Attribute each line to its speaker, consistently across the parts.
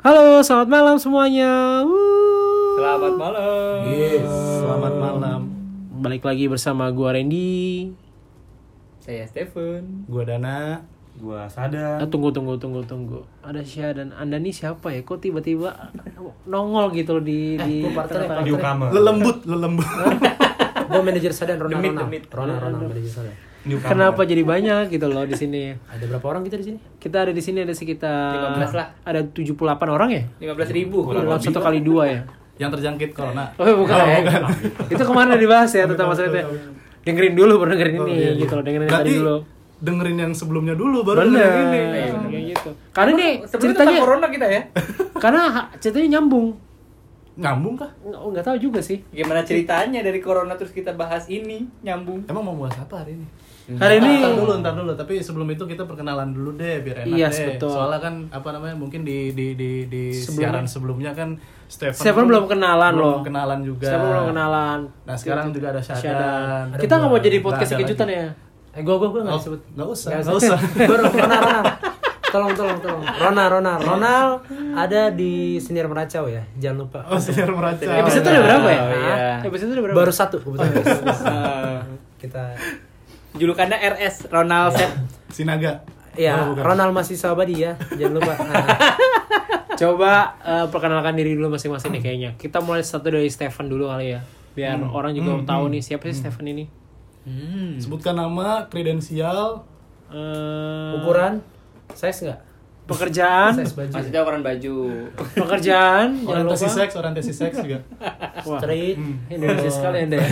Speaker 1: Halo, selamat malam semuanya. Wuh.
Speaker 2: Selamat malam.
Speaker 3: Yes, selamat malam.
Speaker 1: Balik lagi bersama gua Randy.
Speaker 2: Saya Stephen.
Speaker 3: Gua Dana.
Speaker 4: gua sadar
Speaker 1: Ah, tunggu tunggu tunggu tunggu. Ada Syah dan Anda nih siapa ya? Kok tiba-tiba nongol gitu loh di
Speaker 2: Eh,
Speaker 1: di tengah-tengah.
Speaker 4: di Ukama
Speaker 3: Lelembut, lelembut.
Speaker 5: gue manajer Sadan Rona
Speaker 2: Demit,
Speaker 5: Rona
Speaker 2: demit.
Speaker 5: Rona Rona manajer Sadan
Speaker 4: Di Ukama.
Speaker 1: Kenapa jadi banyak gitu loh di sini?
Speaker 5: ada berapa orang kita di sini
Speaker 1: Kita ada di sini ada sekitar
Speaker 2: 15 lah.
Speaker 1: ada 78 orang ya?
Speaker 2: 15 ribu.
Speaker 1: Dalam satu kali dua ya.
Speaker 3: Yang terjangkit corona.
Speaker 1: Oh, bukan. ya? Itu kemarin udah dibahas ya tentang masalah itu. Dengerin dulu baru dengerin
Speaker 2: Oh,
Speaker 1: ini
Speaker 2: iya,
Speaker 1: gitu loh, dengerin yang tadi
Speaker 3: Oh, iya, Berarti
Speaker 1: dulu.
Speaker 3: dengerin yang sebelumnya dulu baru
Speaker 1: Bener.
Speaker 3: dengerin ini.
Speaker 1: Kayak gitu. Karena nih
Speaker 2: Sebelum
Speaker 1: ceritanya
Speaker 2: tentang corona kita ya.
Speaker 1: karena ha- ceritanya nyambung.
Speaker 3: Nyambung kah?
Speaker 1: Nggak, nggak tahu juga sih.
Speaker 2: Gimana ceritanya dari corona terus kita bahas ini nyambung.
Speaker 3: Emang mau bahas apa hari ini?
Speaker 1: Hari ini
Speaker 3: Ntar dulu, ntar dulu. Tapi sebelum itu kita perkenalan dulu deh, biar enak
Speaker 1: Iya,
Speaker 3: deh.
Speaker 1: betul.
Speaker 3: Soalnya kan apa namanya? Mungkin di di di, di
Speaker 1: Sebelumnya.
Speaker 3: siaran sebelumnya kan Stefan,
Speaker 1: Stefan belum kenalan
Speaker 3: belum
Speaker 1: loh.
Speaker 3: kenalan juga.
Speaker 1: Saya belum kenalan.
Speaker 3: Nah sekarang juga ada Syadan.
Speaker 1: Syahdan. Kita nggak mau jadi podcast kejutan ya.
Speaker 5: eh gue gue gue nggak
Speaker 3: Oh,
Speaker 5: disebut
Speaker 3: nggak usah,
Speaker 5: Nggak
Speaker 3: nggak usah.
Speaker 5: Gua Rona Rona tolong tolong tolong Rona Rona Ronal ada di senior meracau ya jangan lupa
Speaker 3: Oh, siar meracau.
Speaker 1: Episode udah berapa ya?
Speaker 2: Oh, iya.
Speaker 1: Episode udah berapa?
Speaker 5: baru satu kebetulan kita
Speaker 2: Julukannya RS Ronald Set.
Speaker 3: Sinaga.
Speaker 5: ya
Speaker 3: Oh, bukan.
Speaker 5: Ronal masih sahabat ya jangan lupa Nah,
Speaker 1: Coba eh, perkenalkan diri dulu masing-masing nih kayaknya. Kita mulai satu dari Stefan dulu kali ya. Biar
Speaker 3: Hmm.
Speaker 1: orang juga tahu nih siapa sih Stefan ini.
Speaker 2: Hmm.
Speaker 3: Sebutkan nama, kredensial,
Speaker 1: Eh,
Speaker 5: ukuran size nggak
Speaker 1: pekerjaan,
Speaker 5: size baju
Speaker 2: Maksudnya ukuran baju.
Speaker 1: pekerjaan, jangan lupa.
Speaker 3: orientasi seks, orientasi seks juga.
Speaker 1: Wah,
Speaker 5: straight
Speaker 1: Indonesia sekali Anda ya.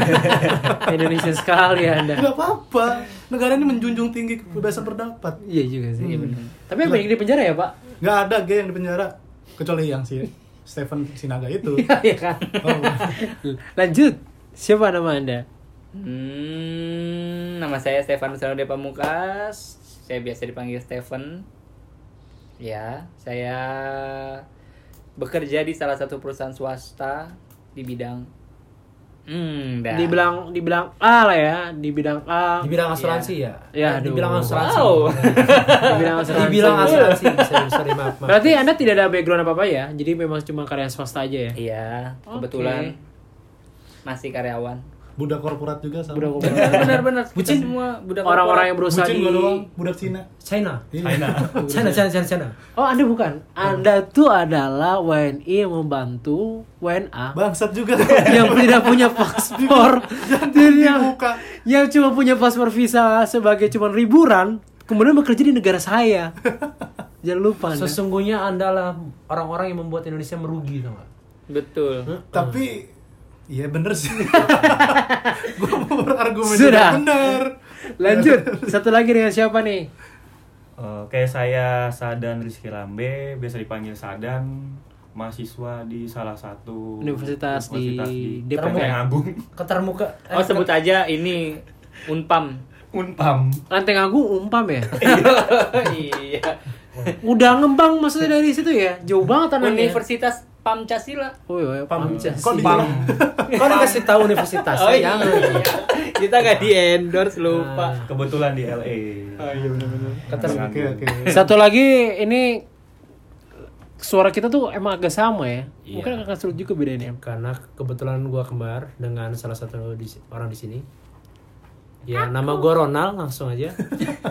Speaker 1: Indonesia sekali Anda.
Speaker 3: Gak Ya, apa-apa. Negara ini menjunjung tinggi kebebasan pendapat.
Speaker 1: Iya juga sih, iya benar. Tapi yang banyak di penjara ya, Pak?
Speaker 3: Gak ada gay yang di penjara kecuali yang si Stephen Sinaga itu.
Speaker 1: Iya kan?
Speaker 3: Oh,
Speaker 1: Lanjut. Siapa nama Anda?
Speaker 2: Hmm. Nama saya Stefan Nusano Pamungkas. Saya biasa dipanggil Stefan. Ya, saya bekerja di salah satu perusahaan swasta di bidang hmm, dah.
Speaker 1: Dibilang dibilang A lah ya, di bidang A.
Speaker 5: dibilang asuransi ya
Speaker 1: Iya,
Speaker 5: Eh, dibilang
Speaker 1: aduh.
Speaker 5: asuransi
Speaker 2: Wow.
Speaker 1: Dibilang asuransi.
Speaker 5: dibilang asuransi sorry, sorry maaf maaf
Speaker 1: Berarti Anda tidak ada background apa-apa ya? Jadi memang cuma karya swasta aja ya?
Speaker 2: Iya,
Speaker 1: Oke.
Speaker 2: kebetulan masih karyawan.
Speaker 3: budak korporat juga sama.
Speaker 1: Budak korporat.
Speaker 2: Benar-benar bucin semua budak
Speaker 1: Orang-orang yang berusaha
Speaker 3: Bucin
Speaker 1: di
Speaker 3: gua doang, budak Cina. Iya.
Speaker 5: China
Speaker 3: China.
Speaker 5: China China China China
Speaker 1: Oh, Anda bukan. Anda tuh adalah WNI yang membantu WNA
Speaker 3: Bangsat juga.
Speaker 1: yang tidak punya paspor. Jadi yang
Speaker 3: Dibuka.
Speaker 1: yang cuma punya paspor visa sebagai cuma liburan, kemudian bekerja di negara saya. Jangan lupa Anda.
Speaker 5: Sesungguhnya Anda lah orang-orang yang membuat Indonesia merugi, tau gak?
Speaker 2: Betul.
Speaker 3: Tapi Iya bener sih. gua mau berargumen juga
Speaker 1: Sudah.
Speaker 3: bener.
Speaker 1: Lanjut, satu lagi dengan siapa nih?
Speaker 4: Oke, saya Sadan Rizky Lambe, biasa dipanggil Sadan, mahasiswa di salah satu
Speaker 1: Universitas di DPR.
Speaker 4: DPR Agung,
Speaker 5: Ketermuka.
Speaker 2: Oh sebut aja ini Unpam.
Speaker 4: Unpam.
Speaker 1: Lanteng Agung umpam ya?
Speaker 2: iya.
Speaker 1: Udah ngembang maksudnya dari situ ya? Jauh
Speaker 2: Kan
Speaker 1: banget tanahnya.
Speaker 2: Universitas Pamcasila.
Speaker 1: Oh iya, Pamcas.
Speaker 3: Kok di
Speaker 5: Kok dikasih tahu universitas?
Speaker 2: Oh iya.
Speaker 5: Jangan.
Speaker 2: Kita gak di endorse lupa.
Speaker 5: Nah,
Speaker 4: Kebetulan di LA. Oh iya benar-benar.
Speaker 3: Oke oke.
Speaker 1: Satu lagi ini suara kita tuh emang agak sama ya. Mungkin akan sulit juga bedainnya.
Speaker 5: ya? Karena kebetulan gua kembar dengan salah satu di- orang di sini. Ya, nama gua Ronald langsung aja.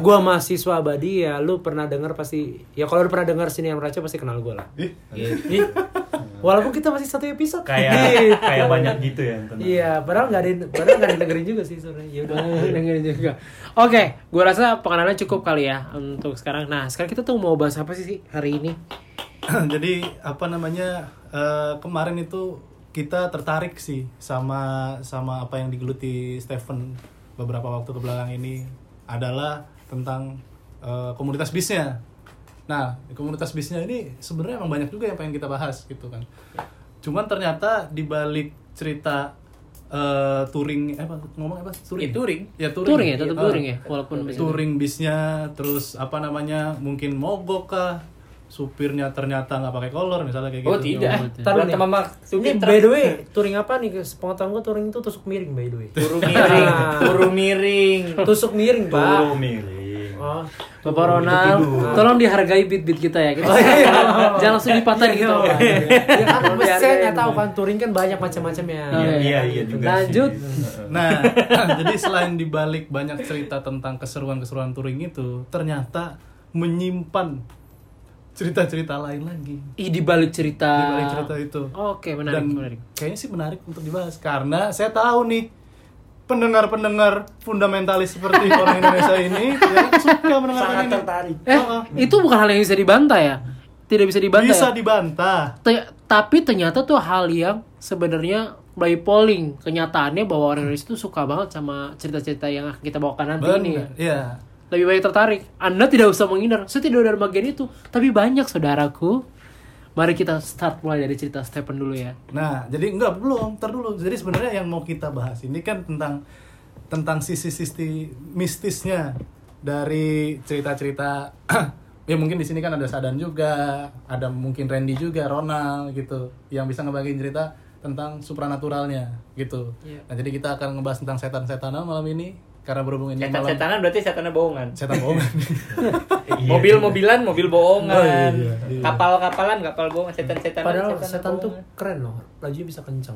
Speaker 5: gua mahasiswa abadi ya, lu pernah dengar pasti. Ya kalau lu pernah dengar sini yang meracau pasti kenal gua lah.
Speaker 3: Ih.
Speaker 5: Ih. Iya. Walaupun kita masih satu episode.
Speaker 4: Iya. Kayak kayak banyak gitu ya. tenang.
Speaker 5: Iya, padahal nggak ada padahal nggak didengerin juga sih sebenarnya. Ya udah.
Speaker 1: Dengerin juga. Oke, gua rasa pengenalan cukup kali ya untuk sekarang. Nah, sekarang kita tuh mau bahas apa sih sih hari ini?
Speaker 3: jadi apa namanya eh, kemarin itu kita tertarik sih sama sama apa yang digeluti Stephen beberapa waktu kebelakang ini adalah tentang eh, komunitas bisnya. Nah di komunitas bisnya ini sebenarnya emang banyak juga yang pengen kita bahas gitu kan. Cuman ternyata di balik cerita eh, touring eh, apa ngomong apa touring
Speaker 2: Ya, touring.
Speaker 3: ya touring,
Speaker 1: Touring ya, tetap
Speaker 3: Eh,
Speaker 1: touring ya, walaupun bisa-
Speaker 3: touring bisnya terus apa namanya mungkin mogok kah supirnya ternyata nggak pakai kolor misalnya kayak gitu
Speaker 2: Oh tidak. Taruh
Speaker 5: Taruh nih.
Speaker 2: sama
Speaker 5: Ini
Speaker 2: Suki
Speaker 5: by the way, touring apa nih? Sepengetahuan gua touring itu tusuk miring by the way.
Speaker 2: Turu miring, turu miring.
Speaker 5: Tusuk miring, Pak.
Speaker 4: Turu miring.
Speaker 5: Oh,
Speaker 1: Bapak Ronald, tolong dihargai beat-beat kita ya.
Speaker 3: Oh, iya,
Speaker 1: Kita jangan langsung dipatahin gitu.
Speaker 5: ya kan mesin nggak tahu kan touring kan banyak macam-macam ya.
Speaker 4: Iya, iya, iya juga
Speaker 1: Lanjut.
Speaker 4: sih.
Speaker 3: Nah, jadi selain dibalik banyak cerita tentang keseruan-keseruan touring itu, ternyata menyimpan cerita-cerita lain lagi
Speaker 1: Ih di balik cerita.
Speaker 3: di balik cerita itu.
Speaker 1: Oke, Ah. Oh, menarik,
Speaker 3: Dan
Speaker 1: menarik.
Speaker 3: kayaknya sih menarik untuk dibahas karena saya tahu nih pendengar-pendengar fundamentalis seperti orang Indonesia ini ya, suka mendengarkan ini.
Speaker 1: Eh,
Speaker 3: Oh, oh.
Speaker 1: itu bukan hal yang bisa dibantah ya? Tidak bisa dibantah.
Speaker 3: Bisa
Speaker 1: ya?
Speaker 3: dibantah.
Speaker 1: Te- tapi ternyata tuh hal yang sebenarnya by polling kenyataannya bahwa orang Indonesia tuh suka banget sama cerita-cerita yang akan kita bawakan nanti ini. ya.
Speaker 3: Benar. Iya.
Speaker 1: Lebih banyak tertarik. Anda tidak usah menghindar. Saya tidak dari bagian itu. Tapi banyak saudaraku. Mari kita start mulai dari cerita Stephen dulu ya.
Speaker 3: Nah, jadi enggak belum, ntar dulu. Jadi sebenarnya yang mau kita bahas ini kan tentang tentang sisi-sisi mistisnya dari cerita-cerita ya mungkin di sini kan ada Sadan juga, ada mungkin Randy juga, Ronald gitu yang bisa ngebagiin cerita tentang supranaturalnya gitu.
Speaker 1: Iya.
Speaker 3: Nah, jadi kita akan ngebahas tentang setan-setanan malam ini karena berhubung ini
Speaker 2: Setan
Speaker 3: malam
Speaker 2: setanan berarti setannya bohongan.
Speaker 3: setan bohongan.
Speaker 4: iya,
Speaker 2: Mobil-mobilan, mobil bohongan.
Speaker 3: Oh, iya, iya.
Speaker 2: Kapal-kapalan, kapal bohongan. Setan-setanan.
Speaker 5: Padahal
Speaker 2: setannya
Speaker 5: setan tuh
Speaker 2: bohongan.
Speaker 5: keren loh, lajunya bisa kencang.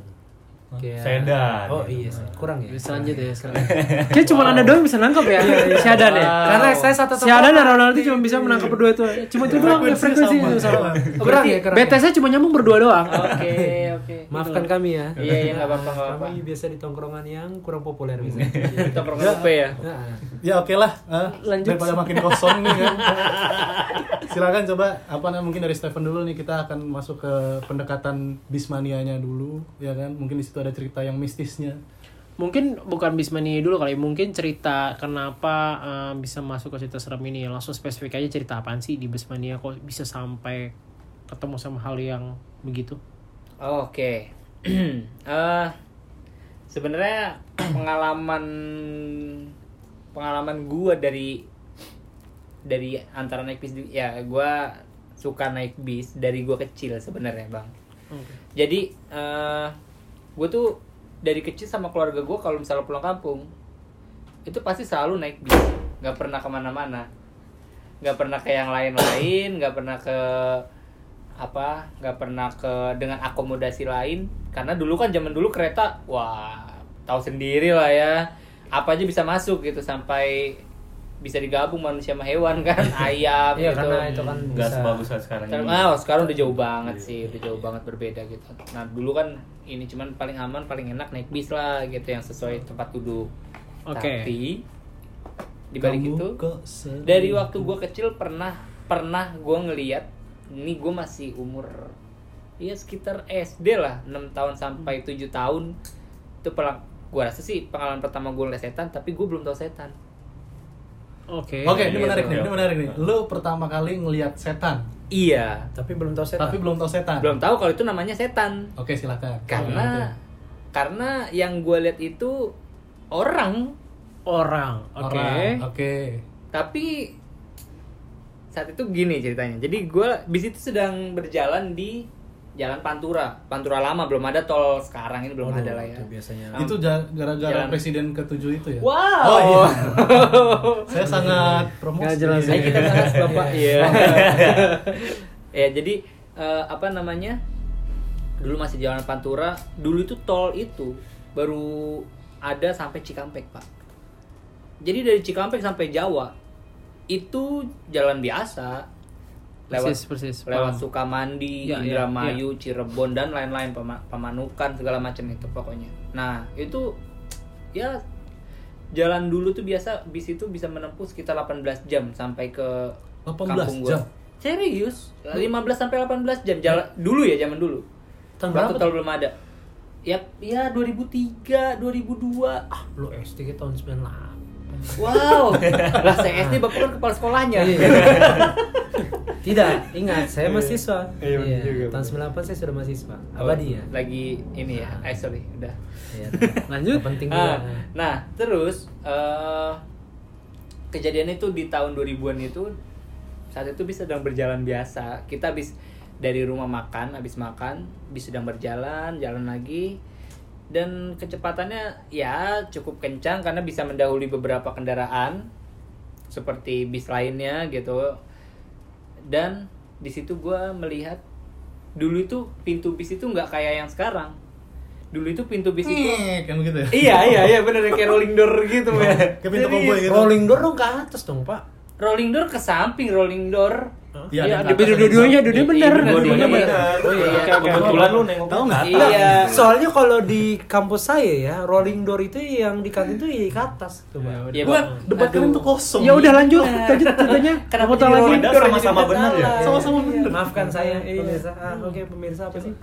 Speaker 5: Kayak-
Speaker 4: iya. Sedan.
Speaker 5: Oh iya, kurang ya. Iya.
Speaker 1: Bisa lanjut ya sekarang. Kayak cuma Anda doang bisa nangkap ya. Si Adan ya.
Speaker 5: Karena saya satu Iya.
Speaker 1: Si Adan dan Ronald itu cuma bisa menangkap berdua itu. Cuma itu doang ya frekuensi
Speaker 3: Frekuensinya
Speaker 1: itu sama. Oh,
Speaker 3: sama.
Speaker 5: Kurang
Speaker 1: Berarti Oh,
Speaker 5: ya, kurang ya.
Speaker 1: BTS -nya cuma nyambung berdua doang.
Speaker 2: Oke, oke.
Speaker 5: Maafkan kami ya.
Speaker 2: Iya, iya, nggak apa-apa, nggak apa-apa.
Speaker 5: Kami biasa di tongkrongan yang kurang populer bisa.
Speaker 2: Kita program UP ya.
Speaker 5: Nah,
Speaker 3: Ya oke lah, eh,
Speaker 1: Lanjut.
Speaker 3: daripada makin kosong nih kan. Silakan coba apa namanya mungkin dari Stephen dulu nih kita akan masuk ke pendekatan bismanianya dulu ya kan. Mungkin di situ ada cerita yang mistisnya.
Speaker 1: Mungkin bukan Bismani dulu kali, mungkin cerita kenapa eh, bisa masuk ke cerita serem ini. Langsung spesifik aja cerita apaan sih di Bismania kok bisa sampai ketemu sama hal yang begitu.
Speaker 2: Oke. Eh, sebenarnya pengalaman pengalaman gua dari dari antara naik bis di- ya gua suka naik bis dari gua kecil sebenarnya, Bang. Jadi eh gue tuh dari kecil sama keluarga gua kalau misalnya pulang kampung itu pasti selalu naik bis, nggak pernah kemana-mana, nggak pernah ke yang lain-lain, nggak pernah ke apa, nggak pernah ke dengan akomodasi lain, karena dulu kan zaman dulu kereta, wah tahu sendiri lah ya, apa aja bisa masuk gitu sampai bisa digabung manusia sama hewan kan, ayam gitu.
Speaker 5: Iya, karena itu kan
Speaker 4: Nggak
Speaker 5: bisa.
Speaker 4: sebagus saat sekarang ini. Iya,
Speaker 2: Nah, sekarang udah jauh banget sih, udah jauh banget berbeda gitu. Nah, dulu kan ini cuman paling aman, paling enak naik bis lah gitu yang sesuai tempat duduk.
Speaker 1: Oke.
Speaker 2: Tapi di balik
Speaker 3: Kamu
Speaker 2: itu
Speaker 3: kok sedih?
Speaker 2: dari waktu gua kecil pernah pernah gua ngeliat ini gua masih umur ya sekitar SD lah 6 tahun sampai 7 tahun itu pelang gua rasa sih pengalaman pertama gua ngeliat setan tapi gua belum tahu setan
Speaker 1: Oke.
Speaker 3: Oke, ini
Speaker 2: iya,
Speaker 3: menarik
Speaker 4: iya.
Speaker 3: nih, ini menarik nih. Lu pertama kali ngelihat setan,
Speaker 2: iya
Speaker 5: Tapi belum tahu setan.
Speaker 3: tapi belum tahu setan.
Speaker 2: belum tahu kalau itu namanya setan
Speaker 3: Oke, silakan.
Speaker 5: Hmm.
Speaker 2: karena karena yang gue lihat itu orang
Speaker 1: Orang. Oke.
Speaker 3: Orang, oke.
Speaker 2: tapi saat itu gini ceritanya jadi gue bis itu sedang berjalan di jalan Pantura Pantura lama belum ada tol sekarang ini belum
Speaker 5: Aduh,
Speaker 2: ada lah ya
Speaker 5: itu biasanya.
Speaker 2: Am-
Speaker 3: Itu ja- gara-gara
Speaker 2: Jalan.
Speaker 3: presiden ketujuh itu ya.
Speaker 2: wow
Speaker 3: Oh iya. Saya sangat promosi.
Speaker 1: Nggak jelas.
Speaker 2: Ayo kita bahas bapak ya ya jadi eh, apa namanya dulu masih jalan Pantura dulu itu tol itu baru ada sampai Cikampek pak jadi dari Cikampek sampai Jawa itu jalan biasa lewat
Speaker 1: Persis, persis.
Speaker 2: lewat
Speaker 1: Paham.
Speaker 2: Sukamandi,
Speaker 1: Ya, ya,
Speaker 2: Indramayu, Cirebon dan lain-lain Pema- Pamanukan segala macam itu pokoknya. Nah, itu ya jalan dulu tuh biasa bis itu bisa menempuh sekitar 18 jam sampai ke
Speaker 3: 18
Speaker 2: kampung gua.
Speaker 3: jam?
Speaker 2: Serius? 15 sampai 18 jam jalan dulu ya zaman dulu.
Speaker 5: Tahun
Speaker 2: Waktu
Speaker 5: berapa
Speaker 2: tol belum ada. Ya, ya 2003, 2002. Ah,
Speaker 5: Lu SD ke tahun 98.
Speaker 2: Wow. lah saya SD bapak kan kepala sekolahnya.
Speaker 5: Iya, Tidak, ingat saya mahasiswa.
Speaker 4: Iya, bener juga.
Speaker 5: tahun 98 saya sudah mahasiswa.
Speaker 2: Oh.
Speaker 5: Abadi ya.
Speaker 2: Lagi ini ya. Eh sorry, udah.
Speaker 5: Iya.
Speaker 1: Lanjut.
Speaker 5: Nggak penting
Speaker 2: Ah,
Speaker 5: juga.
Speaker 2: nah, terus eh kejadian itu di tahun 2000-an itu saat itu bisa sedang berjalan biasa. Kita habis dari rumah makan, habis makan, bis sedang berjalan, jalan lagi dan kecepatannya ya cukup kencang karena bisa mendahului beberapa kendaraan. seperti bis lainnya gitu dan di situ gue melihat dulu itu pintu bis itu nggak kayak yang sekarang dulu itu pintu bis itu
Speaker 3: Ih, kan begitu ya?
Speaker 2: iya iya iya bener kayak rolling door gitu men
Speaker 3: Kayak pintu
Speaker 2: Serius.
Speaker 3: koboi gitu.
Speaker 5: Rolling door dong ke atas dong pak.
Speaker 2: rolling door ke samping rolling door
Speaker 3: Iya,
Speaker 2: ada
Speaker 3: ada yang ke atas,
Speaker 1: dua-duanya
Speaker 3: ada
Speaker 1: dua-duanya bener.
Speaker 2: Dua-duanya
Speaker 1: Dua-duanya
Speaker 2: bener.
Speaker 1: Oh iya, oke, oke.
Speaker 4: kebetulan lu nengok
Speaker 3: Tahu nggak?
Speaker 2: Iya.
Speaker 5: Soalnya kalau di kampus saya ya rolling door itu yang di kantin tuh ya ke atas tuh
Speaker 1: Ya,
Speaker 5: pak.
Speaker 2: Iya,
Speaker 3: Gua
Speaker 2: Pak.
Speaker 3: debat
Speaker 2: Aduh.
Speaker 3: kalian tuh kosong.
Speaker 1: Ya udah lanjut, lanjut ceritanya.
Speaker 2: Kenapa
Speaker 1: Potong
Speaker 2: jadi
Speaker 1: lagi.
Speaker 2: orang
Speaker 4: Padahal sama-sama benar ya.
Speaker 3: Sama-sama bener.
Speaker 5: Iya. Maafkan saya pemirsa. Ah, Oke pemirsa apa sih?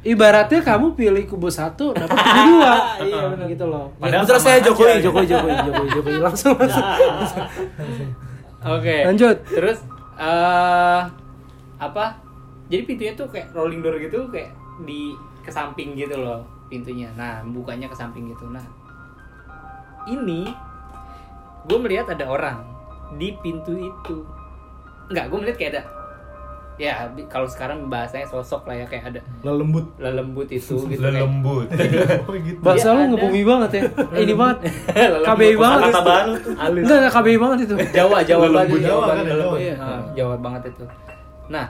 Speaker 1: Ibaratnya kamu pilih kubu satu, dapat kubu dua. Iya benar gitu loh.
Speaker 4: Padahal
Speaker 5: Terus
Speaker 4: sama aja.
Speaker 5: saya
Speaker 4: ya.
Speaker 5: Jokowi, Jokowi, Jokowi, Jokowi, Jokowi langsung langsung.
Speaker 2: Oke.
Speaker 1: Lanjut.
Speaker 2: Terus eh apa? Jadi pintunya tuh kayak rolling door gitu kayak di ke samping gitu loh pintunya. Nah, bukanya ke samping gitu. Nah, ini gue melihat ada orang di pintu itu. Enggak, gue melihat kayak ada ya bi- kalau sekarang bahasanya sosok lah ya kayak ada
Speaker 3: Lelembut.
Speaker 2: lelembut itu gitu kayak-
Speaker 4: lembut
Speaker 3: Oh gitu.
Speaker 1: Bahasa lu
Speaker 2: Iya, ada.
Speaker 1: ngebumi banget ya. Ini banget.
Speaker 2: Lelembut.
Speaker 1: KBI banget.
Speaker 4: kata baru tuh
Speaker 2: Halus.
Speaker 1: Enggak, enggak KBI banget itu.
Speaker 2: Jawa Jawa
Speaker 3: Lelembut
Speaker 2: banget
Speaker 3: Jawa kan ya,
Speaker 2: lelembut.
Speaker 3: Jawa.
Speaker 2: Iya, ah, Jawa banget itu. Nah,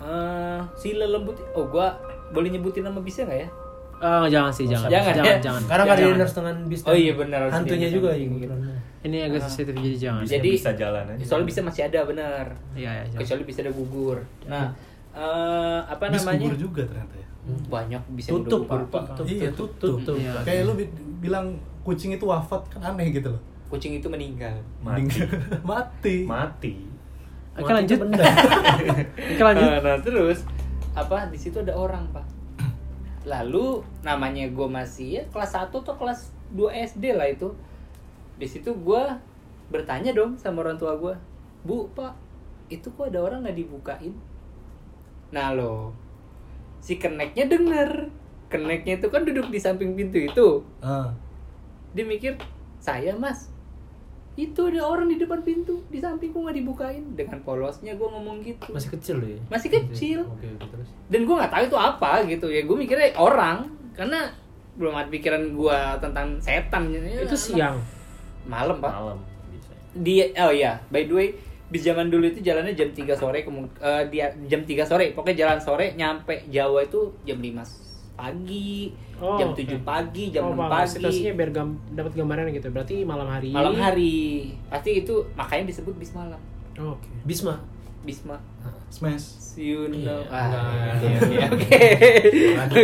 Speaker 2: eh, si lelembut oh gua boleh nyebutin nama bisa nggak ya?
Speaker 1: Ah, jangan sih, jangan.
Speaker 2: Jangan,
Speaker 1: jangan,
Speaker 2: ya?
Speaker 1: jangan.
Speaker 5: Karena nggak ada
Speaker 1: Jangan.
Speaker 5: dinner setengah bis.
Speaker 2: Oh iya, benar, harus
Speaker 5: Hantunya
Speaker 2: dinner
Speaker 5: juga
Speaker 2: setengah
Speaker 5: ya.
Speaker 2: bis.
Speaker 5: kebetulan.
Speaker 1: Ini agak sensitif jadi jangan.
Speaker 4: bisa,
Speaker 2: Jadi-
Speaker 4: bisa jalan aja
Speaker 2: Soalnya bisa masih ada benar.
Speaker 1: Iya, iya, jangan.
Speaker 2: Kecuali bisa ada gugur. Nah, eh, apa
Speaker 3: Bis
Speaker 2: namanya?
Speaker 3: gugur juga ternyata ya.
Speaker 2: Hmm, Banyak bisa
Speaker 5: Tutup,
Speaker 2: gugur,
Speaker 5: Pak.
Speaker 2: Pak.
Speaker 5: Tutup,
Speaker 3: Iya,
Speaker 5: tutup,
Speaker 3: tutup.
Speaker 5: tutup.
Speaker 1: Iya.
Speaker 3: Kayak lu bi- bilang kucing itu wafat kan aneh gitu loh.
Speaker 2: Kucing itu meninggal.
Speaker 4: mati
Speaker 3: Mati.
Speaker 4: mati
Speaker 1: Oke, lanjut.
Speaker 3: Benda.
Speaker 1: Oke, lanjut.
Speaker 2: Nah, nah, terus apa di situ ada orang, Pak. Lalu namanya gue masih ya kelas 1 atau kelas 2 SD lah itu. Di situ gue bertanya dong sama orang tua gue, Bu, Pak, itu kok ada orang nggak dibukain? Nah lo, si keneknya denger. Keneknya itu kan duduk di samping pintu itu.
Speaker 3: Ah.
Speaker 2: Dia mikir, saya mas, itu ada orang di depan pintu, di sampingku nggak dibukain. Dengan polosnya gue ngomong gitu
Speaker 5: Masih kecil loh ya.
Speaker 2: Masih kecil.
Speaker 5: Oke, oke, terus.
Speaker 2: dan gue nggak tahu itu apa gitu ya gue mikirnya orang karena belum ada pikiran gue tentang setan Ya,
Speaker 1: Itu siang.
Speaker 2: malam pak
Speaker 4: malam bisa
Speaker 2: di oh ya by the way di zaman dulu itu jalannya jam 3 sore kemu- eh, dia jam 3 sore pokoknya jalan sore nyampe Jawa itu jam 5 pagi
Speaker 1: Oh,
Speaker 2: jam
Speaker 1: oke.
Speaker 2: 7 pagi jam
Speaker 1: Oh,
Speaker 2: 6
Speaker 1: paham.
Speaker 2: pagi
Speaker 1: Situasinya biar gam- dapat gambaran gitu. Berarti malam hari.
Speaker 2: malam hari pasti itu makanya disebut bis malam
Speaker 1: Oh, Oke.
Speaker 5: Bisma.
Speaker 2: bisma
Speaker 3: Smash.
Speaker 2: you know
Speaker 5: Iya.
Speaker 2: Ah,
Speaker 5: Nah.
Speaker 2: gitu ya. oke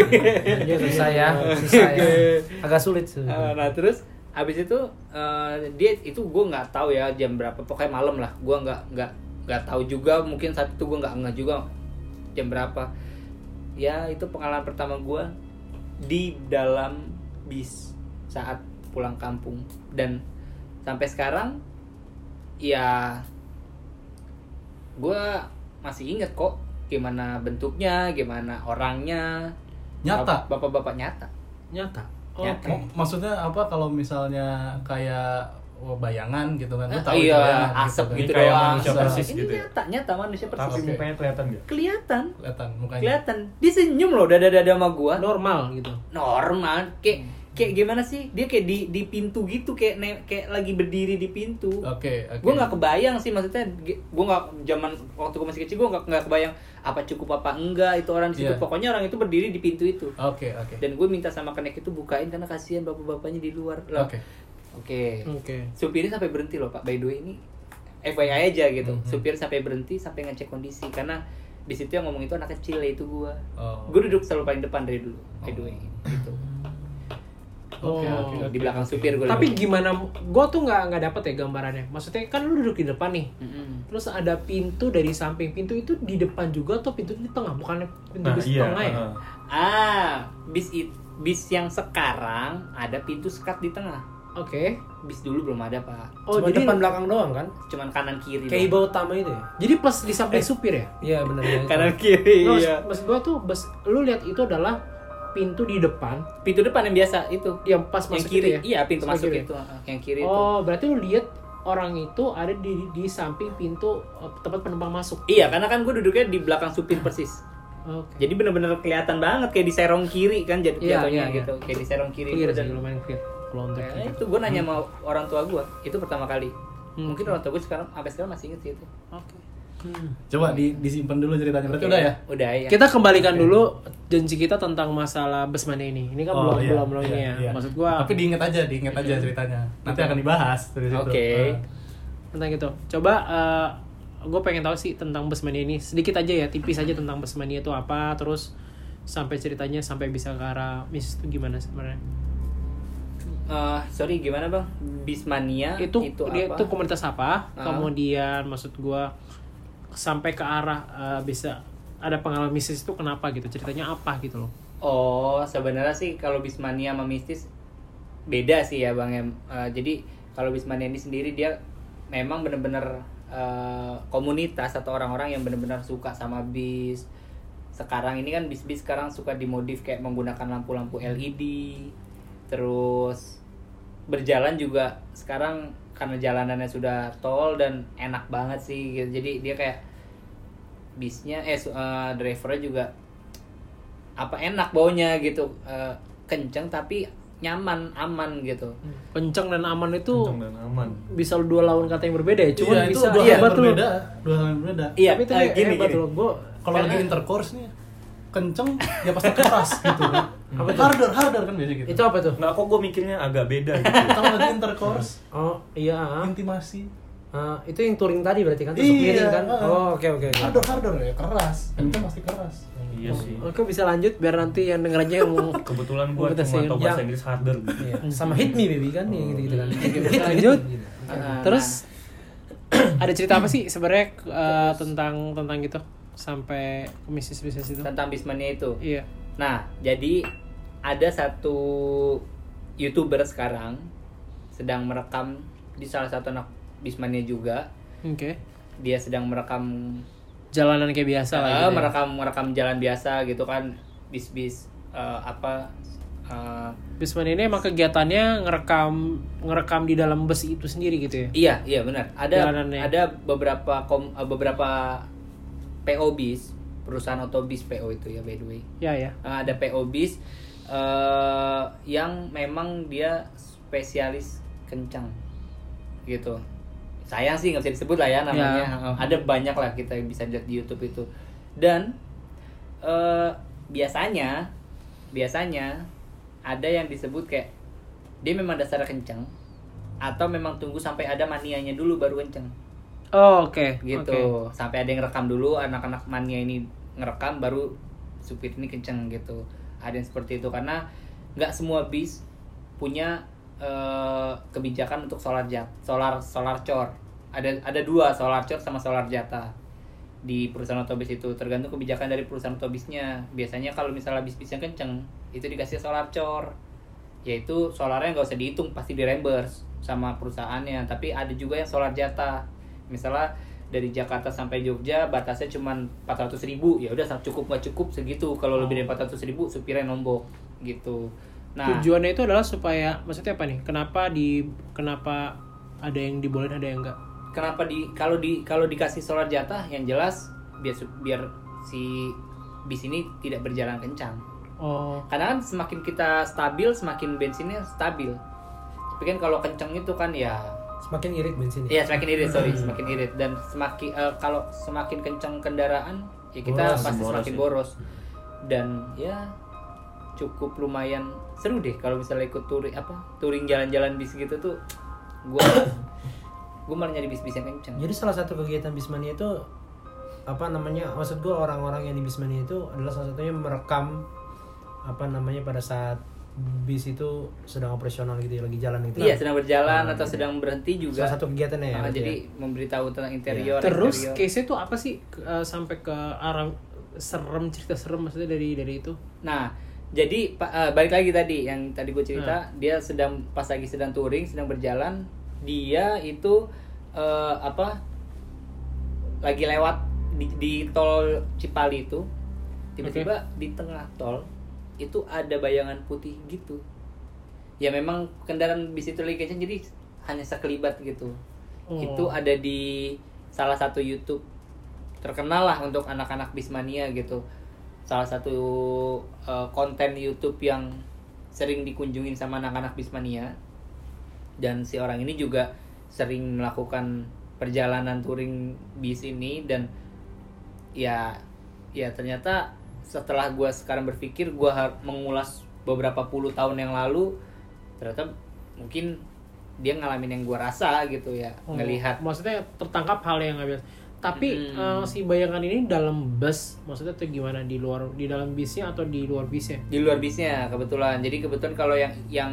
Speaker 5: Iya, susah ya, susah ya. Agak sulit sih.
Speaker 2: Eh, nah terus abis itu eh, dia itu gue nggak tahu ya jam berapa pokoknya malam lah gue nggak nggak nggak tahu juga mungkin saat itu gue nggak nggak juga jam berapa ya itu pengalaman pertama gue di dalam bis saat pulang kampung dan sampai sekarang ya gue masih inget kok gimana bentuknya gimana orangnya
Speaker 3: Nyata.
Speaker 2: Bap- bapak-bapak nyata
Speaker 1: Nyata. Oke.
Speaker 2: Nyata.
Speaker 3: Mak- Maksudnya apa kalau misalnya kayak oh, bayangan gitu kan? Lu
Speaker 2: Eh,
Speaker 3: tahu
Speaker 2: iya,
Speaker 3: bayangan
Speaker 2: asap
Speaker 3: kan.
Speaker 2: gitu
Speaker 4: Ini kayak
Speaker 2: doang.
Speaker 4: manusia
Speaker 2: Asap.
Speaker 4: persis
Speaker 2: Ini
Speaker 4: gitu ya?
Speaker 2: nyata, nyata manusia persis.
Speaker 4: tapi mukanya kelihatan nggak
Speaker 2: Kelihatan,
Speaker 3: Kelihatan mukanya.
Speaker 2: kelihatan. Dia senyum loh dada-dada sama gua.
Speaker 1: Normal gitu.
Speaker 2: Normal, kayak kayak gimana sih? Dia kayak di di pintu gitu kayak ne- kayak lagi berdiri di pintu.
Speaker 3: Oke, oke.
Speaker 2: Gue nggak kebayang sih maksudnya, ge- gua nggak zaman waktu gue masih kecil gue nggak nggak kebayang apa cukup apa enggak itu orang di situ.
Speaker 3: Iya.
Speaker 2: Pokoknya orang itu berdiri di pintu itu.
Speaker 3: Oke, oke.
Speaker 2: Dan gue minta sama kenek itu bukain karena kasihan bapak-bapaknya di luar. Lah,
Speaker 3: Oke.
Speaker 2: Oke.
Speaker 1: Oke.
Speaker 2: supirnya sampai berhenti loh pak by the way ini FYI aja gitu
Speaker 3: Mhm.
Speaker 2: supir sampai berhenti sampai ngecek kondisi karena di situ yang ngomong itu anak kecil yaitu gua
Speaker 3: Oh.
Speaker 2: gua duduk selalu paling depan dari dulu by the way gitu
Speaker 3: Oke,
Speaker 1: Oh.
Speaker 3: oke.
Speaker 2: di belakang supir gua
Speaker 1: Tapi
Speaker 2: duduk.
Speaker 1: gimana? Gue tuh nggak nggak dapet ya gambarannya. Maksudnya kan lu duduk di depan nih.
Speaker 2: Mm-mm.
Speaker 1: Terus ada pintu dari samping pintu itu di depan juga atau pintu di tengah? Bukan pintu
Speaker 4: nah
Speaker 1: bis
Speaker 4: iya
Speaker 1: tengah ya?
Speaker 4: heeh.
Speaker 2: ah bis it, bis yang sekarang ada pintu sekat di tengah
Speaker 1: Oke.
Speaker 2: bis dulu belum ada pak
Speaker 1: Oh
Speaker 5: Cuma
Speaker 1: jadi
Speaker 5: depan belakang doang kan?
Speaker 2: cuman kanan kiri doang.
Speaker 5: Kayak iba utama itu ya?
Speaker 1: jadi pas di samping supir ya?
Speaker 5: Iya benar. ya.
Speaker 2: kanan kiri
Speaker 1: Terus
Speaker 2: Eh, iya.
Speaker 1: maksud gua tuh bes, lu lihat itu adalah pintu di depan
Speaker 2: pintu depan yang biasa itu
Speaker 1: yang pas
Speaker 2: yang
Speaker 1: masuk
Speaker 2: kiri
Speaker 1: itu ya?
Speaker 2: iya pintu
Speaker 1: Sebelah
Speaker 2: masuk
Speaker 1: kiri.
Speaker 2: itu ah, yang kiri itu
Speaker 1: Oh berarti lu lihat orang itu ada di di samping pintu eh, tempat penumpang masuk.
Speaker 2: iya karena kan gua duduknya di belakang supir persis
Speaker 1: Oke.
Speaker 2: Jadi bener-bener kelihatan banget kayak di serong kiri kan jadi
Speaker 1: Iya,
Speaker 2: jatuhnya
Speaker 1: iya, iya.
Speaker 2: gitu. Kayak di serong kiri
Speaker 1: Clear
Speaker 2: gitu.
Speaker 1: sih lumayan clear. Kalau untuk
Speaker 2: Nah, itu gue nanya sama orang tua gue itu pertama kali
Speaker 1: Hmm.
Speaker 2: Mungkin orang tua gue sekarang sampai sekarang masih inget sih itu.
Speaker 1: Oke.
Speaker 3: Coba di, disimpan dulu ceritanya. Berarti
Speaker 2: Oke,
Speaker 3: udah ya?
Speaker 2: Udah ya.
Speaker 1: Hmm. Kita kembalikan dulu janji kita tentang masalah Besmane ini. Ini kan belum
Speaker 3: iya,
Speaker 1: belum belum ini
Speaker 3: iya,
Speaker 1: ya.
Speaker 3: iya.
Speaker 1: Maksud gua
Speaker 3: Tapi diinget aja, diinget aja ceritanya. Nanti akan dibahas dari situ.
Speaker 2: Oke.
Speaker 3: Eh,
Speaker 1: tentang itu. Coba gue pengen tahu sih tentang Besmania ini. Sedikit aja ya, tipis aja tentang Besmania itu apa, terus sampai ceritanya sampai bisa ke arah Miss itu gimana sebenarnya?
Speaker 2: Eh, sorry gimana bang? Bismania
Speaker 1: Itu itu, dia,
Speaker 2: apa?
Speaker 1: itu komunitas apa?
Speaker 2: Ah.
Speaker 1: Kemudian maksud gua sampai ke arah eh, bisa ada pengalaman mistis itu kenapa gitu? Ceritanya apa gitu loh?
Speaker 2: Oh, sebenarnya sih kalau Bismania sama mistis beda sih ya Bang Em. Eh, jadi kalau Bismania ini sendiri dia memang benar-benar eh, komunitas atau orang-orang yang benar-benar suka sama bis. Sekarang ini kan bis-bis sekarang suka dimodif kayak menggunakan lampu-lampu LED. Terus berjalan juga sekarang karena jalanannya sudah tol dan enak banget sih gitu. Jadi dia kayak bisnya eh su- eh, drivernya juga apa enak baunya gitu Eh, kenceng tapi nyaman aman gitu
Speaker 1: Nah, Kencang dan aman itu
Speaker 4: Kenceng dan aman.
Speaker 1: bisa dua lawan kata yang berbeda ya. Cuman
Speaker 3: iya, itu
Speaker 1: bisa
Speaker 3: dua hal
Speaker 1: iya,
Speaker 3: yang
Speaker 1: betul.
Speaker 3: berbeda. Dua hal yang berbeda.
Speaker 2: Iya,
Speaker 1: Tapi itu
Speaker 2: eh, gini,
Speaker 1: hebat
Speaker 2: gini.
Speaker 1: loh. Gua
Speaker 3: Kalau lagi intercourse nih, kenceng, ya pasti keras gitu. Apa tuh? harder, harder kan biasanya gitu.
Speaker 5: Itu apa tuh?
Speaker 4: Nggak kok gue mikirnya agak beda gitu.
Speaker 3: Kalau lagi intercourse,
Speaker 5: Oh iya. ah.
Speaker 3: intimasi,
Speaker 5: Ah, itu yang touring tadi berarti kan? Tusuk
Speaker 3: Iya,
Speaker 5: miring kan?
Speaker 3: ah.
Speaker 5: Oh oke oke. oke.
Speaker 3: harder, harder ya, keras. Kenceng pasti keras.
Speaker 4: iya sih.
Speaker 5: Oh.
Speaker 1: Oke bisa lanjut biar nanti yang denger aja yang Iya, mau
Speaker 4: Kebetulan gue
Speaker 1: Kebetulan
Speaker 4: cuma
Speaker 1: sih.
Speaker 4: tau bahasa Inggris harder gitu.
Speaker 5: Iya. Sama hit me baby kan
Speaker 3: Iya,
Speaker 5: yang gitu-gitu kan.
Speaker 1: lanjut. Nah,
Speaker 2: Eh,
Speaker 1: Terus ada cerita apa sih sebenarnya eh, tentang tentang gitu sampai ke mistis bisnis itu?
Speaker 2: nah, tentang bismania itu
Speaker 1: Iya.
Speaker 2: nah jadi ada satu youtuber sekarang sedang merekam di salah satu anak bismania juga
Speaker 1: Oke.
Speaker 2: dia sedang merekam
Speaker 1: Jalanan kayak biasa lah
Speaker 2: eh,
Speaker 1: gitu. ya.
Speaker 2: merekam merekam jalan biasa gitu kan bis bis apa eh,
Speaker 1: Bisman ini emang kegiatannya ngerekam ngerekam di dalam bus itu sendiri gitu ya.
Speaker 2: Iya, iya benar. Ada
Speaker 1: Jalanannya.
Speaker 2: ada beberapa kom, eh, beberapa PO bis, perusahaan otobis PO itu ya by the way.
Speaker 1: Ya ya.
Speaker 2: Nah, ada PO bis eh, yang memang dia spesialis kencang gitu. Sayang sih nggak bisa disebut lah ya namanya.
Speaker 1: Ya.
Speaker 2: Ada banyak lah kita yang bisa lihat di YouTube itu. Dan eh, biasanya biasanya ada yang disebut kayak dia memang dasarnya kencang atau memang tunggu sampai ada manianya dulu baru kencang
Speaker 1: Oh, oke. oke.
Speaker 2: gitu sampai ada yang rekam dulu anak-anak mania ini ngerekam baru supir ini kenceng gitu ada yang seperti itu karena nggak semua bis punya eh, kebijakan untuk solar jat solar solar cor ada ada dua solar cor sama solar jata di perusahaan otobis itu tergantung kebijakan dari perusahaan otobisnya biasanya kalau misalnya bis-bis yang kenceng itu dikasih solar cor yaitu solarnya nggak usah dihitung pasti di reimburse sama perusahaannya tapi ada juga yang solar jatah misalnya dari Jakarta sampai Jogja batasnya cuma 400.000 ribu ya udah cukup nggak cukup segitu kalau lebih dari 400.000 ribu supirnya nombok gitu nah
Speaker 1: Tujuannya itu adalah supaya maksudnya apa nih? Kenapa di kenapa ada yang dibolehin ada yang enggak?
Speaker 2: kenapa di kalau di kalau dikasih solar jatah yang jelas biar su- biar si bis ini tidak berjalan kencang
Speaker 1: Oh.
Speaker 2: karena kan semakin kita stabil semakin bensinnya stabil tapi kan kalau kenceng itu kan ya
Speaker 5: Semakin irit bensinnya.
Speaker 2: Iya semakin irit sorry
Speaker 5: Hmm.
Speaker 2: semakin irit dan semakin eh, kalau semakin kencang kendaraan ya kita
Speaker 4: Boros,
Speaker 2: pasti
Speaker 4: boros
Speaker 2: semakin
Speaker 4: ya.
Speaker 2: boros dan ya cukup lumayan seru deh kalau misalnya ikut touring apa touring jalan-jalan bis gitu tuh gua gua malah nyari bis-bis yang kencang
Speaker 5: Jadi salah satu kegiatan Bismania itu apa namanya? Maksud gue orang-orang yang di Bismania itu adalah salah satunya merekam apa namanya pada saat bis itu sedang operasional gitu ya, lagi jalan gitu.
Speaker 2: iya sedang berjalan atau sedang berhenti juga
Speaker 5: Salah satu kegiatannya ya.
Speaker 2: Ah,
Speaker 5: berarti
Speaker 2: jadi
Speaker 5: ya.
Speaker 2: memberitahu tentang interior
Speaker 1: Terus
Speaker 2: exterior.
Speaker 1: case itu apa sih Ke- eh, sampai ke arah serem cerita serem maksudnya dari dari itu?
Speaker 2: Nah, jadi pa- eh, balik lagi tadi yang tadi gue cerita, dia sedang pas lagi sedang touring, sedang berjalan, dia itu eh, apa? Lagi lewat di, di tol Cipali itu, tiba-tiba di tengah tol itu ada bayangan putih gitu. Ya memang kendaraan bis itu lagi kencang, jadi hanya sekelibat gitu.
Speaker 1: Oh.
Speaker 2: Itu ada di salah satu YouTube terkenal lah untuk anak-anak bismania gitu salah satu eh, konten YouTube yang sering dikunjungin sama anak-anak Bismania dan si orang ini juga sering melakukan perjalanan touring bis ini dan ya ya ternyata setelah gua sekarang berpikir gua har- mengulas beberapa puluh tahun yang lalu ternyata mungkin dia ngalamin yang gua rasa gitu ya
Speaker 1: Oh,
Speaker 2: ngelihat
Speaker 1: maksudnya tertangkap hal yang nggak biasa tapi eh,
Speaker 2: Mm-mm.
Speaker 1: si bayangan ini dalam bus maksudnya tuh gimana di luar di dalam bisnya atau di luar bisnya
Speaker 2: di luar bisnya kebetulan jadi kebetulan kalau yang yang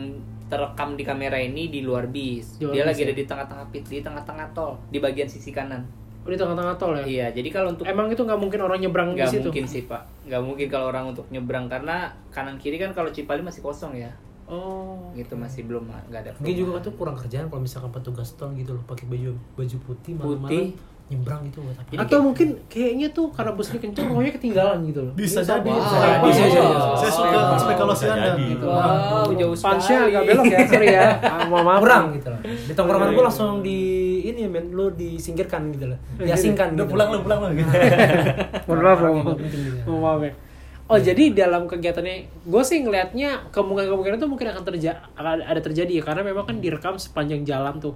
Speaker 2: terekam di kamera ini di luar bis
Speaker 1: Di luar
Speaker 2: dia
Speaker 1: bis
Speaker 2: lagi
Speaker 1: ya?
Speaker 2: ada di tengah-tengah pit di tengah-tengah tol di bagian sisi kanan
Speaker 1: oh, di tengah-tengah tol ya
Speaker 2: iya jadi kalau untuk
Speaker 1: emang itu nggak mungkin orang nyebrang di
Speaker 2: nggak
Speaker 1: situ
Speaker 2: mungkin sih pak nggak mungkin kalau orang untuk nyebrang karena kanan kiri kan kalau Cipali masih kosong ya
Speaker 1: oh
Speaker 2: gitu masih belum nggak ada
Speaker 5: Mungkin juga
Speaker 2: perumahan.
Speaker 5: tuh kurang kerjaan kalau misalkan petugas tol gitu loh pakai baju baju putih
Speaker 2: Putih.
Speaker 5: malam-malam nyebrang gitu buat apa?
Speaker 1: atau mungkin kayaknya tuh karena busnya kenceng pokoknya ketinggalan gitu loh
Speaker 3: Bisa
Speaker 1: Ini tahu
Speaker 3: jadi,
Speaker 1: banget.
Speaker 3: bisa
Speaker 1: Wah,
Speaker 3: jadi.
Speaker 1: bisa jadi.
Speaker 2: Wow.
Speaker 3: Saya suka
Speaker 2: Wow.
Speaker 3: spekulasi
Speaker 4: Bisa
Speaker 3: Anda.
Speaker 4: jadi.
Speaker 3: Gitu.
Speaker 2: wow jauh sekali
Speaker 1: Punch-nya agak belok ya sorry ya Ah, mohon maaf
Speaker 5: kurang gitu loh. Di tongkrongan gue langsung di ini ya men, lu disingkirkan gitu loh. Diasingkan.
Speaker 3: Udah
Speaker 5: gitu.
Speaker 3: pulang lu, pulang lu gitu.
Speaker 1: mohon maaf mohon maaf.
Speaker 5: Orang-orang yang penting gitu.
Speaker 1: Mohon maaf ya. Oh jadi dalam kegiatannya, gue sih ngelihatnya kemungkinan-kemungkinan itu mungkin akan terjadi ada terjadi ya karena memang kan direkam sepanjang jalan tuh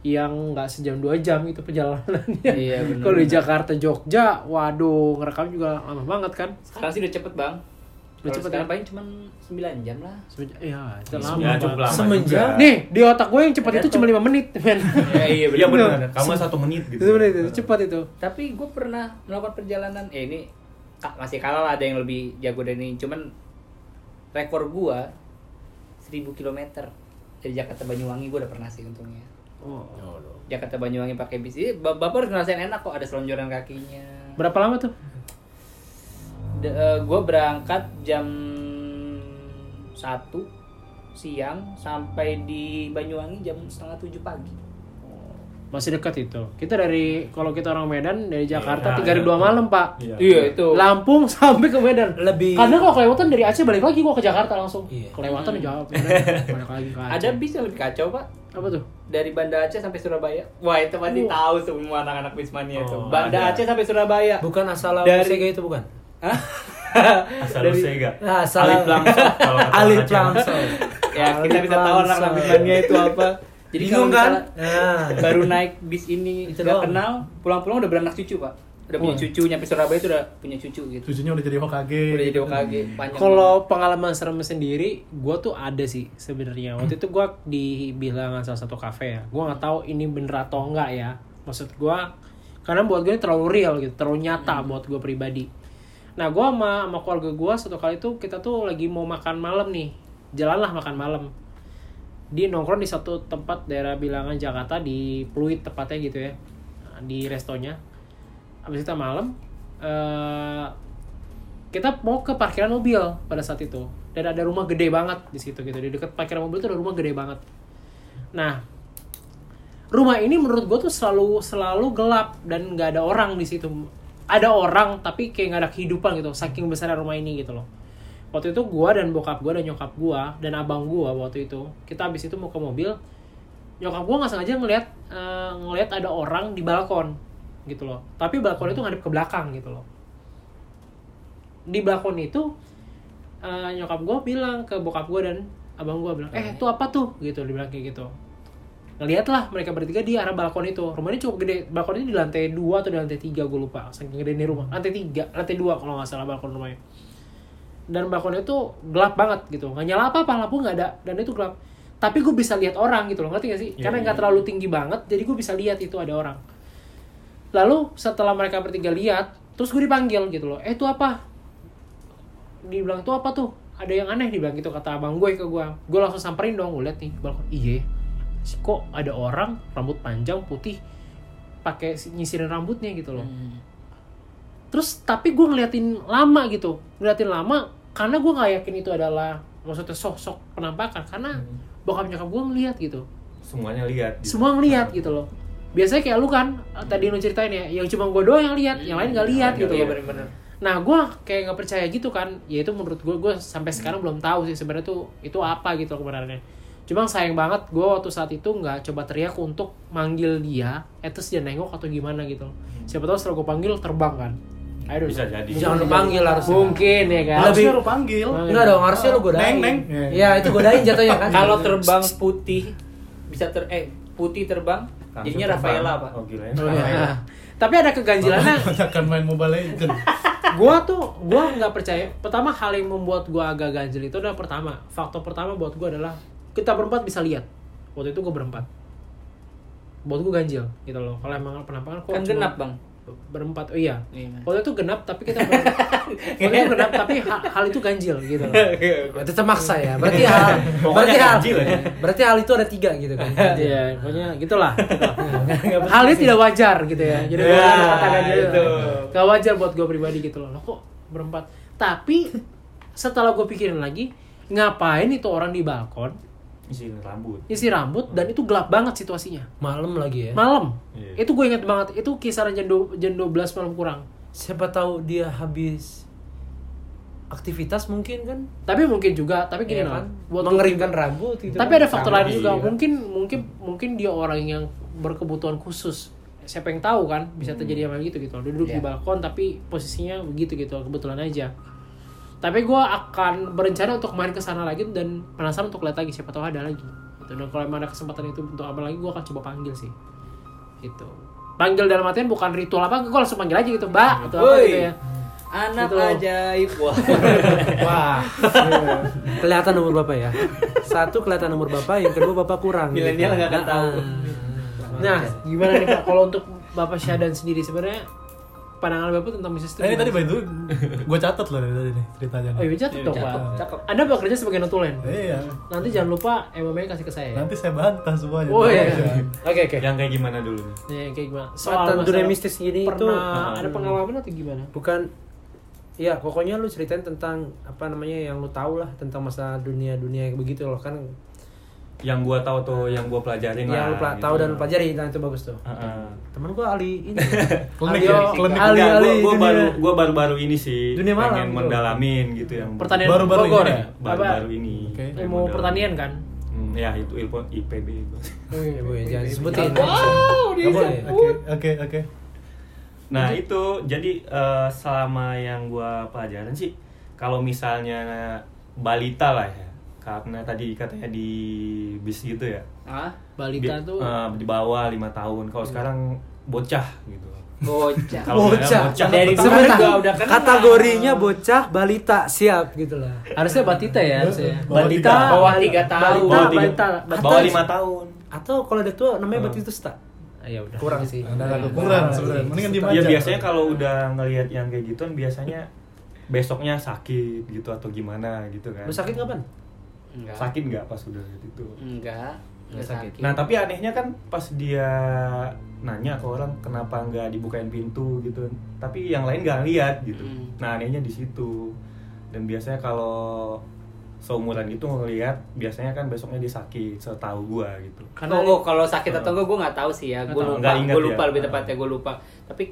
Speaker 1: yang nggak sejam dua jam itu perjalanannya.
Speaker 2: Iya, benar,
Speaker 1: Kalau di
Speaker 2: benar.
Speaker 1: Jakarta Jogja, waduh ngerekam juga lama banget kan.
Speaker 2: sekarang sih udah cepet bang
Speaker 1: cepet
Speaker 2: udah cepet sekarang
Speaker 1: ya?
Speaker 2: paling cuma 9 jam lah
Speaker 1: Semenja- ya, itu lama.
Speaker 4: Ya, cukup lama
Speaker 5: Semenjak-
Speaker 4: juga.
Speaker 1: Nih di otak gue yang cepat itu cuma lima menit, men.
Speaker 2: ya, iya
Speaker 4: Iya benar. Kamu satu menit gitu.
Speaker 1: itu menit itu cepat itu.
Speaker 2: tapi gue pernah melakukan perjalanan eh ini ka- masih kalah lah ada yang lebih jago dari ini cuman rekor gue 1000 km dari Jakarta Banyuwangi gue udah pernah sih untungnya Jakarta Banyuwangi pakai bis Ih, bap- bapak harus ngerasain enak kok ada selonjoran kakinya
Speaker 1: Berapa lama tuh?
Speaker 2: gue berangkat jam 1 siang sampai di Banyuwangi jam setengah tujuh pagi
Speaker 1: Masih dekat itu. Kita dari kalau kita orang Medan dari Jakarta
Speaker 4: Iya,
Speaker 1: tiga hari
Speaker 4: iya.
Speaker 1: dua malam pak.
Speaker 4: Iya.
Speaker 2: itu
Speaker 1: Lampung sampai ke Medan.
Speaker 5: Lebih
Speaker 1: Karena kalau kelewatan dari Aceh balik lagi gua ke Jakarta langsung.
Speaker 5: Iya.
Speaker 1: Kelewatan
Speaker 4: Hmm.
Speaker 1: jawab. Balik lagi ke Aceh.
Speaker 2: ada bis yang lebih kacau pak
Speaker 1: apa tuh?
Speaker 2: dari Banda Aceh sampai Surabaya. Wah, itu pasti
Speaker 1: Oh.
Speaker 2: tahu semua anak-anak Bismania itu.
Speaker 4: Oh,
Speaker 2: Banda
Speaker 4: ada.
Speaker 2: Aceh sampai Surabaya.
Speaker 5: bukan asal
Speaker 2: Dari-
Speaker 5: Sega itu bukan.
Speaker 2: Hah?
Speaker 4: Asal
Speaker 2: Dari-
Speaker 4: Sega.
Speaker 5: Nah, salah.
Speaker 4: Alif Langsung. kalau kata orang
Speaker 5: Alif
Speaker 4: Aceh.
Speaker 5: langsung.
Speaker 2: ya, kita bisa tahu anak-anak
Speaker 5: Langsung.
Speaker 2: Bismania itu apa. Jadi kalau
Speaker 5: Bingung kan?
Speaker 2: misalnya
Speaker 5: Nah.
Speaker 2: Baru naik bis ini
Speaker 5: Itu
Speaker 2: udah
Speaker 5: doang.
Speaker 2: kenal, pulang-pulang udah beranak cucu, Pak. Udah punya
Speaker 1: Wah.
Speaker 2: cucu, nyampe Surabaya itu udah punya cucu gitu.
Speaker 3: Cucunya udah jadi Hokage.
Speaker 2: Udah jadi OKG panjang.
Speaker 1: Kalau pengalaman serem sendiri, gua tuh ada sih sebenarnya. Waktu itu gua di bilangan salah satu kafe ya. Gua nggak tahu ini bener atau enggak ya. Maksud gua karena buat gue terlalu real gitu, terlalu nyata buat gue pribadi. Nah, gua sama sama keluarga gua satu kali tuh kita tuh lagi mau makan malam nih. Jalanlah makan malam. Di nongkrong di satu tempat daerah bilangan Jakarta di Pluit tepatnya gitu ya. Di restonya. Habis itu malam eh kita mau ke parkiran mobil pada saat itu dan ada rumah gede banget di situ gitu di dekat parkiran mobil itu ada rumah gede banget nah rumah ini menurut gue tuh selalu selalu gelap dan nggak ada orang di situ ada orang tapi kayak nggak ada kehidupan gitu saking besarnya rumah ini gitu loh waktu itu gue dan bokap gue dan nyokap gue dan abang gue waktu itu kita habis itu mau ke mobil nyokap gue nggak sengaja ngelihat eh, ngelihat ada orang di balkon gitu loh tapi balkon itu ngadep ke belakang gitu loh di balkon itu eh, nyokap gue bilang ke bokap gue dan abang gue bilang eh itu apa tuh gitu dibilang kayak gitu ngeliatlah mereka bertiga di arah balkon itu rumahnya cukup gede balkonnya di lantai dua atau di lantai tiga gue lupa saking gede ini rumah lantai tiga lantai dua kalau nggak salah balkon rumahnya dan balkonnya itu gelap banget gitu nggak nyala apa apa lampu nggak ada dan itu gelap tapi gue bisa lihat orang gitu loh ngerti gak sih
Speaker 4: Iya,
Speaker 1: karena
Speaker 4: iya,
Speaker 1: nggak
Speaker 4: iya.
Speaker 1: terlalu tinggi banget jadi gue bisa lihat itu ada orang lalu setelah mereka bertiga lihat terus gue dipanggil gitu loh eh itu apa dibilang tuh apa tuh ada yang aneh dibilang gitu kata abang gue ke gue gue langsung samperin dong gue liat nih di balkon iye sih kok ada orang rambut panjang putih pakai si- nyisirin rambutnya gitu loh
Speaker 2: Hmm.
Speaker 1: terus tapi gue ngeliatin lama gitu ngeliatin lama karena gue nggak yakin itu adalah maksudnya sosok penampakan karena
Speaker 2: Hmm.
Speaker 1: bokap nyokap gue ngeliat gitu
Speaker 4: Semuanya lihat. gitu.
Speaker 1: semua
Speaker 2: Nah.
Speaker 1: ngeliat gitu loh biasanya kayak lu kan tadi lu ceritain ya yang cuma gue doang yang lihat yang lain nggak lihat gitu
Speaker 2: Iya,
Speaker 1: loh.
Speaker 2: benar-benar.
Speaker 1: Nah, gue kayak nggak percaya gitu kan. Ya itu menurut gue, gue sampai sekarang belum tahu sih sebenarnya tuh itu apa gitu loh kebenarannya. Cuma sayang banget gue waktu saat itu nggak coba teriak untuk manggil dia, eh terus dia nengok atau gimana gitu. loh. Siapa tahu setelah gue panggil terbang kan. Ayo
Speaker 4: Hmm. Bisa jadi.
Speaker 5: Jangan lu panggil harusnya.
Speaker 1: Mungkin ya kan.
Speaker 5: Lebih-
Speaker 3: Harusnya lu panggil.
Speaker 5: Enggak dong, harusnya lu Iya, godain.
Speaker 3: Neng, neng.
Speaker 2: Iya,
Speaker 5: Ya, itu godain jatuhnya kan.
Speaker 2: Kalau terbang putih bisa ter eh putih terbang,
Speaker 4: Langsung
Speaker 2: jadinya Rafaela
Speaker 4: terbang.
Speaker 2: pak.
Speaker 4: Oh gila ya.
Speaker 1: Nah, tapi ada keganjilannya
Speaker 3: Kebanyakan main Mobile Legends.
Speaker 1: gua tuh gua nggak percaya pertama hal yang membuat gua agak ganjil itu adalah pertama faktor pertama buat gua adalah kita berempat bisa lihat waktu itu gua berempat buat gua ganjil gitu loh kalau emang penampakan kok
Speaker 2: Kan
Speaker 1: cuma
Speaker 2: genap bang.
Speaker 1: berempat oh iya
Speaker 2: Iya.
Speaker 1: waktu itu genap tapi kita ber- waktu itu genap tapi ha- hal itu ganjil gitu loh
Speaker 5: Berarti termaksa ya. Berarti hal
Speaker 4: Pokoknya
Speaker 5: berarti hal
Speaker 4: ganjil ya.
Speaker 5: berarti hal itu ada tiga gitu kan.
Speaker 1: Iya, pokoknya gitulah. gitu. Hal itu tidak wajar gitu ya. Jadi gua
Speaker 2: Ya,
Speaker 1: ada katakan gitu.
Speaker 2: itu.
Speaker 1: Gak wajar buat gue pribadi gitu loh. Loh kok berempat? Tapi setelah gue pikirin lagi, ngapain itu orang di balkon
Speaker 4: Isi rambut.
Speaker 1: isi rambut dan itu gelap banget situasinya.
Speaker 5: Malam lagi ya.
Speaker 1: Malam.
Speaker 4: Iya.
Speaker 1: Itu gue inget banget. Itu kisaran jam dua- jam 12 malam kurang.
Speaker 5: Siapa tahu dia habis aktivitas mungkin kan.
Speaker 1: Tapi mungkin juga, tapi gini
Speaker 5: Iya
Speaker 1: loh.
Speaker 5: kan?
Speaker 1: Buat
Speaker 5: Mengeringkan rambut gitu.
Speaker 1: Tapi
Speaker 5: kan.
Speaker 1: ada faktor lain
Speaker 4: Iya.
Speaker 1: juga. Mungkin mungkin mungkin dia orang yang berkebutuhan khusus. Siapa yang tahu kan bisa
Speaker 3: Hmm.
Speaker 1: terjadi sama gitu gitu. Dia Duduk di
Speaker 2: Iya.
Speaker 1: balkon tapi posisinya begitu gitu kebetulan aja. Tapi gue akan berencana untuk main ke sana lagi dan penasaran untuk lihat lagi siapa tahu ada lagi. Gitu. Dan kalau emang ada kesempatan itu untuk apa lagi gue akan coba panggil sih. Gitu. Panggil dalam artian bukan ritual apa, gue langsung panggil aja gitu, Mbak,
Speaker 3: Iya.
Speaker 1: atau apa
Speaker 2: Woi.
Speaker 1: gitu ya.
Speaker 2: Anak
Speaker 1: Gitu.
Speaker 2: ajaib wah.
Speaker 5: Wah. kelihatan nomor bapak ya. Satu kelihatan nomor bapak, yang kedua bapak kurang. gitu.
Speaker 2: Milenial nggak akan tahu.
Speaker 5: Ah.
Speaker 1: Nah, gimana nih Pak kalau untuk Bapak Syahdan sendiri sebenarnya pandangan Bapak tentang Mrs.
Speaker 3: Nah, ini tadi by
Speaker 1: gimana?
Speaker 3: the way, gue catat loh dari tadi nih ceritanya.
Speaker 1: Oh,
Speaker 3: nih.
Speaker 1: iya jatuh dong, Pak.
Speaker 2: Cakep, cakep.
Speaker 1: Anda bekerja sebagai notulen.
Speaker 3: Iya.
Speaker 1: Nanti jangan lupa MMM kasih ke saya. ya.
Speaker 3: Nanti saya bantah semuanya.
Speaker 1: Oh iya. Oke, oke.
Speaker 4: Yang kayak gimana dulu nih?
Speaker 1: Nih, kayak gimana?
Speaker 5: Matan
Speaker 1: masalah
Speaker 5: Nah, dunia mistis ini
Speaker 1: pernah
Speaker 5: itu
Speaker 1: ada pengalaman atau gimana?
Speaker 5: bukan ya pokoknya lu ceritain tentang apa namanya yang lu tahu lah tentang masa dunia dunia yang begitu loh kan
Speaker 4: Yang gua tahu tuh yang gua pelajarin lah.
Speaker 5: yang Iya, lu pla-
Speaker 4: gitu.
Speaker 5: tahu dan lu pelajari nah itu bagus tuh
Speaker 4: Heeh.
Speaker 5: temen gua Ali ini
Speaker 3: Klinik
Speaker 5: Ali,
Speaker 3: ya, klinik.
Speaker 5: Ali
Speaker 4: Enggak,
Speaker 5: Ali
Speaker 4: gua, gua
Speaker 5: dunia.
Speaker 4: baru gua baru-baru ini sih
Speaker 5: Dunia malam,
Speaker 4: pengen
Speaker 5: bro.
Speaker 4: mendalamin gitu yang
Speaker 1: Pertanian
Speaker 3: Baru-baru
Speaker 1: Bogor
Speaker 3: ini
Speaker 1: ya?
Speaker 3: ya?
Speaker 4: baru-baru ini.
Speaker 3: Oke.
Speaker 1: Apa?
Speaker 4: Pengen
Speaker 1: Ilmu
Speaker 4: mendalamin.
Speaker 1: pertanian kan?
Speaker 4: Hmm, ya itu ilmu IPB.
Speaker 1: Oh,
Speaker 5: Ya, Bu, ya, jangan sebutin
Speaker 1: Wow,
Speaker 5: Nggak boleh.
Speaker 3: Oke, oke, oke.
Speaker 4: Nah itu jadi eh, selama yang gua pelajarin sih kalau misalnya balita lah ya karena tadi katanya di bis gitu ya
Speaker 2: Ah,
Speaker 1: Balita
Speaker 4: di,
Speaker 1: tuh Iya.
Speaker 4: eh, di bawah lima tahun kalau sekarang bocah gitu
Speaker 2: bocah.
Speaker 4: Kalau
Speaker 5: bocah
Speaker 4: bocah.
Speaker 2: Dari kemarin
Speaker 5: Sebentar.
Speaker 2: juga udah kenal.
Speaker 5: kategorinya bocah balita siap gitu lah
Speaker 1: harusnya batita ya harusnya.
Speaker 3: Bawah
Speaker 2: Balita
Speaker 3: tiga.
Speaker 2: bawah tiga tahun.
Speaker 1: Bawah tiga.
Speaker 4: tiga-
Speaker 1: balita, balita.
Speaker 4: bawah lima tahun
Speaker 5: atau kalau ada tua namanya Batitus tak
Speaker 1: Ah, ya udah.
Speaker 5: kurang sih
Speaker 3: Anda
Speaker 1: Iya.
Speaker 3: agak kurang sebenarnya. Mendingan dimaja.
Speaker 4: ya biasanya kalau udah ngelihat yang kayak gituan biasanya besoknya sakit gitu atau gimana gitu kan
Speaker 5: lu sakit kapan
Speaker 2: Enggak.
Speaker 4: sakit nggak pas udah lihat itu
Speaker 2: Enggak. Enggak sakit.
Speaker 4: Nah tapi anehnya kan pas dia nanya ke orang kenapa nggak dibukain pintu gitu, tapi yang lain nggak lihat gitu.
Speaker 2: Hmm.
Speaker 4: Nah anehnya di situ. Dan biasanya kalau seumuran gitu ngelihat, biasanya kan besoknya dia sakit, setahu gua gitu.
Speaker 1: Karena
Speaker 2: oh, oh, kalau sakit atau enggak gue nggak tahu sih ya. Gue
Speaker 4: Nggak tahu.
Speaker 2: lupa.
Speaker 4: Nggak ingat
Speaker 2: Gue lupa
Speaker 4: ya.
Speaker 2: lebih tepatnya gue lupa. Tapi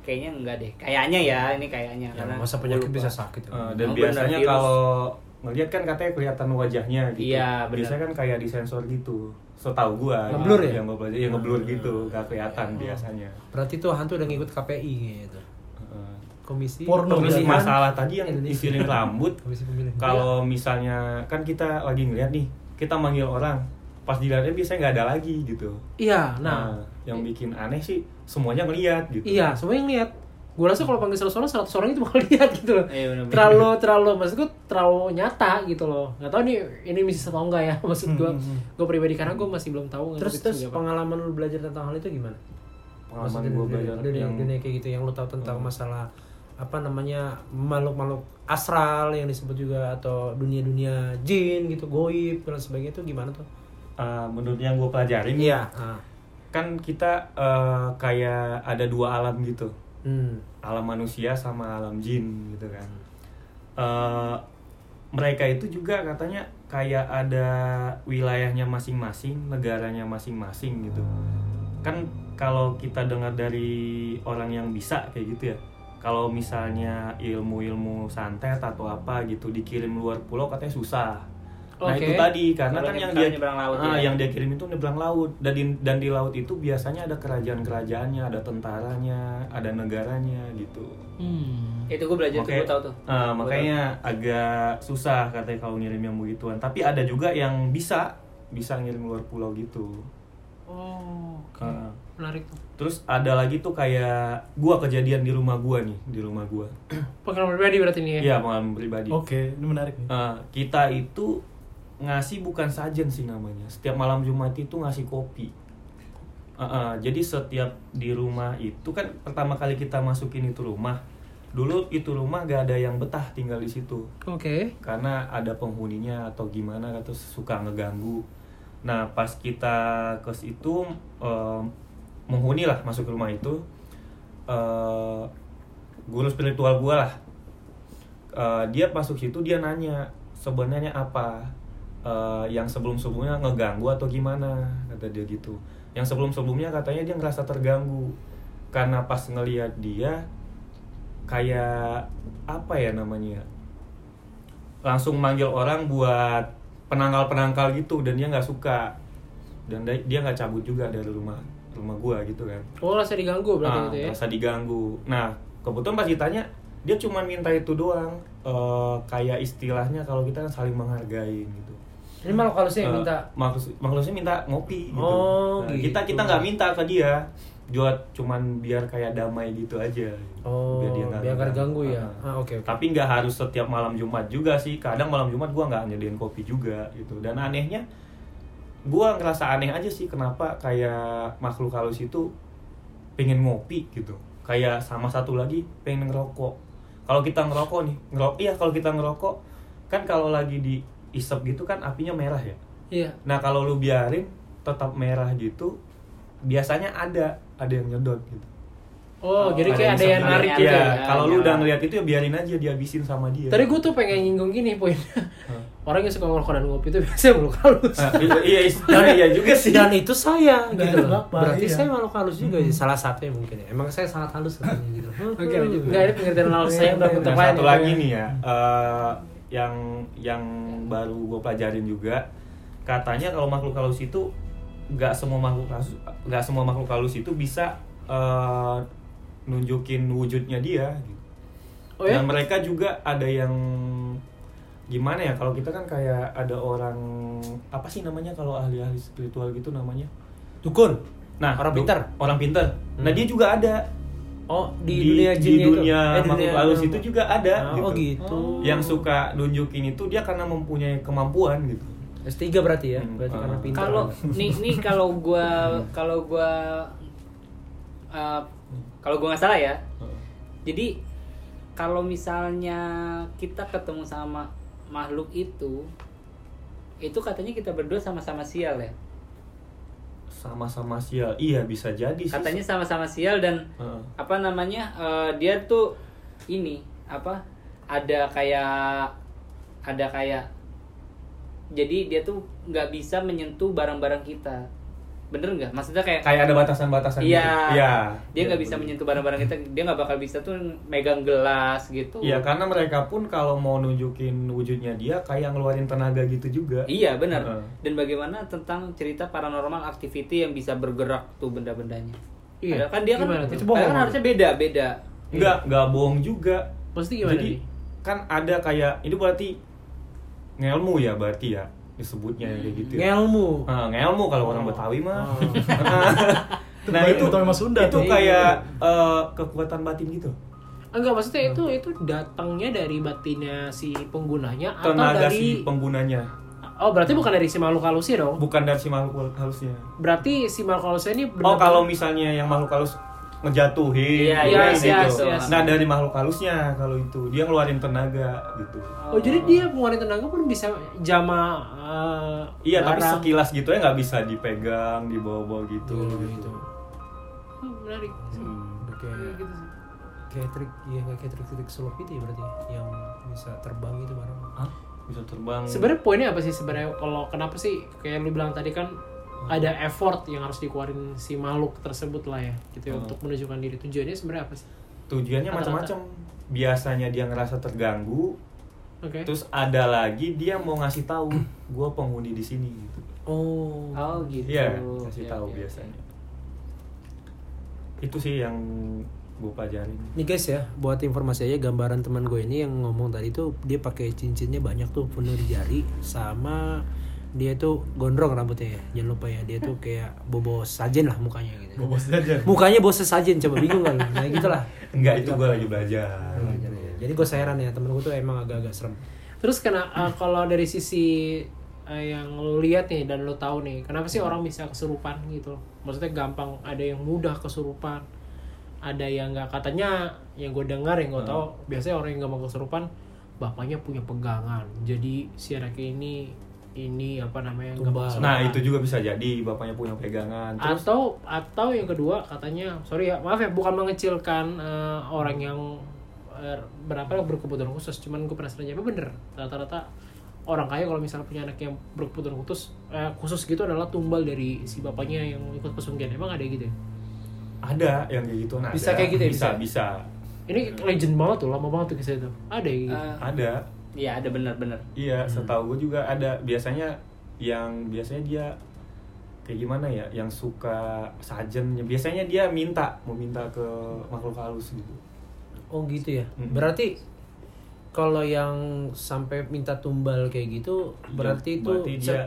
Speaker 2: kayaknya enggak deh. Kayaknya ya ini kayaknya
Speaker 5: ya,
Speaker 2: karena
Speaker 5: masa
Speaker 2: gua
Speaker 5: penyakit
Speaker 2: lupa.
Speaker 5: bisa sakit ya.
Speaker 4: Eh, dan
Speaker 2: Emang
Speaker 4: biasanya
Speaker 2: bener virus?
Speaker 4: kalau ngelihat kan katanya kelihatan wajahnya gitu.
Speaker 2: Iya, bener.
Speaker 4: biasanya kan kayak di sensor gitu. Setahu gua.
Speaker 5: Ngeblur
Speaker 4: gitu,
Speaker 5: ya?
Speaker 4: Yang gua pelajari, ya ngeblur gitu, nggak kelihatan biasanya.
Speaker 5: berarti tuh hantu udah ngikut KPI gitu
Speaker 4: Eh,
Speaker 5: komisi
Speaker 3: Porno.
Speaker 4: Terus
Speaker 5: Pemilihan-
Speaker 4: masalah tadi yang
Speaker 5: Indonesia.
Speaker 4: isirin rambut
Speaker 5: komisi pemilihan
Speaker 4: kalau misalnya kan kita lagi ngeliat nih kita manggil orang pas dilihatnya biasanya nggak ada lagi gitu
Speaker 1: Iya, nah
Speaker 4: nah, yang bikin aneh sih semuanya ngeliat gitu
Speaker 1: Iya, semua yang lihat. Gue rasa kalau panggil 100 orang, 100 orang itu bakal lihat gitu loh.
Speaker 2: Iya, benar-benar.
Speaker 1: terlalu, terlalu, maksud gue terlalu nyata gitu loh. Gak tau nih, ini misi atau enggak ya. Maksud gue, gue pribadi karena gue masih belum tahu. nggak
Speaker 5: Terus
Speaker 1: tahu itu
Speaker 5: terus
Speaker 1: juga apa.
Speaker 5: pengalaman lu belajar tentang hal itu gimana?
Speaker 4: pengalaman gue
Speaker 5: Maksudnya dunia-
Speaker 4: belajar
Speaker 5: dunia,
Speaker 4: yang
Speaker 5: dunia kayak gitu yang lu tahu tentang masalah apa namanya makhluk-makhluk astral yang disebut juga atau dunia-dunia jin gitu goib dan sebagainya itu gimana tuh?
Speaker 4: eh, menurut yang gue pelajarin
Speaker 1: Iya.
Speaker 5: Ah.
Speaker 4: kan kita eh, kayak ada dua alam gitu
Speaker 5: Hmm.
Speaker 4: alam manusia sama alam jin gitu kan Eh, mereka itu juga katanya kayak ada wilayahnya masing-masing negaranya masing-masing gitu kan kalau kita dengar dari orang yang bisa kayak gitu ya kalau misalnya ilmu-ilmu santet atau apa gitu dikirim luar pulau katanya susah nah
Speaker 1: Oke.
Speaker 4: itu tadi karena
Speaker 2: Kalau
Speaker 4: kan yang
Speaker 2: nyebrang-
Speaker 4: dia
Speaker 2: nyebrang laut
Speaker 4: Ah,
Speaker 2: ya.
Speaker 4: yang dia kirim itu nyebrang laut dan di, dan di laut itu biasanya ada kerajaan-kerajaannya ada tentaranya ada negaranya gitu
Speaker 1: Hmm.
Speaker 2: Itu gue belajar tuh
Speaker 4: Makanya-
Speaker 2: gue tahu tuh.
Speaker 4: Ah,
Speaker 2: Gua
Speaker 4: makanya agak susah katanya kalau ngirim yang begituan. Tapi ada juga yang bisa bisa ngirim luar pulau gitu.
Speaker 1: Oh, Oh,
Speaker 2: Hmm.
Speaker 1: oke.
Speaker 4: Ah.
Speaker 1: Menarik tuh.
Speaker 4: Terus ada lagi tuh kayak gua kejadian di rumah gua nih, di rumah gua.
Speaker 1: Pengalaman pribadi berarti ini ya?
Speaker 4: Iya, pengalaman pribadi.
Speaker 3: Oke, ini menarik nih.
Speaker 4: Eh, kita itu ngasih bukan sajen sih namanya. Setiap malam Jumat itu ngasih kopi. Eh, eh, jadi setiap di rumah itu kan pertama kali kita masukin itu rumah. Dulu itu rumah gak ada yang betah tinggal di situ
Speaker 1: Oke.
Speaker 4: karena ada penghuninya atau gimana atau suka ngeganggu. Nah pas kita ke situ eh, menghuni lah masuk ke rumah itu eh, guru spiritual gua lah Eh, dia masuk situ dia nanya sebenarnya apa Eh, yang sebelum sebelumnya ngeganggu atau gimana kata dia gitu. Yang sebelum sebelumnya katanya dia ngerasa terganggu karena pas ngelihat dia kayak apa ya namanya langsung manggil orang buat penangkal-penangkal gitu dan dia nggak suka dan dia dia nggak cabut juga dari rumah rumah gua gitu kan
Speaker 1: Oh, rasa diganggu berarti
Speaker 4: Ah,
Speaker 1: gitu ya?
Speaker 4: merasa diganggu nah kebetulan pas ditanya dia cuma minta itu doang Eh, kayak istilahnya kalau kita kan saling menghargai gitu
Speaker 5: Ini malah kalau
Speaker 4: Eh,
Speaker 5: saya minta
Speaker 4: maksud maksudnya minta ngopi gitu.
Speaker 5: Oh,
Speaker 4: Nah,
Speaker 5: gitu.
Speaker 4: kita kita nggak minta ke dia buat cuman biar kayak damai gitu aja
Speaker 5: Oh, biar nggak ganggu ya?
Speaker 4: Ah,
Speaker 5: Ah, oke, oke.
Speaker 4: tapi nggak harus setiap malam jumat juga sih kadang malam jumat gua nggak nyediain kopi juga gitu dan anehnya gua ngerasa aneh aja sih kenapa kayak makhluk halus itu pengen ngopi gitu kayak sama satu lagi pengen ngerokok kalau kita ngerokok nih ngerokok iya kalau kita ngerokok kan kalau lagi di isep gitu kan apinya merah ya
Speaker 1: Iya.
Speaker 4: Nah kalau lu biarin tetap merah gitu, biasanya ada ada yang nyedot gitu.
Speaker 1: Oh, jadi
Speaker 2: Ada
Speaker 1: kayak
Speaker 2: yang
Speaker 1: ada yang
Speaker 2: sambil-
Speaker 1: narik
Speaker 4: ya.
Speaker 1: gitu ya?
Speaker 4: kalau lu
Speaker 2: Nyala.
Speaker 4: udah ngeliat itu ya biarin aja dihabisin sama dia.
Speaker 1: Tadi gue tuh pengen nyinggung gini poin. Orang yang suka ngerokok dan ngopi itu biasanya meluk halus.
Speaker 4: Nah, iya, iya, iya, iya juga sih.
Speaker 5: dan Hmm. itu saya
Speaker 3: Dan
Speaker 5: gitu loh.
Speaker 3: bapak,
Speaker 5: Berarti
Speaker 3: iya.
Speaker 5: saya makhluk halus juga salah satunya mungkin ya. Emang saya sangat halus katanya gitu.
Speaker 1: Oke, lanjut. Enggak, ini pengertian halus saya udah
Speaker 4: Nah,
Speaker 5: iya.
Speaker 1: bentuk lain.
Speaker 4: satu
Speaker 1: gitu
Speaker 4: lagi
Speaker 1: ya.
Speaker 4: nih ya, eh, yang yang baru gue pelajarin juga, katanya kalau makhluk halus itu nggak semua makhluk halus nggak semua makhluk halus itu bisa eh, nunjukin wujudnya dia. Gitu.
Speaker 1: Oh ya?
Speaker 4: Dan mereka juga ada yang gimana ya kalau kita kan kayak ada orang apa sih namanya kalau ahli-ahli spiritual gitu namanya.
Speaker 5: Dukun.
Speaker 4: Nah,
Speaker 5: Orang
Speaker 4: du-
Speaker 5: pintar.
Speaker 4: orang pintar. Nah,
Speaker 5: Hmm.
Speaker 4: dia juga ada
Speaker 5: Oh, di, dunia
Speaker 4: di
Speaker 5: jinnya itu.
Speaker 4: dunia
Speaker 5: Eh, di
Speaker 4: makhluk
Speaker 5: dunia-
Speaker 4: halus itu juga ada
Speaker 5: Ah, Oh, gitu.
Speaker 4: Yang suka nunjukin itu dia karena mempunyai kemampuan gitu.
Speaker 5: S3 berarti ya.
Speaker 4: Hmm,
Speaker 5: Berarti
Speaker 4: ah.
Speaker 5: karena pintar.
Speaker 2: kalau nih nih kalau gua kalau gua eh, kalau gua nggak salah ya jadi kalau misalnya kita ketemu sama makhluk itu itu katanya kita berdua sama-sama sial ya
Speaker 4: Sama-sama sial. Iya, bisa jadi sih.
Speaker 2: katanya sama-sama sial dan
Speaker 4: Heeh.
Speaker 2: apa namanya eh, dia tuh ini apa ada kayak ada kayak jadi dia tuh nggak bisa menyentuh barang-barang kita bener nggak maksudnya kayak
Speaker 4: kayak ada batasan-batasan
Speaker 2: Iya.
Speaker 4: gitu. Iya.
Speaker 2: Dia nggak
Speaker 4: Iya,
Speaker 2: bisa
Speaker 4: bener.
Speaker 2: menyentuh barang-barang kita. Dia nggak bakal bisa tuh megang gelas gitu.
Speaker 4: Iya, karena mereka pun kalau mau nunjukin wujudnya dia kayak ngeluarin tenaga gitu juga.
Speaker 2: Iya benar.
Speaker 4: Heeh.
Speaker 2: Dan bagaimana tentang cerita paranormal activity yang bisa bergerak tuh benda-bendanya?
Speaker 1: Iya.
Speaker 2: Padahal kan dia kan,
Speaker 1: Gimana tuh?
Speaker 2: padahal kan harusnya beda beda.
Speaker 4: Enggak, enggak bohong juga.
Speaker 1: Maksudnya gimana
Speaker 4: Jadi
Speaker 1: nih?
Speaker 4: kan ada kayak ini berarti ngelmu ya berarti ya disebutnya ya, kayak gitu. Ya.
Speaker 5: Iya. ngelmu.
Speaker 4: Ah, ngelmu
Speaker 3: Oh.
Speaker 4: kalau orang Betawi mah. nah
Speaker 3: Betawi-
Speaker 4: itu
Speaker 3: Betawi mah Sunda
Speaker 4: itu
Speaker 3: tuh. Iya.
Speaker 4: kayak eh, kekuatan batin gitu.
Speaker 1: Enggak, maksudnya itu
Speaker 4: Hmm.
Speaker 1: itu datangnya dari batinnya si penggunanya atau
Speaker 4: Tenaga
Speaker 1: dari
Speaker 4: si penggunanya,
Speaker 1: Oh, berarti bukan dari si makhluk halusnya dong.
Speaker 4: bukan dari si makhluk halusnya.
Speaker 1: Berarti si makhluk halusnya ini
Speaker 4: Oh
Speaker 1: benar-
Speaker 4: kalau misalnya yang makhluk halus ngejatuhin
Speaker 2: Iya,
Speaker 1: iya,
Speaker 4: gitu.
Speaker 1: iya, iya,
Speaker 4: Nah dari makhluk halusnya kalau itu dia ngeluarin tenaga gitu.
Speaker 1: Oh, jadi dia pengeluaran tenaga pun bisa jama eh,
Speaker 4: Iya tapi
Speaker 1: barang.
Speaker 4: sekilas gitu ya nggak bisa dipegang dibawa-bawa gitu.
Speaker 5: Iya,
Speaker 1: Iya,
Speaker 4: gitu.
Speaker 1: Hmm, menarik.
Speaker 5: Kayak
Speaker 1: Gitu sih.
Speaker 5: kayak trik ya nggak kayak trik-trik sulap itu ya berarti ya. yang bisa terbang itu barang.
Speaker 4: Hah? Bisa terbang.
Speaker 1: Sebenarnya poinnya apa sih sebenarnya kalau kenapa sih kayak lu bilang tadi kan ada effort yang harus dikeluarin si makhluk tersebut lah ya gitu
Speaker 4: Hmm.
Speaker 1: ya, untuk menunjukkan diri tujuannya sebenarnya apa sih?
Speaker 4: Tujuannya
Speaker 1: Rata-rata.
Speaker 4: macam-macam. Biasanya dia ngerasa terganggu.
Speaker 1: Oke.
Speaker 4: Terus ada lagi dia mau ngasih tahu gue penghuni di sini gitu.
Speaker 5: Oh.
Speaker 2: Oh gitu.
Speaker 4: Iya ngasih
Speaker 2: Iya,
Speaker 4: tahu
Speaker 2: iya,
Speaker 4: biasanya. Itu sih yang gue pelajarin.
Speaker 5: Nih guys ya, buat informasi aja gambaran teman gue ini yang ngomong tadi tuh dia pakai cincinnya banyak tuh penuh di jari sama dia itu gondrong rambutnya ya jangan lupa ya dia tuh kayak bobo sajen lah mukanya gitu
Speaker 3: Bobos jajan.
Speaker 5: mukanya bose sajen coba bingung kan nah gitulah Nah,
Speaker 4: Enggak itu gue lagi belajar.
Speaker 5: jadi gue heran ya temen gue tuh emang agak-agak serem
Speaker 1: Terus kena eh, kalau dari sisi eh, yang lu lihat nih dan lu tahu nih, kenapa sih orang bisa kesurupan gitu? Maksudnya gampang ada yang mudah kesurupan, ada yang nggak katanya, yang gue dengar yang gue tahu biasanya orang yang gampang kesurupan bapaknya punya pegangan. Jadi si anak ini ini apa namanya gampang kesurupan.
Speaker 4: Nah itu juga bisa jadi bapaknya punya pegangan. Terus
Speaker 1: atau atau yang kedua katanya sorry ya maaf ya bukan mengecilkan eh, orang yang eh, berapa berkebutuhan khusus cuman gue penasaran aja apa bener rata-rata orang kaya kalau misalnya punya anak yang berkebutuhan khusus eh, khusus gitu adalah tumbal dari si bapaknya yang ikut pesunggian emang ada gitu ya?
Speaker 4: ada yang kayak gitu. Nah,
Speaker 1: Bisa
Speaker 4: ada.
Speaker 1: kayak gitu ya,
Speaker 4: Bisa
Speaker 1: bisa?
Speaker 4: bisa.
Speaker 1: ini legend banget tuh lama banget tuh kisah itu ada ya gitu.
Speaker 2: Eh,
Speaker 4: Ada.
Speaker 2: Iya ada bener-bener.
Speaker 5: Hmm.
Speaker 4: Iya, setahu gue juga ada biasanya yang biasanya dia kayak gimana ya, yang suka sajennya. Biasanya dia minta, mau minta ke makhluk halus gitu.
Speaker 5: oh gitu ya
Speaker 4: Mm.
Speaker 5: berarti kalau yang sampai minta tumbal kayak gitu
Speaker 4: Iya,
Speaker 5: berarti itu
Speaker 4: berarti dia
Speaker 5: se-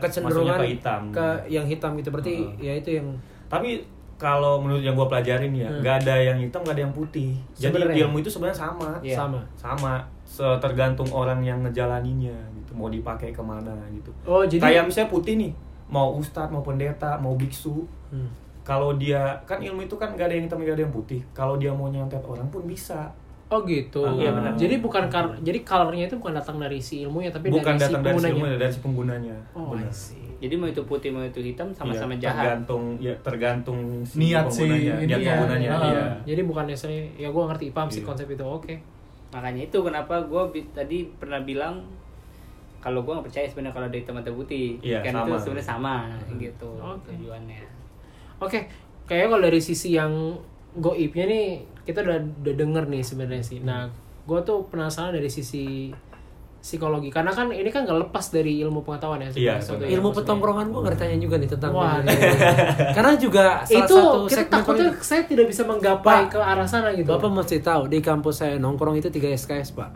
Speaker 4: masuknya
Speaker 5: kecenderungan
Speaker 4: ke hitam.
Speaker 5: ke yang hitam gitu berarti
Speaker 4: Heeh.
Speaker 5: ya itu yang
Speaker 4: Tapi kalau menurut yang gue pelajarin ya,
Speaker 5: Hmm.
Speaker 4: nggak ada yang hitam, nggak ada yang putih. Jadi
Speaker 5: Sebenarnya.
Speaker 4: ilmu itu sebenarnya sama,
Speaker 2: Iya.
Speaker 5: sama
Speaker 4: sama. Se- Tergantung orang yang ngejalaninnya gitu, mau dipakai kemana gitu.
Speaker 1: oh jadi
Speaker 4: Kayak misalnya putih nih, mau ustadz, mau pendeta, mau biksu,
Speaker 5: Hmm.
Speaker 4: kalau dia kan ilmu itu kan nggak ada yang hitam nggak ada yang putih kalau dia mau nyantet orang pun bisa
Speaker 1: oh gitu
Speaker 4: Ah, iya, benar.
Speaker 1: jadi bukan kar jadi colornya itu bukan datang dari si ilmunya tapi
Speaker 4: bukan
Speaker 1: dari si
Speaker 4: datang dari si ilmu
Speaker 1: penggunanya
Speaker 4: dari si penggunanya
Speaker 1: oh I
Speaker 4: Benar.
Speaker 1: see.
Speaker 2: Jadi mau itu putih mau itu hitam sama-sama
Speaker 4: Iya,
Speaker 2: jahat.
Speaker 4: tergantung ya tergantung
Speaker 3: Niat si
Speaker 4: penggunanya
Speaker 3: ini
Speaker 4: niat
Speaker 3: ya.
Speaker 4: penggunanya
Speaker 3: Ah.
Speaker 4: iya.
Speaker 1: jadi bukan misalnya ya gue ngerti paham sih
Speaker 4: Iya.
Speaker 1: konsep itu oke
Speaker 2: Makanya itu kenapa gue tadi pernah bilang kalau gue nggak percaya sebenarnya kalau dari teman putih
Speaker 4: Iya,
Speaker 2: kan itu
Speaker 4: sama. Hmm.
Speaker 2: sebenarnya sama gitu
Speaker 1: Oke.
Speaker 2: tujuannya.
Speaker 1: Oke, kayaknya kalau dari sisi yang goibnya nih kita udah udah denger nih sebenarnya sih. Nah, gue tuh penasaran dari sisi psikologi karena kan ini kan gak lepas dari ilmu pengetahuan ya
Speaker 4: Iya,
Speaker 1: sebenarnya. Suatu
Speaker 4: benar.
Speaker 5: ilmu
Speaker 1: sebenarnya.
Speaker 5: petongkrongan gue nggak ditanya juga nih tentang
Speaker 1: Wah.
Speaker 5: karena juga salah
Speaker 1: itu
Speaker 5: satu
Speaker 1: kita
Speaker 5: segmen
Speaker 1: takutnya
Speaker 5: politik.
Speaker 1: saya tidak bisa menggapai
Speaker 5: Pak,
Speaker 1: ke arah sana gitu.
Speaker 5: bapak mesti tahu di kampus saya nongkrong itu 3 SKS pak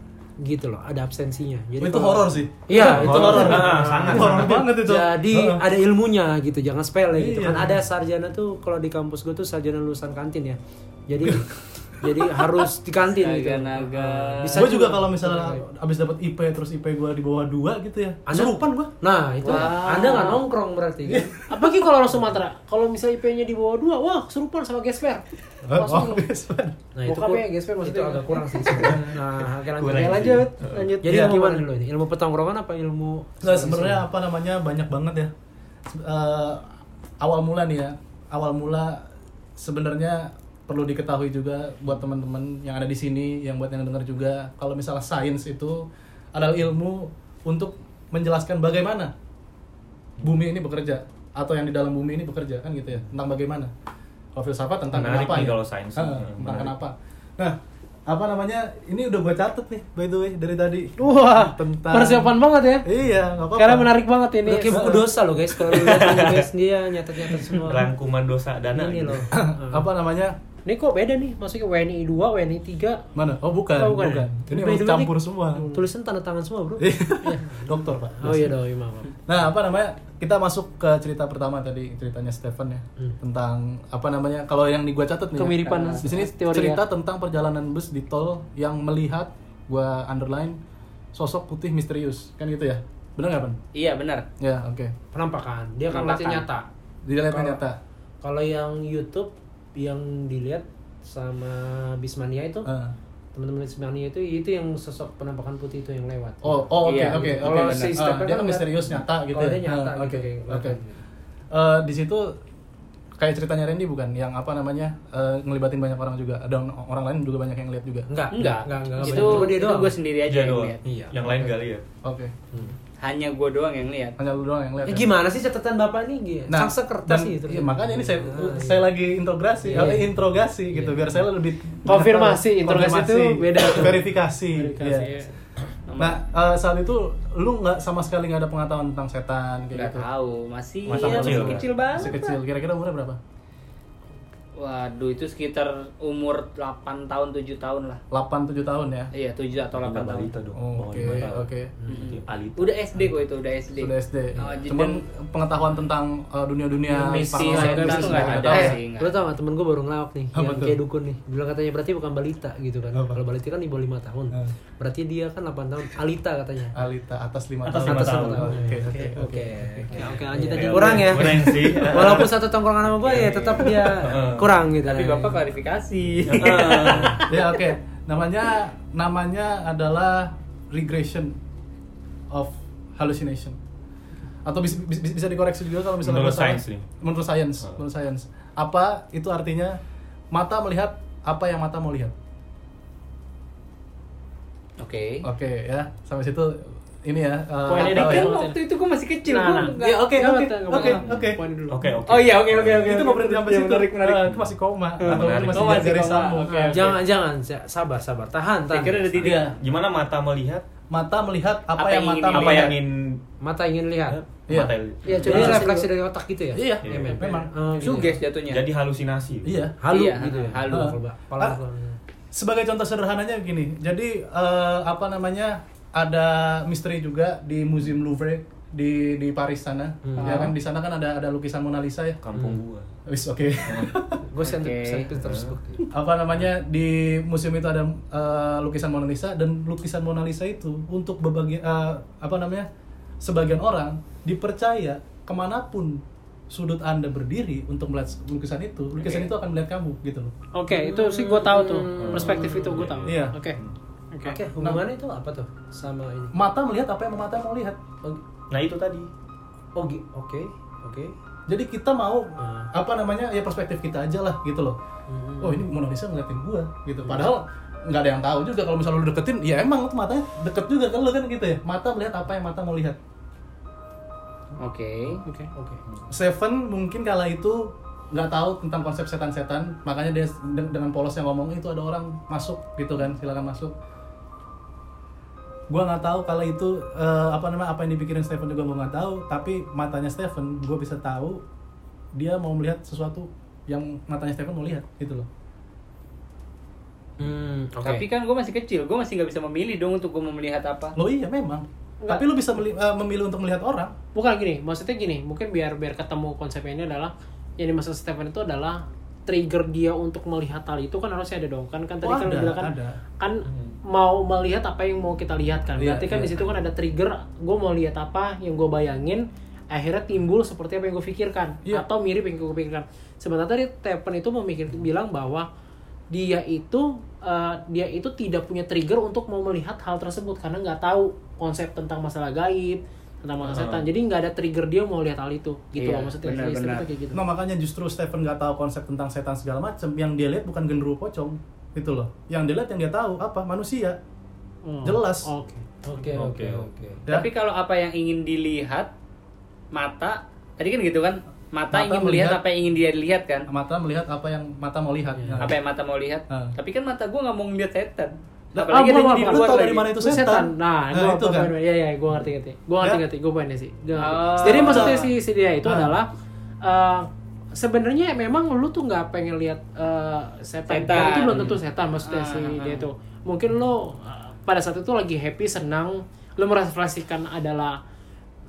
Speaker 5: gitu loh ada absensinya jadi
Speaker 3: Oh, itu
Speaker 5: kalau-
Speaker 3: horor sih.
Speaker 5: Iya, itu
Speaker 4: Horor.
Speaker 5: horor.
Speaker 4: Ah, sangat.
Speaker 3: Horor banget itu.
Speaker 5: Jadi
Speaker 3: Heeh.
Speaker 5: ada ilmunya gitu, jangan spell ya gitu.
Speaker 3: Iya.
Speaker 5: Kan ada sarjana tuh kalau di kampus gue tuh sarjana lulusan kantin ya. Jadi jadi harus di kantin gitu.
Speaker 3: Iya,
Speaker 2: Naga-naga.
Speaker 5: Bisa
Speaker 3: Gue juga kalau misalnya abis dapat IP terus IP gue di bawah dua gitu ya.
Speaker 5: Anda-
Speaker 3: Kesurupan gue.
Speaker 5: Nah, itu
Speaker 2: Wah.
Speaker 5: Anda nggak nongkrong berarti
Speaker 1: Iya.
Speaker 5: kan?
Speaker 1: Apalagi kalau orang Sumatera, kalau misalnya IP-nya di bawah dua, wah serupa sama
Speaker 4: Eh,
Speaker 1: gesper.
Speaker 4: oh.
Speaker 1: Langsung.
Speaker 5: Nah, itu
Speaker 1: Bokapnya
Speaker 5: kur-
Speaker 1: gesper
Speaker 5: itu
Speaker 1: maksudnya.
Speaker 5: agak kurang sih. sebenarnya. Nah, oke
Speaker 4: Kurang
Speaker 5: lanjut.
Speaker 1: Oke,
Speaker 5: Ya, lanjut.
Speaker 1: lanjut, lanjut.
Speaker 5: Jadi
Speaker 3: Iya.
Speaker 5: ilmu gimana dulu ini? Ilmu petongkrongan apa ilmu?
Speaker 3: Nah, sebenarnya apa namanya banyak banget ya. Se- eh, awal mula nih ya, awal mula sebenarnya perlu diketahui juga buat teman-teman yang ada di sini, yang buat yang dengar juga, kalau misalnya sains itu adalah ilmu untuk menjelaskan bagaimana bumi ini bekerja atau yang di dalam bumi ini bekerja kan gitu ya tentang bagaimana kalau filsafat tentang
Speaker 4: Menarik
Speaker 3: kenapa
Speaker 4: nih
Speaker 3: ya
Speaker 4: kalau sains.
Speaker 3: Eh, tentang
Speaker 4: Menarik.
Speaker 3: kenapa nah apa namanya ini udah gue catet nih by the way dari tadi
Speaker 1: Wah,
Speaker 3: Tentang-
Speaker 1: persiapan banget ya.
Speaker 3: iya nggak apa-apa
Speaker 1: Karena menarik banget ini.
Speaker 5: Udah kayak buku dosa loh guys, kalau lu lihat ini, guys dia nyatet-nyatet semua.
Speaker 4: rangkuman dosa dana
Speaker 5: Ini
Speaker 4: gitu.
Speaker 5: loh.
Speaker 3: apa namanya
Speaker 1: Ini kok beda nih, maksudnya WNI 2, WNI 3,
Speaker 3: mana oh bukan
Speaker 1: Oh, bukan.
Speaker 3: bukan. ini
Speaker 5: By
Speaker 3: emang
Speaker 5: the way,
Speaker 3: campur
Speaker 5: ini
Speaker 3: semua Iya.
Speaker 5: Tulisan tanda tangan semua, Bro.
Speaker 3: dokter pak
Speaker 5: Oh iya dong, iya maaf.
Speaker 3: Nah, apa namanya? Kita masuk ke cerita pertama tadi, ceritanya Stefan ya. Tentang apa namanya? Kalau yang di gua catat nih. ya.
Speaker 1: Hmm. Kemiripan
Speaker 3: di sini
Speaker 1: teori ya.
Speaker 3: cerita tentang perjalanan bus di tol yang melihat gua underline sosok putih misterius. Kan gitu ya. Benar nggak, Pan?
Speaker 2: Iya benar.
Speaker 3: Ya, oke.
Speaker 5: penampakan dia
Speaker 2: Penampakan.
Speaker 5: kan ngeliatnya nyata
Speaker 3: Dilihat
Speaker 5: Kalau-
Speaker 3: ternyata.
Speaker 5: kalau yang YouTube yang dilihat sama Bismania itu
Speaker 3: Eh.
Speaker 5: teman-teman Bismania itu itu yang sosok penampakan putih itu yang lewat
Speaker 3: Oh, oh oke
Speaker 2: Iya,
Speaker 3: oke.
Speaker 2: benar.
Speaker 3: oke,
Speaker 5: Kalau
Speaker 3: benar.
Speaker 5: si
Speaker 3: Ah,
Speaker 5: Stefan
Speaker 3: dia
Speaker 5: kan
Speaker 3: kan misterius
Speaker 5: enggak-
Speaker 3: nyata gitu.
Speaker 5: kalau
Speaker 3: ya?
Speaker 5: dia nyata
Speaker 3: Ah,
Speaker 5: gitu,
Speaker 3: Oke,
Speaker 5: kayak
Speaker 3: oke.
Speaker 5: kelihatan.
Speaker 3: Eh, di situ kayak ceritanya Randy bukan yang apa namanya? eh, ngelibatin banyak orang juga. Ada orang lain juga banyak yang lihat juga.
Speaker 5: enggak
Speaker 2: Enggak.
Speaker 5: enggak enggak, enggak
Speaker 2: itu
Speaker 5: Cuma dia
Speaker 2: itu
Speaker 5: doang
Speaker 2: gue sendiri aja
Speaker 4: Dia
Speaker 2: yang
Speaker 4: doang.
Speaker 2: lihat.
Speaker 5: Iya.
Speaker 4: Yang lain ya. gak lihat.
Speaker 3: Oke.
Speaker 2: Hanya gue doang yang lihat.
Speaker 3: Hanya lu doang yang lihat.
Speaker 5: Eh,
Speaker 3: ya?
Speaker 5: gimana sih catatan bapak nih nah, sang kertas
Speaker 3: dan-
Speaker 5: sih
Speaker 3: iya, makanya ini saya
Speaker 5: Ah, iya.
Speaker 3: saya lagi interogasi,
Speaker 5: Iya.
Speaker 3: eh, interogasi gitu biar saya lebih
Speaker 1: Konfirmasi, interogasi itu beda.
Speaker 3: verifikasi.
Speaker 1: Verifikasi,
Speaker 3: iya.
Speaker 1: ya.
Speaker 3: Nah, eh, saat itu lu nggak sama sekali nggak ada pengetahuan tentang setan kayak
Speaker 2: Gak
Speaker 3: gitu.
Speaker 2: tahu masih
Speaker 1: Iya,
Speaker 4: Masa
Speaker 2: ya,
Speaker 4: kecil.
Speaker 2: masih kecil banget.
Speaker 3: Masih kecil, kira-kira umurnya berapa?
Speaker 2: Waduh, itu sekitar umur 8 tahun, 7 tahun lah.
Speaker 3: 8 7 tahun ya.
Speaker 2: Iya, 7 atau 8 tahun.
Speaker 4: balita dong. bawah
Speaker 3: Oke,
Speaker 4: Oh, lima tahun.
Speaker 3: oke.
Speaker 2: Hmm.
Speaker 4: Jadi Balita.
Speaker 2: Udah SD kok itu, udah SD.
Speaker 3: Sudah SD.
Speaker 2: Oh, jadi-
Speaker 3: Cuman pengetahuan tentang uh, dunia-dunia
Speaker 1: Misi,
Speaker 3: paralel
Speaker 1: segala
Speaker 3: itu
Speaker 1: itu
Speaker 3: nggak
Speaker 1: nggak
Speaker 3: ada.
Speaker 2: ada.
Speaker 3: Eh,
Speaker 2: sih, nggak.
Speaker 5: Lo tau gak temen gue baru ngelawak nih
Speaker 3: Apa
Speaker 5: Yang
Speaker 3: tuh?
Speaker 5: kayak dukun nih Bilang katanya berarti bukan balita gitu kan
Speaker 3: Apa?
Speaker 5: Kalau balita kan di bawah 5 tahun
Speaker 3: Hmm.
Speaker 5: Berarti dia kan 8 tahun Alita katanya
Speaker 3: Alita atas 5
Speaker 4: Atas
Speaker 3: tahun.
Speaker 4: lima tahun.
Speaker 3: lima Oke, oke.
Speaker 5: Oke Oke oke, lanjut
Speaker 4: Oke,
Speaker 5: aja
Speaker 4: oke.
Speaker 5: Kurang ya
Speaker 4: Kurang Iya, sih.
Speaker 5: Walaupun satu tongkrongan sama gue ya tetap dia kurang gitu
Speaker 2: Tapi Bapak kan klarifikasi.
Speaker 3: Ya, oke. Namanya namanya adalah regression of hallucination. Atau bisa bisa, bisa dikoreksi juga kalau misalnya
Speaker 4: Menurut
Speaker 3: gua salah.
Speaker 4: sains nih.
Speaker 3: Menurut sains,
Speaker 4: Oh.
Speaker 3: menurut sains. Apa itu artinya mata melihat apa yang mata mau lihat?
Speaker 2: Oke.
Speaker 3: Oke ya, sampai situ ini ya. eh,
Speaker 1: Poinnya
Speaker 3: tahu
Speaker 1: dikit.
Speaker 2: Tapi
Speaker 3: ya.
Speaker 2: kan waktu itu gue masih kecil,
Speaker 1: Nah,
Speaker 2: gue
Speaker 1: nah.
Speaker 2: nggak-
Speaker 5: Iya,
Speaker 3: Ya,
Speaker 1: Nggak
Speaker 3: oke, oke,
Speaker 1: apa-apa, nggak
Speaker 3: oke,
Speaker 1: apa-apa.
Speaker 3: oke.
Speaker 1: Poin dulu.
Speaker 4: Oke, oke.
Speaker 2: Oh iya, oke oke oke.
Speaker 3: Itu nggak berhenti sampai
Speaker 2: Iya,
Speaker 3: situ.
Speaker 2: Menarik menarik.
Speaker 3: Eh, itu masih koma atau
Speaker 4: menarik.
Speaker 3: itu masih
Speaker 2: Oh, masih
Speaker 3: dari
Speaker 2: koma.
Speaker 3: sambo.
Speaker 2: Oke,
Speaker 3: Ya.
Speaker 5: Jangan jangan sa- sabar sabar tahan tahan.
Speaker 2: Pikirnya ada titik.
Speaker 3: Iya.
Speaker 4: Gimana mata melihat?
Speaker 3: Mata melihat apa,
Speaker 2: Apa
Speaker 3: yang
Speaker 2: yang
Speaker 3: mata
Speaker 2: ingin-
Speaker 4: Apa
Speaker 3: melihat.
Speaker 4: yang ingin eh,
Speaker 5: Mata ingin lihat.
Speaker 3: Iya.
Speaker 4: mata
Speaker 5: Ya coba
Speaker 3: Iya.
Speaker 5: refleksi dari otak gitu ya.
Speaker 3: Iya,
Speaker 4: Iya,
Speaker 5: men.
Speaker 3: memang.
Speaker 5: Oh, gitu.
Speaker 2: Suges jatuhnya.
Speaker 4: Jadi halusinasi.
Speaker 3: Iya.
Speaker 5: halu
Speaker 2: Iya,
Speaker 5: gitu ya.
Speaker 2: halu.
Speaker 5: Kalau- kalau-
Speaker 3: Ah. Sebagai contoh sederhananya begini. Jadi eh, apa namanya? Ada misteri juga di Museum Louvre di di Paris sana.
Speaker 5: Hmm.
Speaker 3: Ya kan di sana kan ada ada lukisan Mona Lisa ya.
Speaker 4: Kampung gua.
Speaker 3: Wis oke.
Speaker 5: Gue send
Speaker 2: Oke.
Speaker 5: send Petersburg.
Speaker 3: apa namanya di museum itu ada eh, lukisan Mona Lisa dan lukisan Mona Lisa itu untuk berbagi eh, apa namanya sebagian orang dipercaya kemanapun sudut anda berdiri untuk melihat lukisan itu lukisan
Speaker 2: Oke.
Speaker 3: itu akan melihat kamu gitu loh
Speaker 1: Oke, itu sih gue tahu tuh perspektif itu gue tahu.
Speaker 3: Iya.
Speaker 1: Oke. Oke.
Speaker 5: Oke, hubungannya itu apa tuh sama ini?
Speaker 3: mata melihat apa yang mata mau lihat
Speaker 4: Nah, itu tadi.
Speaker 5: Oh, gi- oke, oke.
Speaker 3: jadi kita mau
Speaker 5: Hmm.
Speaker 3: apa namanya ya perspektif kita aja lah gitu loh oh ini Mona Lisa ngeliatin gua gitu padahal nggak ada yang tahu juga kalau misalnya lu deketin ya emang tuh matanya deket juga kan lu kan gitu ya mata melihat apa yang mata mau lihat
Speaker 2: Oke.
Speaker 1: Oke.
Speaker 5: Oke.
Speaker 3: Seven mungkin kala itu nggak tahu tentang konsep setan-setan, makanya dia de- dengan polosnya ngomong itu ada orang masuk gitu kan, silakan masuk. Gua nggak tahu kala itu eh, apa namanya apa yang dipikirin Stephen juga gua nggak tahu, tapi matanya Stephen gua bisa tahu dia mau melihat sesuatu yang matanya Stephen mau lihat gitu loh.
Speaker 5: Hmm, oke.
Speaker 2: Tapi kan gue masih kecil, gue masih nggak bisa memilih dong untuk gue mau melihat apa.
Speaker 3: Lo iya memang.
Speaker 1: Nggak.
Speaker 3: Tapi lu bisa meli- eh, memilih untuk melihat orang.
Speaker 1: Bukan gini, maksudnya gini, mungkin biar biar ketemu konsepnya ini adalah yang dimaksud Stefan itu adalah trigger dia untuk melihat hal itu kan harusnya ada dong kan kan tadi
Speaker 3: Oh,
Speaker 1: kan
Speaker 3: ada,
Speaker 1: lu bilang kan
Speaker 3: ada. Hmm.
Speaker 1: kan mau melihat apa yang mau kita lihat kan
Speaker 3: Iya,
Speaker 1: berarti kan
Speaker 3: iya.
Speaker 1: di situ kan ada trigger gue mau lihat apa yang gue bayangin akhirnya timbul seperti apa yang gue pikirkan
Speaker 3: Iya.
Speaker 1: atau mirip yang gue pikirkan sebenarnya tadi Stefan itu memikir bilang bahwa dia itu eh, dia itu tidak punya trigger untuk mau melihat hal tersebut karena nggak tahu konsep tentang masalah gaib tentang masalah
Speaker 4: Ah.
Speaker 1: setan jadi nggak ada trigger dia mau lihat hal itu gitu
Speaker 2: Iya,
Speaker 1: loh maksudnya
Speaker 2: benar,
Speaker 1: istri
Speaker 2: benar.
Speaker 1: kita kayak gitu
Speaker 3: Nah, makanya justru Stephen nggak tahu konsep tentang setan segala macem. Yang dia lihat bukan genderuwo pocong, gitu loh. Yang dia lihat yang dia tahu apa manusia.
Speaker 1: Hmm.
Speaker 3: jelas.
Speaker 1: oke
Speaker 5: Oke, oke,
Speaker 4: Oke.
Speaker 5: oke.
Speaker 3: Ya.
Speaker 2: Tapi kalau apa yang ingin dilihat mata, tadi kan gitu kan, mata,
Speaker 3: Mata
Speaker 2: ingin melihat
Speaker 3: melihat-
Speaker 2: apa yang ingin dia lihat kan.
Speaker 3: mata melihat apa yang mata mau lihat. Nah,
Speaker 5: Iya.
Speaker 2: Ya. Apa yang mata mau lihat?
Speaker 3: Ah.
Speaker 2: Tapi kan mata gue nggak mau ngeliat setan.
Speaker 3: Lah,
Speaker 1: ah,
Speaker 2: Apalagi ada
Speaker 1: gua-
Speaker 2: yang
Speaker 1: gua-
Speaker 2: di
Speaker 1: gua
Speaker 2: luar
Speaker 3: tahu
Speaker 2: lagi.
Speaker 3: dari mana itu
Speaker 1: Itu setan.
Speaker 3: setan.
Speaker 1: Nah,
Speaker 3: Nah,
Speaker 1: gua
Speaker 3: itu kan.
Speaker 1: paham. Iya, iya, gua ngerti ngerti. Gua ngerti
Speaker 3: Ya.
Speaker 1: ngerti, gua poinnya sih. Gua ngerti.
Speaker 2: Oh.
Speaker 1: Jadi maksudnya si si dia itu
Speaker 3: Ah.
Speaker 1: adalah eh, sebenarnya memang lu tuh nggak pengen lihat eh, setan.
Speaker 2: Setan.
Speaker 1: Karena itu belum tentu setan maksudnya
Speaker 2: Ah,
Speaker 1: si
Speaker 2: ah, ah.
Speaker 1: dia itu. Mungkin lu eh, pada saat itu lagi happy, senang, lu merefleksikan adalah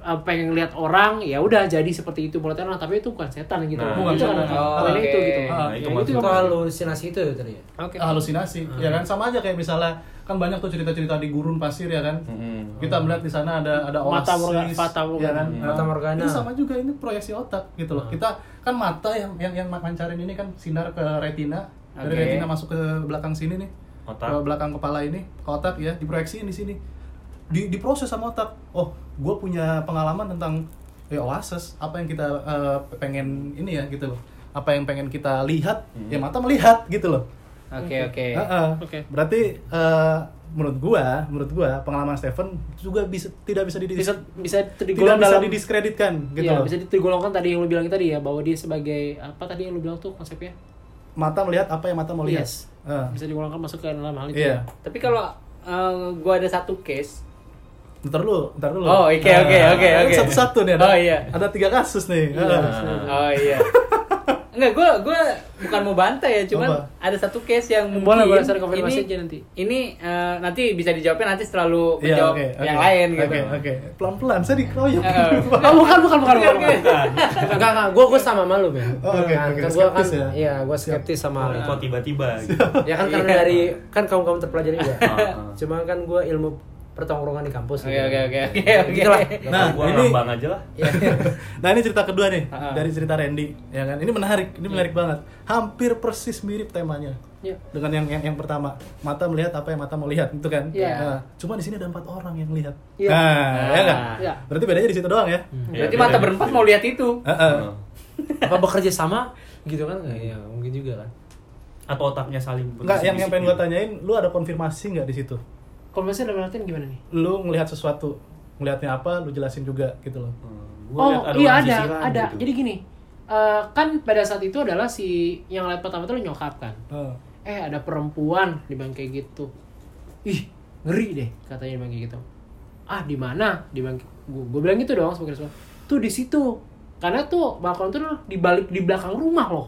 Speaker 1: eh, pengen lihat orang ya udah jadi seperti itu bulat orang tapi itu bukan setan gitu
Speaker 4: Nah,
Speaker 1: bukan
Speaker 3: itu.
Speaker 1: setan
Speaker 2: Oh,
Speaker 1: itu
Speaker 2: oke.
Speaker 1: gitu
Speaker 3: Ah,
Speaker 4: itu
Speaker 1: Ya,
Speaker 5: Itu halusinasi itu ya tadi ya?
Speaker 1: oke
Speaker 3: halusinasi,
Speaker 2: Hmm.
Speaker 3: ya kan sama aja kayak misalnya kan banyak tuh cerita-cerita di gurun pasir ya kan.
Speaker 4: Mm-mm.
Speaker 3: Kita melihat di sana ada ada
Speaker 1: Mata morga-
Speaker 3: oasis,
Speaker 1: fata morgana. Nah.
Speaker 3: ya kan.
Speaker 5: Hmm.
Speaker 3: Nah,
Speaker 5: Fata morgana.
Speaker 3: Ini sama juga ini proyeksi otak gitu loh. Kita kan mata yang yang yang mancarin ini kan sinar ke retina, dari
Speaker 2: Oke.
Speaker 3: retina masuk ke belakang sini nih.
Speaker 4: Otak.
Speaker 3: Ke belakang kepala ini, ke otak ya, diproyeksiin di sini. Di diproses sama otak. Oh, gue punya pengalaman tentang ya, oasis, apa yang kita eh, pengen ini ya gitu loh. Apa yang pengen kita lihat, ya mata melihat gitu loh.
Speaker 2: Oke oke.
Speaker 3: Heeh.
Speaker 1: Oke.
Speaker 3: Berarti eh, menurut gua, menurut gua pengalaman Stephen juga bisa tidak bisa didis-
Speaker 1: bisa bisa
Speaker 3: tidak
Speaker 1: digolong
Speaker 3: bisa
Speaker 1: dalam
Speaker 3: didiskreditkan gitu
Speaker 1: Iya,
Speaker 3: loh.
Speaker 1: bisa digolongkan tadi yang lu bilang tadi ya bahwa dia sebagai apa tadi yang lu bilang tuh konsepnya
Speaker 3: Mata melihat apa yang mata mau lihat.
Speaker 1: Yes.
Speaker 3: Heeh.
Speaker 1: bisa digolongkan masuk ke dalam hal itu ya?
Speaker 3: Iya.
Speaker 2: Tapi kalau gue ada satu case,
Speaker 3: Ntar lu, ntar dulu.
Speaker 2: Oh, oke, oke,
Speaker 3: Nah,
Speaker 2: oke,
Speaker 3: ini
Speaker 2: oke.
Speaker 3: Satu-satu nih ada.
Speaker 2: Oh, iya.
Speaker 1: Hmm.
Speaker 3: Ada tiga kasus nih. Heeh.
Speaker 2: Oh iya. Enggak, gue gue bukan mau bantai ya, cuman
Speaker 3: Apa?
Speaker 2: ada satu case yang mungkin
Speaker 1: Boleh, boleh, saya konfirmasi
Speaker 2: ini,
Speaker 1: aja nanti.
Speaker 2: Ini eh, nanti bisa dijawabin nanti selalu
Speaker 3: Iya,
Speaker 2: menjawab
Speaker 3: oke, oke.
Speaker 2: yang lain gitu.
Speaker 3: Oke, oke. Pelan-pelan saya dikeroyok.
Speaker 2: Eh,
Speaker 1: Oh, bukan, bukan, bukan, bukan. bukan.
Speaker 5: Enggak, enggak, gue gue sama malu men.
Speaker 3: Oh, oke,
Speaker 5: Kan-
Speaker 3: oke,
Speaker 5: kan gua kan,
Speaker 3: skeptis ya. Oh,
Speaker 5: Iya, gue skeptis sama hal itu.
Speaker 4: kok tiba-tiba gitu.
Speaker 5: Ya kan karena
Speaker 2: Iya.
Speaker 5: dari kan kaum kaum terpelajar juga.
Speaker 3: Ah,
Speaker 4: Heeh.
Speaker 5: Cuma kan gue ilmu pertongkrongan di
Speaker 2: Oke,
Speaker 5: kampus.
Speaker 2: oke, oke, oke, oke.
Speaker 5: Gitu lah.
Speaker 3: Nah,
Speaker 4: gua
Speaker 3: ini-
Speaker 4: ngambang aja lah.
Speaker 1: Iya.
Speaker 3: nah ini cerita kedua nih
Speaker 2: Ah, ah.
Speaker 3: dari cerita Randy ya kan ini menarik ini menarik banget hampir persis mirip temanya
Speaker 1: Iya.
Speaker 3: dengan yang, yang yang pertama mata melihat apa yang mata mau lihat itu kan
Speaker 1: Iya.
Speaker 3: Nah, cuma di sini ada empat orang yang lihat
Speaker 1: Iya.
Speaker 3: nah ya
Speaker 2: Ah.
Speaker 3: nggak?
Speaker 1: Iya.
Speaker 3: berarti bedanya di situ doang ya
Speaker 4: Ya,
Speaker 2: Berarti
Speaker 4: beda
Speaker 2: mata
Speaker 4: dari
Speaker 2: berempat
Speaker 4: sini.
Speaker 2: mau lihat itu.
Speaker 3: Ah, ah.
Speaker 4: Heeh.
Speaker 5: Apa bekerja sama gitu kan? Nggak, Iya, mungkin juga kan.
Speaker 4: Atau otaknya saling gitu.
Speaker 3: nggak yang yang pengen gue
Speaker 4: berbisik-bisik
Speaker 3: tanyain lu ada konfirmasi nggak di situ
Speaker 1: Konfirmasi dalam artian gimana nih?
Speaker 3: lu ngelihat sesuatu ngelihatnya apa lu jelasin juga gitu loh
Speaker 4: gitu. Hmm, gua
Speaker 1: Oh,
Speaker 4: liat
Speaker 1: iya
Speaker 4: orang
Speaker 1: ada,
Speaker 4: sisiran
Speaker 1: ada.
Speaker 4: gitu.
Speaker 1: Jadi gini, eh, kan pada saat itu adalah si yang lihat pertama itu nyokap kan.
Speaker 3: Ah.
Speaker 1: eh ada perempuan di bank kayak gitu ih ngeri deh katanya di bank kayak gitu ah di mana di bank gue bilang gitu dong sebagai respon tuh di situ karena tuh balkon tuh di balik di belakang rumah loh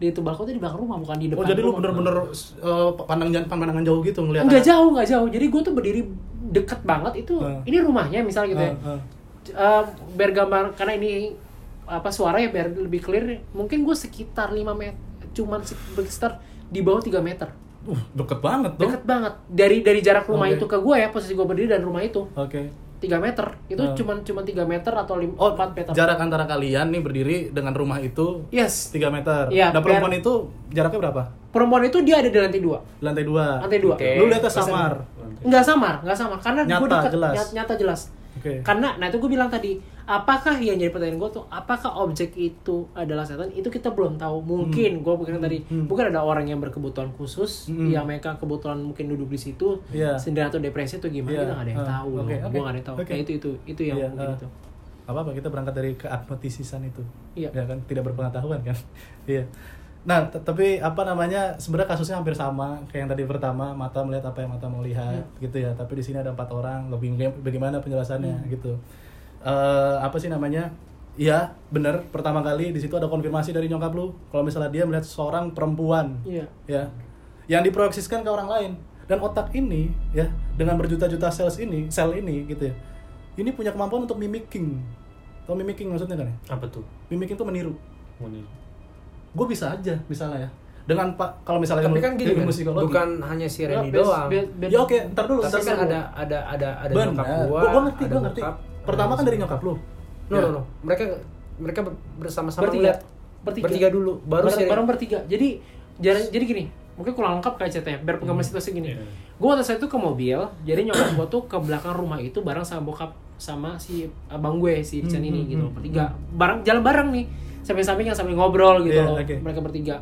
Speaker 1: di itu balkon tuh di belakang rumah bukan di depan
Speaker 3: oh jadi lu
Speaker 1: rumah.
Speaker 3: bener-bener eh, pandang jangan pandangan jauh gitu ngelihat
Speaker 1: nggak
Speaker 3: anak-
Speaker 1: jauh nggak jauh jadi gue tuh berdiri deket banget itu
Speaker 3: Hmm.
Speaker 1: ini rumahnya misalnya gitu ya
Speaker 3: Ah, ah.
Speaker 1: Eh, biar gambar karena ini apa suaranya biar lebih clear mungkin gue sekitar 5 meter cuman sekitar di bawah 3 meter
Speaker 3: uh deket banget tuh
Speaker 1: deket banget dari dari jarak rumah
Speaker 3: Oke.
Speaker 1: itu ke gue ya posisi gue berdiri dan rumah itu
Speaker 3: oke
Speaker 1: 3 meter itu
Speaker 3: Hmm.
Speaker 1: cuman cuman 3 meter atau lim,
Speaker 3: Oh,
Speaker 1: 4 meter
Speaker 3: jarak antara kalian nih berdiri dengan rumah itu
Speaker 1: yes
Speaker 3: 3 meter.
Speaker 1: Iya,
Speaker 3: nah,
Speaker 1: biar-
Speaker 3: perempuan itu jaraknya berapa?
Speaker 1: perempuan itu dia ada di lantai dua
Speaker 3: Lantai 2.
Speaker 1: lantai dua
Speaker 2: Oke.
Speaker 3: Lu lihatnya samar.
Speaker 1: nggak samar nggak samar karena gue
Speaker 3: Nyata,
Speaker 1: deket
Speaker 3: jelas.
Speaker 1: nyat- nyata jelas
Speaker 3: Oke.
Speaker 1: karena nah itu gue bilang tadi apakah yang jadi pertanyaan gue tuh apakah objek itu adalah setan itu kita belum tahu mungkin gue pikir tadi
Speaker 3: Hmm.
Speaker 1: mungkin ada orang yang berkebutuhan khusus
Speaker 3: Hmm.
Speaker 1: yang mereka kebetulan mungkin duduk di situ
Speaker 3: Iya.
Speaker 1: sendiri atau depresi atau gimana
Speaker 3: Iya.
Speaker 1: kita nggak ada yang
Speaker 3: Ah,
Speaker 1: tahu
Speaker 3: oke,
Speaker 1: loh.
Speaker 3: oke,
Speaker 1: gue nggak ada yang tahu
Speaker 3: oke.
Speaker 1: nah itu itu itu yang
Speaker 3: Iya,
Speaker 1: mungkin
Speaker 3: ah.
Speaker 1: itu
Speaker 3: Apa apa kita berangkat dari keagnotisisan itu.
Speaker 1: Iya.
Speaker 3: Ya kan tidak berpengetahuan kan. Iya. Nah, t- tapi apa namanya? Sebenarnya kasusnya hampir sama kayak yang tadi pertama, mata melihat apa yang mata mau lihat
Speaker 1: Iya.
Speaker 3: gitu ya. Tapi di sini ada empat orang, lebih bagaimana
Speaker 1: Hmm.
Speaker 3: penjelasannya gitu. Eh, apa sih namanya? Iya, bener. Pertama kali di situ ada konfirmasi dari nyokap lu. Kalau misalnya dia melihat seorang perempuan,
Speaker 1: iya
Speaker 3: ya yang diproyeksikan ke orang lain dan otak ini ya dengan berjuta-juta sel ini sel ini gitu ya ini punya kemampuan untuk mimicking atau mimicking maksudnya kan ya
Speaker 4: apa tuh?
Speaker 3: mimicking itu meniru
Speaker 4: Mau nih.
Speaker 3: gue bisa aja misalnya ya dengan pak kalau misalnya
Speaker 5: Tapi
Speaker 3: ilmu-
Speaker 5: kan gini
Speaker 3: ilmu
Speaker 5: kan,
Speaker 3: psikologi.
Speaker 5: bukan hanya si
Speaker 1: Nggak,
Speaker 5: Reni
Speaker 1: bias-
Speaker 5: doang.
Speaker 1: bias- bias-
Speaker 3: ya oke ntar dulu
Speaker 5: Tapi
Speaker 3: ntar
Speaker 5: kan
Speaker 3: dulu.
Speaker 5: ada ada ada ada
Speaker 3: Bener.
Speaker 5: nyokap gua.
Speaker 3: Gua- gua ngerti
Speaker 5: ada
Speaker 3: gua ngerti
Speaker 5: nyokap,
Speaker 3: pertama
Speaker 5: ada
Speaker 3: kan dari
Speaker 5: si-
Speaker 3: nyokap lu
Speaker 5: No,
Speaker 3: Ya.
Speaker 5: no, no. Mereka mereka ber- bersama-sama
Speaker 1: Bertiga.
Speaker 5: ngeliat.
Speaker 1: Bertiga.
Speaker 5: dulu, baru
Speaker 1: bareng,
Speaker 5: sih.
Speaker 1: bareng bertiga jadi jalan jadi gini mungkin kurang lengkap kayak ceritanya biar
Speaker 3: Hmm.
Speaker 1: penggambar situasi gini
Speaker 3: Iya.
Speaker 1: gue waktu saat itu ke mobil jadi nyokap gue tuh ke belakang rumah itu bareng sama bokap sama si abang gue si
Speaker 3: Hmm,
Speaker 1: Chan ini gitu bertiga bareng jalan bareng nih sampai sampingan sambil ngobrol gitu
Speaker 3: Iya,
Speaker 1: loh
Speaker 3: oke.
Speaker 1: mereka bertiga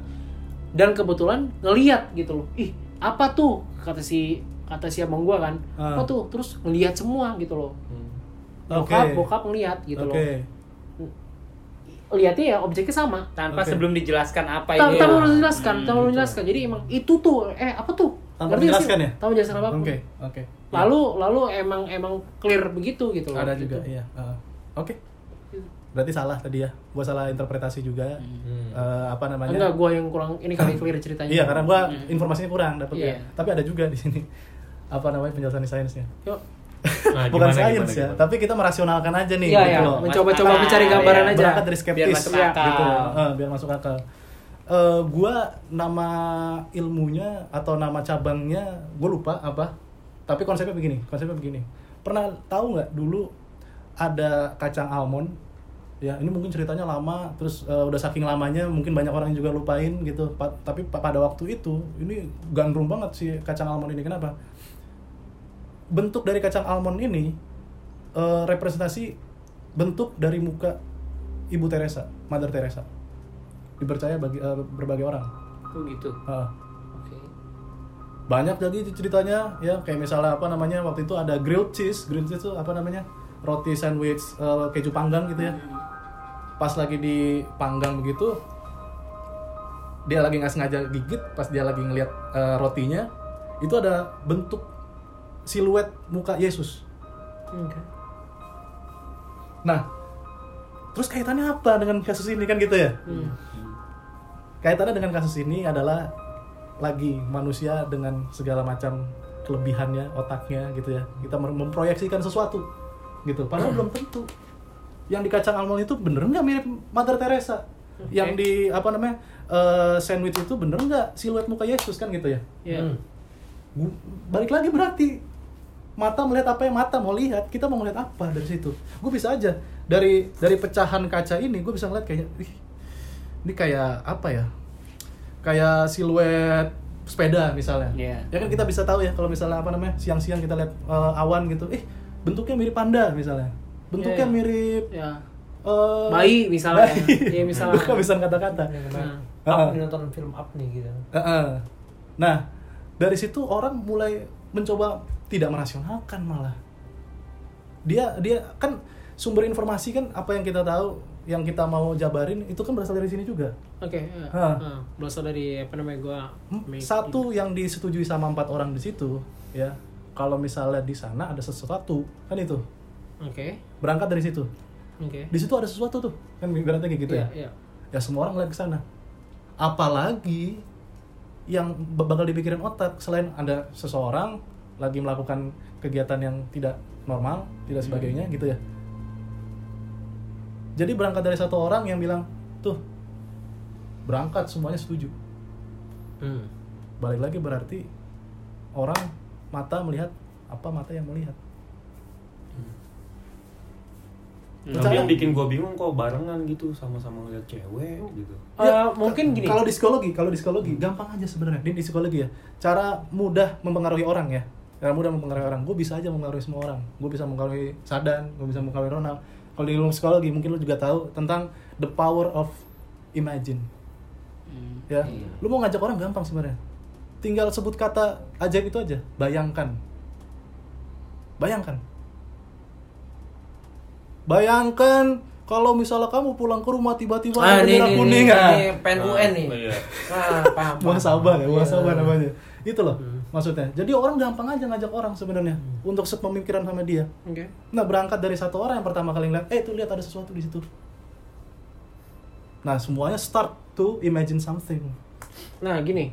Speaker 1: dan kebetulan ngeliat gitu loh ih apa tuh kata si kata si abang gue kan
Speaker 3: Ah.
Speaker 1: apa tuh terus ngeliat semua gitu loh
Speaker 3: Oke.
Speaker 1: bokap bokap ngeliat gitu
Speaker 3: oke
Speaker 1: loh lihatnya ya objeknya sama
Speaker 2: Tanpa
Speaker 3: Oke.
Speaker 2: sebelum dijelaskan apa
Speaker 3: Iya.
Speaker 1: Tahu
Speaker 2: ini.
Speaker 1: tahu belum menjelaskan,
Speaker 2: Hmm,
Speaker 1: tahu belum menjelaskan. Jadi emang itu tuh eh apa tuh?
Speaker 3: Tanpa
Speaker 1: Ngerti nggak sih?
Speaker 3: gitu. menjelaskan ya?
Speaker 1: Tahu menjelaskan apa?
Speaker 3: oke oke
Speaker 1: Lalu lalu emang emang clear begitu gitu loh.
Speaker 3: ada
Speaker 1: Gitu.
Speaker 3: juga iya Ah. oke
Speaker 1: Iya.
Speaker 3: berarti salah tadi ya gua salah interpretasi juga Eh, apa namanya
Speaker 1: Hmm. Enggak, gua yang kurang ini kali clear ceritanya.
Speaker 3: Iya karena gua informasinya kurang dapat.
Speaker 1: Iya.
Speaker 3: Tapi ada juga di sini apa namanya penjelasan sainsnya.
Speaker 1: Yuk.
Speaker 4: Nah,
Speaker 3: Bukan
Speaker 4: gimana,
Speaker 3: sains
Speaker 4: gimana,
Speaker 3: ya,
Speaker 4: gimana?
Speaker 3: tapi kita merasionalkan aja nih
Speaker 1: Iya,
Speaker 3: gitu
Speaker 1: iya.
Speaker 3: loh.
Speaker 1: Mencoba-coba
Speaker 2: Masuk
Speaker 1: mencari
Speaker 2: akal,
Speaker 1: gambaran
Speaker 2: ya.
Speaker 1: aja.
Speaker 3: Iya, Berangkat dari skeptis
Speaker 2: Biar masuk
Speaker 1: Iya.
Speaker 2: akal.
Speaker 3: gitu. Eh, biar masuk akal. Eh, gua nama ilmunya atau nama cabangnya gue lupa apa. Tapi konsepnya begini, konsepnya begini. Pernah tahu nggak dulu ada kacang almond? Ya, ini mungkin ceritanya lama, terus eh, udah saking lamanya mungkin banyak orang yang juga lupain gitu. Pa- tapi pa- pada waktu itu ini gandrung banget si kacang almond ini. Kenapa? Bentuk dari kacang almond ini eh, representasi bentuk dari muka Ibu Teresa, Mother Teresa. Dipercaya bagi eh, berbagai orang.
Speaker 2: Oh gitu.
Speaker 3: Ah.
Speaker 2: Oke.
Speaker 3: banyak jadi itu ceritanya ya kayak misalnya apa namanya waktu itu ada grilled cheese, grilled cheese itu apa namanya? roti sandwich eh, keju panggang gitu ya. Pas lagi dipanggang begitu dia lagi nggak sengaja gigit pas dia lagi ngelihat eh, rotinya itu ada bentuk siluet muka Yesus.
Speaker 1: Oke. Hmm,
Speaker 3: Nah, terus kaitannya apa dengan kasus ini kan gitu ya? kaitannya dengan kasus ini adalah lagi manusia dengan segala macam kelebihannya otaknya gitu ya kita mer- memproyeksikan sesuatu gitu padahal belum tentu yang di kacang almond itu bener nggak mirip Mother Teresa yang di apa namanya eh, sandwich itu bener nggak siluet muka Yesus kan gitu ya
Speaker 1: Iya.
Speaker 5: Hmm.
Speaker 3: Bu- balik lagi berarti mata melihat apa yang mata mau lihat kita mau melihat apa dari situ gue bisa aja dari dari pecahan kaca ini gue bisa ngeliat kayaknya "Ih, ini kayak apa ya kayak siluet sepeda misalnya
Speaker 2: Iya.
Speaker 3: ya kan kita bisa tahu ya kalau misalnya apa namanya siang-siang kita lihat eh, awan gitu eh bentuknya mirip panda misalnya bentuknya
Speaker 1: Iya, iya.
Speaker 3: mirip
Speaker 1: Ya.
Speaker 3: eh,
Speaker 1: Bayi misalnya. Iya,
Speaker 3: bayi.
Speaker 1: misalnya. Iya,
Speaker 3: Gua kehabisan kata-kata
Speaker 5: Nah,
Speaker 3: Heeh.
Speaker 5: Up nih, nonton film up nih gitu.
Speaker 3: Heeh. Nah, dari situ orang mulai mencoba tidak merasionalkan malah. Dia dia kan sumber informasi kan apa yang kita tahu, yang kita mau jabarin itu kan berasal dari sini juga.
Speaker 1: Oke. ya.
Speaker 3: Ah.
Speaker 1: Ah, Berasal dari apa namanya gua
Speaker 3: Hmm,
Speaker 1: make-
Speaker 3: Satu yang disetujui sama empat orang di situ, ya. Kalau misalnya di sana ada sesuatu, kan itu.
Speaker 1: Oke.
Speaker 3: Berangkat dari situ.
Speaker 1: Oke.
Speaker 3: Di situ ada sesuatu tuh. Kan ibaratnya kayak gitu
Speaker 1: Iya,
Speaker 3: ya.
Speaker 1: iya.
Speaker 3: ya semua orang ngeliat ke sana apalagi yang b- bakal dipikirin otak selain ada seseorang lagi melakukan kegiatan yang tidak normal tidak sebagainya gitu ya jadi berangkat dari satu orang yang bilang tuh berangkat semuanya setuju
Speaker 5: Hmm.
Speaker 3: balik lagi berarti orang mata melihat apa mata yang melihat
Speaker 4: Tapi yang bikin gue bingung kok barengan gitu sama-sama ngeliat cewek gitu.
Speaker 1: Eh, mungkin
Speaker 3: ka-
Speaker 1: gini.
Speaker 3: Ya, Kalau di psikologi, kalau di psikologi gampang aja sebenarnya. Di, di psikologi ya, cara mudah mempengaruhi orang ya. Cara mudah mempengaruhi orang. Gue bisa aja mempengaruhi semua orang. Gue bisa mempengaruhi Sadan, gue bisa mempengaruhi Ronald. Kalau di ilmu psikologi mungkin lo juga tahu tentang the power of imagine. Ya, lu mau ngajak orang gampang sebenarnya. Tinggal sebut kata ajaib itu aja, bayangkan. Bayangkan. Bayangkan kalau misalnya kamu pulang ke rumah tiba-tiba ada
Speaker 5: ini,
Speaker 3: bendera
Speaker 5: ini,
Speaker 3: kuning
Speaker 5: ini,
Speaker 3: ah.
Speaker 5: ini pen UN
Speaker 4: Nah,
Speaker 5: nih.
Speaker 4: iya.
Speaker 5: Ah, paham.
Speaker 3: muhasabah ya,
Speaker 5: Iya.
Speaker 3: muhasabah namanya. Itu loh
Speaker 1: Hmm.
Speaker 3: maksudnya. Jadi orang gampang aja ngajak orang sebenarnya untuk sepemikiran sama dia.
Speaker 1: Oke.
Speaker 3: Nah, berangkat dari satu orang yang pertama kali ngeliat, eh itu lihat ada sesuatu di situ. Nah, semuanya start to imagine something.
Speaker 1: Nah gini,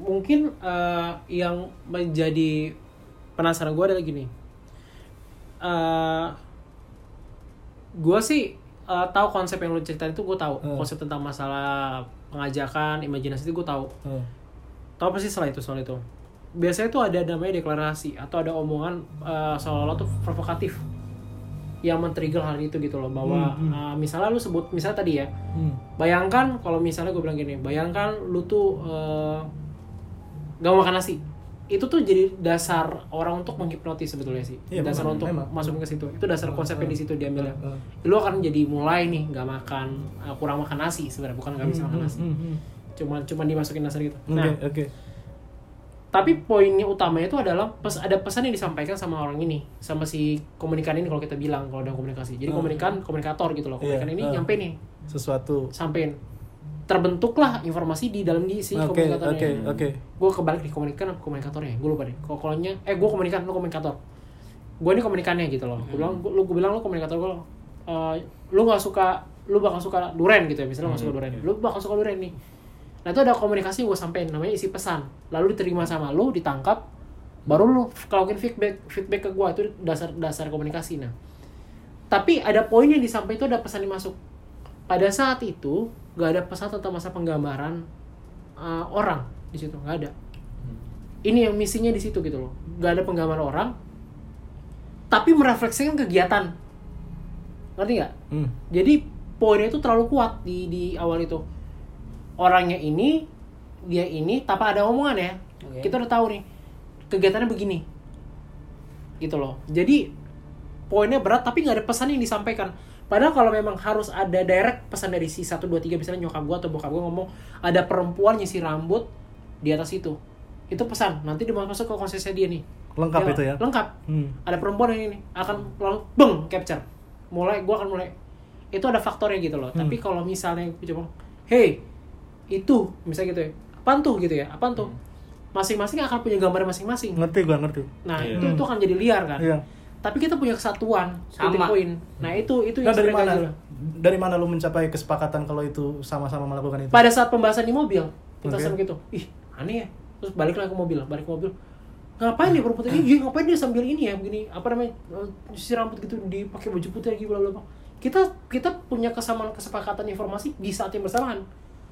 Speaker 1: mungkin eh, yang menjadi penasaran gue adalah gini. eh gue sih eh, tahu konsep yang lu ceritain itu gue tahu
Speaker 3: Hmm.
Speaker 1: konsep tentang masalah pengajakan, imajinasi itu gue tahu.
Speaker 3: Hmm.
Speaker 1: Tahu pasti setelah itu soal itu. Biasanya tuh ada namanya deklarasi atau ada omongan eh, seolah-olah tuh provokatif yang men-trigger hal itu gitu loh bahwa
Speaker 3: Hmm, hmm.
Speaker 1: eh, misalnya lu sebut misalnya tadi ya bayangkan kalau misalnya gue bilang gini bayangkan lu tuh eh, gak mau makan nasi itu tuh jadi dasar orang untuk menghipnotis sebetulnya sih
Speaker 3: Iya,
Speaker 1: dasar
Speaker 3: memang,
Speaker 1: untuk
Speaker 3: memang.
Speaker 1: masuk ke situ itu dasar konsepnya di situ diambilnya
Speaker 3: Hmm.
Speaker 1: lu akan jadi mulai nih gak makan eh, kurang makan nasi sebenarnya bukan gak bisa makan nasi
Speaker 3: Hmm, hmm.
Speaker 1: cuman cuman dimasukin dasar gitu
Speaker 3: Oke,
Speaker 1: nah
Speaker 3: oke.
Speaker 1: tapi poinnya utamanya itu adalah pes- ada pesan yang disampaikan sama orang ini sama si komunikan ini kalau kita bilang kalau dalam komunikasi jadi
Speaker 3: Hmm.
Speaker 1: komunikan komunikator gitu loh
Speaker 3: Iya,
Speaker 1: komunikan ini
Speaker 3: hmm.
Speaker 1: nyampe nih
Speaker 3: Sesuatu.
Speaker 1: sampein terbentuklah informasi di dalam di si ya.
Speaker 3: Oke,
Speaker 1: komunikatornya
Speaker 3: oke, oke.
Speaker 1: gue kebalik di komunikan apa komunikatornya gue lupa deh kokolnya eh gue komunikan lu komunikator gue ini komunikannya gitu loh gue bilang gua- lu gue bilang lu komunikator gue lu nggak suka lu bakal suka duren gitu ya misalnya nggak suka duren lu bakal suka duren nih nah itu ada komunikasi gue sampein namanya isi pesan lalu diterima sama lu ditangkap baru lu kelakuin feedback feedback ke gue itu dasar dasar komunikasi nah tapi ada poin yang disampaikan itu ada pesan yang masuk pada saat itu nggak ada pesan tentang masa penggambaran uh, orang di situ nggak ada ini yang misinya di situ gitu loh nggak ada penggambaran orang tapi merefleksikan kegiatan ngerti nggak
Speaker 3: Hmm.
Speaker 1: jadi poinnya itu terlalu kuat di di awal itu orangnya ini dia ini tanpa ada omongan ya
Speaker 2: Oke.
Speaker 1: kita udah tahu nih kegiatannya begini gitu loh jadi poinnya berat tapi nggak ada pesan yang disampaikan padahal kalau memang harus ada direct pesan dari si 1, 2, 3 misalnya nyokap gua atau bokap gua ngomong ada perempuan nyisir rambut di atas itu itu pesan nanti dimasuk ke konsesnya dia nih
Speaker 3: Lengkap itu ya.
Speaker 1: lengkap
Speaker 3: Hmm.
Speaker 1: ada perempuan yang ini akan langsung beng capture mulai gua akan mulai itu ada faktornya gitu loh
Speaker 3: Hmm.
Speaker 1: tapi kalau misalnya gue cuma hey itu misalnya gitu ya apaan tuh gitu ya apaan tuh masing-masing akan punya gambar masing-masing
Speaker 3: Hmm. Ngerti gua, ngerti.
Speaker 1: nah
Speaker 4: Iya.
Speaker 1: itu itu akan jadi liar kan
Speaker 3: Iya.
Speaker 1: tapi kita punya kesatuan titik
Speaker 2: Sama.
Speaker 1: poin nah itu itu gitu
Speaker 3: Nah, dari
Speaker 1: sering
Speaker 3: mana?
Speaker 1: aja lah.
Speaker 3: Dari mana lu mencapai kesepakatan kalau itu sama-sama melakukan itu?
Speaker 1: pada saat pembahasan di mobil kita
Speaker 3: Oke.
Speaker 1: sering gitu ih aneh ya terus baliklah ke mobil balik ke mobil ngapain ya perempuan ini Ih, ngapain dia sambil ini ya begini apa namanya eh, sisir rambut gitu dipakai baju putih lagi bla bla bla kita kita punya kesamaan kesepakatan informasi di saat yang bersamaan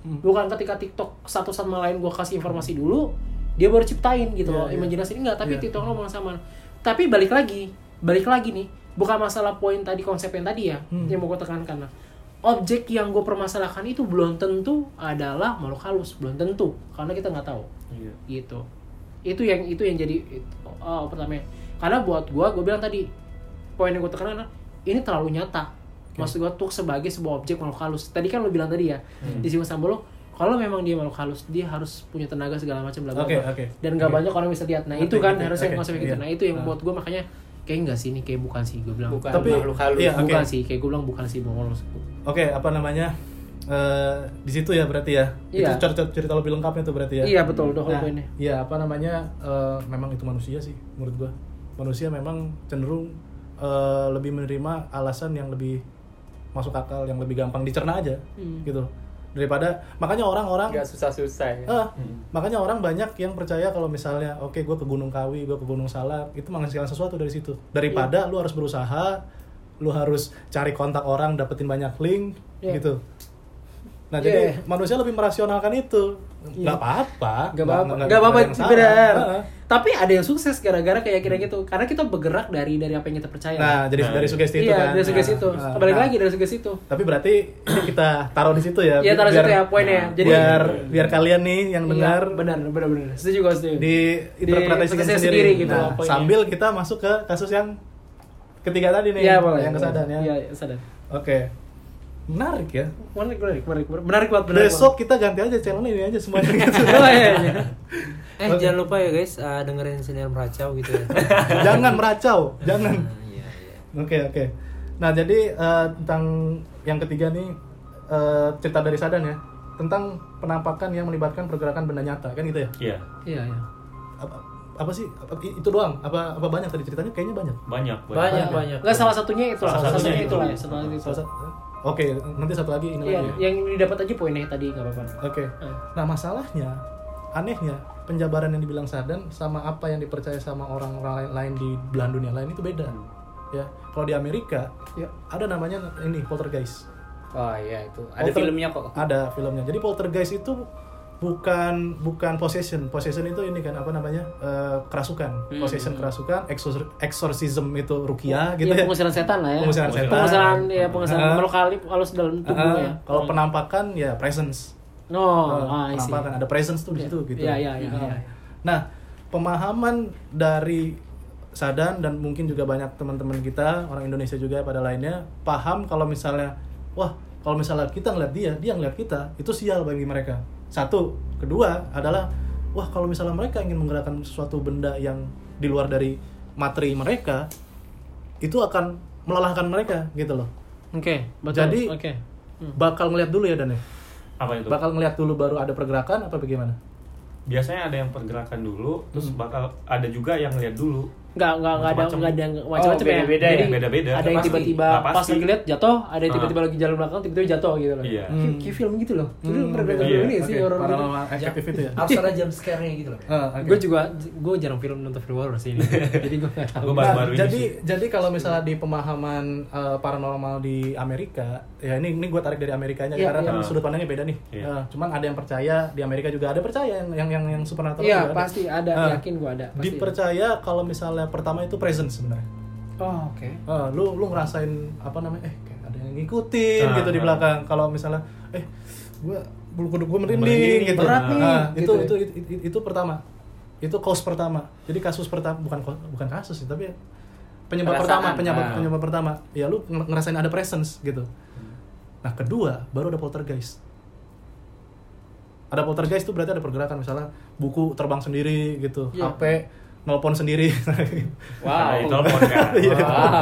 Speaker 3: Hmm.
Speaker 1: bukan ketika TikTok satu sama lain gua kasih informasi dulu dia baru ciptain gitu
Speaker 3: Iya,
Speaker 1: loh
Speaker 3: iya.
Speaker 1: imajinasi enggak tapi
Speaker 3: Iya.
Speaker 1: TikTok ngomong sama tapi balik lagi balik lagi nih bukan masalah poin tadi konsep yang tadi ya
Speaker 3: Hmm.
Speaker 1: yang mau gue tekankan nah objek yang gue permasalahkan itu belum tentu adalah makhluk halus belum tentu karena kita nggak tahu
Speaker 4: Iya.
Speaker 1: gitu itu yang itu yang jadi itu, oh, pertamanya karena buat gue gue bilang tadi poin yang gue tekankan adalah, ini terlalu nyata maksud gue tuh sebagai sebuah objek makhluk halus tadi kan lo bilang tadi ya
Speaker 3: Hmm.
Speaker 1: di sini sama lo kalau memang dia makhluk halus dia harus punya tenaga segala macam bla bla
Speaker 3: Oke,
Speaker 1: bla.
Speaker 3: oke.
Speaker 1: dan nggak
Speaker 3: Oke.
Speaker 1: banyak orang bisa lihat nah
Speaker 3: Ngerti,
Speaker 1: itu kan
Speaker 3: ngerti.
Speaker 1: harusnya
Speaker 3: Oke,
Speaker 1: konsep gitu
Speaker 3: iya.
Speaker 1: nah itu yang
Speaker 3: Ah.
Speaker 1: buat gue makanya kayak nggak sih ini kayak bukan sih gue bilang
Speaker 2: bukan
Speaker 3: Tapi-
Speaker 2: makhluk halus
Speaker 3: iya.
Speaker 1: bukan
Speaker 3: oke.
Speaker 1: sih kayak gue bilang bukan sih bongol
Speaker 3: Oke, apa namanya? Eh, di situ ya berarti ya.
Speaker 1: Iya.
Speaker 3: Itu cerita cerita lebih lengkapnya tuh berarti ya.
Speaker 1: iya betul dong
Speaker 3: Nah,
Speaker 1: poinnya
Speaker 3: iya apa namanya? eh, memang itu manusia sih menurut gua. Manusia memang cenderung eh, lebih menerima alasan yang lebih masuk akal, yang lebih gampang dicerna aja,
Speaker 1: Hmm. Iya.
Speaker 3: gitu. Daripada makanya orang-orang
Speaker 2: nggak susah-susah
Speaker 1: Eh.
Speaker 2: ya.
Speaker 3: Ah, makanya orang banyak yang percaya kalau misalnya oke gue ke Gunung Kawi, gue ke Gunung Salak, itu menghasilkan sesuatu dari situ.
Speaker 1: Iya.
Speaker 3: Daripada lu harus berusaha, lu harus cari kontak orang, dapetin banyak link
Speaker 1: Iya.
Speaker 3: gitu. Nah,
Speaker 1: Iya,
Speaker 3: jadi
Speaker 1: iya.
Speaker 3: manusia lebih merasionalkan itu.
Speaker 1: Iya.
Speaker 3: Nggak apa-apa.
Speaker 1: Gak apa-apa,
Speaker 3: nggak-
Speaker 1: gak apa-apa,
Speaker 3: nggak ada yang salah. Ah,
Speaker 1: benar.
Speaker 3: Heeh.
Speaker 1: Tapi ada yang sukses gara-gara kayak kira gitu, karena kita bergerak dari dari apa yang kita percaya.
Speaker 3: Nah, jadi
Speaker 4: Nah.
Speaker 3: dari sugesti itu
Speaker 1: iya,
Speaker 3: kan.
Speaker 1: dari sugesti
Speaker 3: Nah,
Speaker 1: itu.
Speaker 3: nah,
Speaker 1: Kembali
Speaker 3: nah.
Speaker 1: lagi dari sugesti itu.
Speaker 3: Tapi berarti ini kita taruh di situ ya.
Speaker 1: Iya,
Speaker 3: bi-
Speaker 1: taruh
Speaker 3: biar-
Speaker 1: situ ya poinnya.
Speaker 4: nah,
Speaker 1: Jadi
Speaker 3: biar
Speaker 4: Iya.
Speaker 3: biar kalian nih yang
Speaker 1: Iya,
Speaker 3: dengar
Speaker 1: benar, benar, benar. Setuju gue setuju.
Speaker 3: di interpretasikan
Speaker 1: interpretasi
Speaker 3: sendiri,
Speaker 1: sendiri gitu
Speaker 3: Nah,
Speaker 1: loh, poinnya.
Speaker 3: sambil kita masuk ke kasus yang ketiga tadi nih
Speaker 1: Iya, boleh.
Speaker 3: yang kesadaran ya
Speaker 1: Iya, iya, sadar.
Speaker 3: oke menarik ya
Speaker 1: Menarik, menarik, menarik, menarik, menarik banget, menarik
Speaker 3: besok kita ganti aja channel ini aja semuanya gitu.
Speaker 1: banget. Oh, iya, iya.
Speaker 5: Eh jangan lupa ya guys eh, dengerin senior meracau gitu ya.
Speaker 3: jangan meracau jangan
Speaker 5: Nah, iya, iya.
Speaker 3: oke oke nah jadi eh, tentang yang ketiga nih eh, cerita dari Sadan ya tentang penampakan yang melibatkan pergerakan benda nyata kan gitu ya
Speaker 4: Iya,
Speaker 1: Iya, iya.
Speaker 3: apa, apa sih Apa- itu doang apa apa banyak tadi ceritanya kayaknya banyak
Speaker 4: banyak.
Speaker 5: Banyak banyak.
Speaker 1: Enggak salah satunya itu,
Speaker 4: Salah
Speaker 1: salah
Speaker 4: satunya
Speaker 1: satunya itu,
Speaker 4: itu.
Speaker 1: ya, salah satunya itu.
Speaker 3: Salah satu- eh, oke nanti satu lagi ini
Speaker 1: Iya,
Speaker 3: lagi ya.
Speaker 1: yang didapat aja poinnya tadi nggak apa-apa.
Speaker 3: Oke.
Speaker 1: Hmm.
Speaker 3: Nah masalahnya, anehnya penjabaran yang dibilang Sadan sama apa yang dipercaya sama orang-orang lain, lain di belahan dunia lain itu beda. Ya, kalau di Amerika ya ada namanya ini poltergeist.
Speaker 2: Oh iya itu. Ada
Speaker 3: Polter-
Speaker 2: filmnya kok.
Speaker 3: Ada filmnya. Jadi poltergeist itu bukan bukan possession. Possession itu ini kan apa namanya eh, kerasukan.
Speaker 2: Hmm.
Speaker 3: Possession kerasukan, exor- exorcism itu rukia gitu
Speaker 1: Iya,
Speaker 3: ya.
Speaker 1: pengusiran setan lah ya.
Speaker 3: Pengusiran setan.
Speaker 1: Pengusiran, ya pengusiran
Speaker 3: Ah.
Speaker 1: makhluk halus- halus dalam tubuhnya.
Speaker 3: Ah, kalau penampakan ya
Speaker 1: ya.
Speaker 3: presence.
Speaker 1: No,
Speaker 3: Eh,
Speaker 1: ah, I see.
Speaker 3: penampakan ada presence tuh di situ gitu.
Speaker 1: Iya, iya, iya,
Speaker 3: Nah,
Speaker 1: iya.
Speaker 3: Nah, pemahaman dari Sadan dan mungkin juga banyak teman-teman kita orang Indonesia juga pada lainnya paham kalau misalnya wah kalau misalnya kita ngeliat dia dia ngeliat kita itu sial bagi mereka satu kedua adalah wah kalau misalnya mereka ingin menggerakkan sesuatu benda yang di luar dari materi mereka itu akan melelahkan mereka gitu loh
Speaker 1: Oke, betul.
Speaker 3: Jadi,
Speaker 1: oke. Hmm.
Speaker 3: bakal ngeliat dulu ya Dan ya?
Speaker 4: Apa itu?
Speaker 3: bakal ngeliat dulu baru ada pergerakan apa bagaimana
Speaker 4: Biasanya ada yang pergerakan dulu, terus bakal ada juga yang lihat dulu.
Speaker 1: Enggak, enggak, enggak ada
Speaker 4: Macam-macam.
Speaker 1: enggak ada macam-macam ya.
Speaker 2: beda-beda ya?
Speaker 1: Jadi,
Speaker 4: Beda-beda,
Speaker 1: Ada yang
Speaker 4: pasti.
Speaker 1: tiba-tiba
Speaker 4: Nggak
Speaker 1: pas
Speaker 4: pasti.
Speaker 1: lagi lihat jatuh, ada yang
Speaker 4: Ah.
Speaker 1: tiba-tiba lagi jalan belakang tiba-tiba jatuh gitu loh.
Speaker 4: Iya.
Speaker 1: Kayak, kayak film gitu loh. Itu
Speaker 3: Hmm,
Speaker 1: pernah
Speaker 4: iya.
Speaker 1: film ini nggak sih
Speaker 3: Oke,
Speaker 1: horor gitu.
Speaker 3: paranormal efektif itu ya
Speaker 5: Harus ada jump scare-nya gitu loh.
Speaker 3: Ah, oke.
Speaker 1: Gue juga gue jarang film nonton film horor sih ini. Jadi gue enggak tahu.
Speaker 4: Gue
Speaker 3: Nah,
Speaker 4: baru-baru ini
Speaker 3: jadi
Speaker 4: sih.
Speaker 3: jadi kalau misalnya di pemahaman eh, paranormal di Amerika, ya ini ini gue tarik dari Amerikanya
Speaker 1: Iya,
Speaker 3: karena
Speaker 1: iya.
Speaker 3: kan sudut pandangnya beda nih.
Speaker 4: Iya.
Speaker 3: Eh, cuman ada yang percaya di Amerika juga ada percaya yang yang yang, yang supernatural.
Speaker 1: Iya,
Speaker 3: juga ada.
Speaker 1: pasti ada,
Speaker 3: Ah.
Speaker 1: yakin gue ada. Pasti.
Speaker 3: Dipercaya kalau misalnya pertama itu presence sebenarnya.
Speaker 1: Oh, oke.
Speaker 3: Eh, lu lu ngerasain apa namanya? Eh, kayak ada yang ngikutin
Speaker 4: Ah,
Speaker 3: gitu di
Speaker 4: ah.
Speaker 3: belakang. Kalau misalnya eh gua bulu kuduk gua merinding
Speaker 4: Merinding,
Speaker 3: gitu.
Speaker 4: berat
Speaker 3: Ah,
Speaker 1: nih,
Speaker 3: itu,
Speaker 1: gitu
Speaker 3: itu, itu itu itu pertama. Itu cause pertama. Jadi kasus pertama bukan ko- bukan kasus sih, tapi penyebab
Speaker 2: Perasaan,
Speaker 3: pertama, penyebab
Speaker 2: ah.
Speaker 3: penyebab pertama. Ya lu ng- ngerasain ada presence gitu. Nah, kedua baru ada poltergeist. Ada poltergeist itu berarti ada pergerakan misalnya buku terbang sendiri gitu,
Speaker 1: Iya.
Speaker 3: HP nelpon sendiri.
Speaker 2: Wow. Iya. Gitu.
Speaker 4: Nah, ditelepon kan.
Speaker 1: Iya.
Speaker 2: Wow.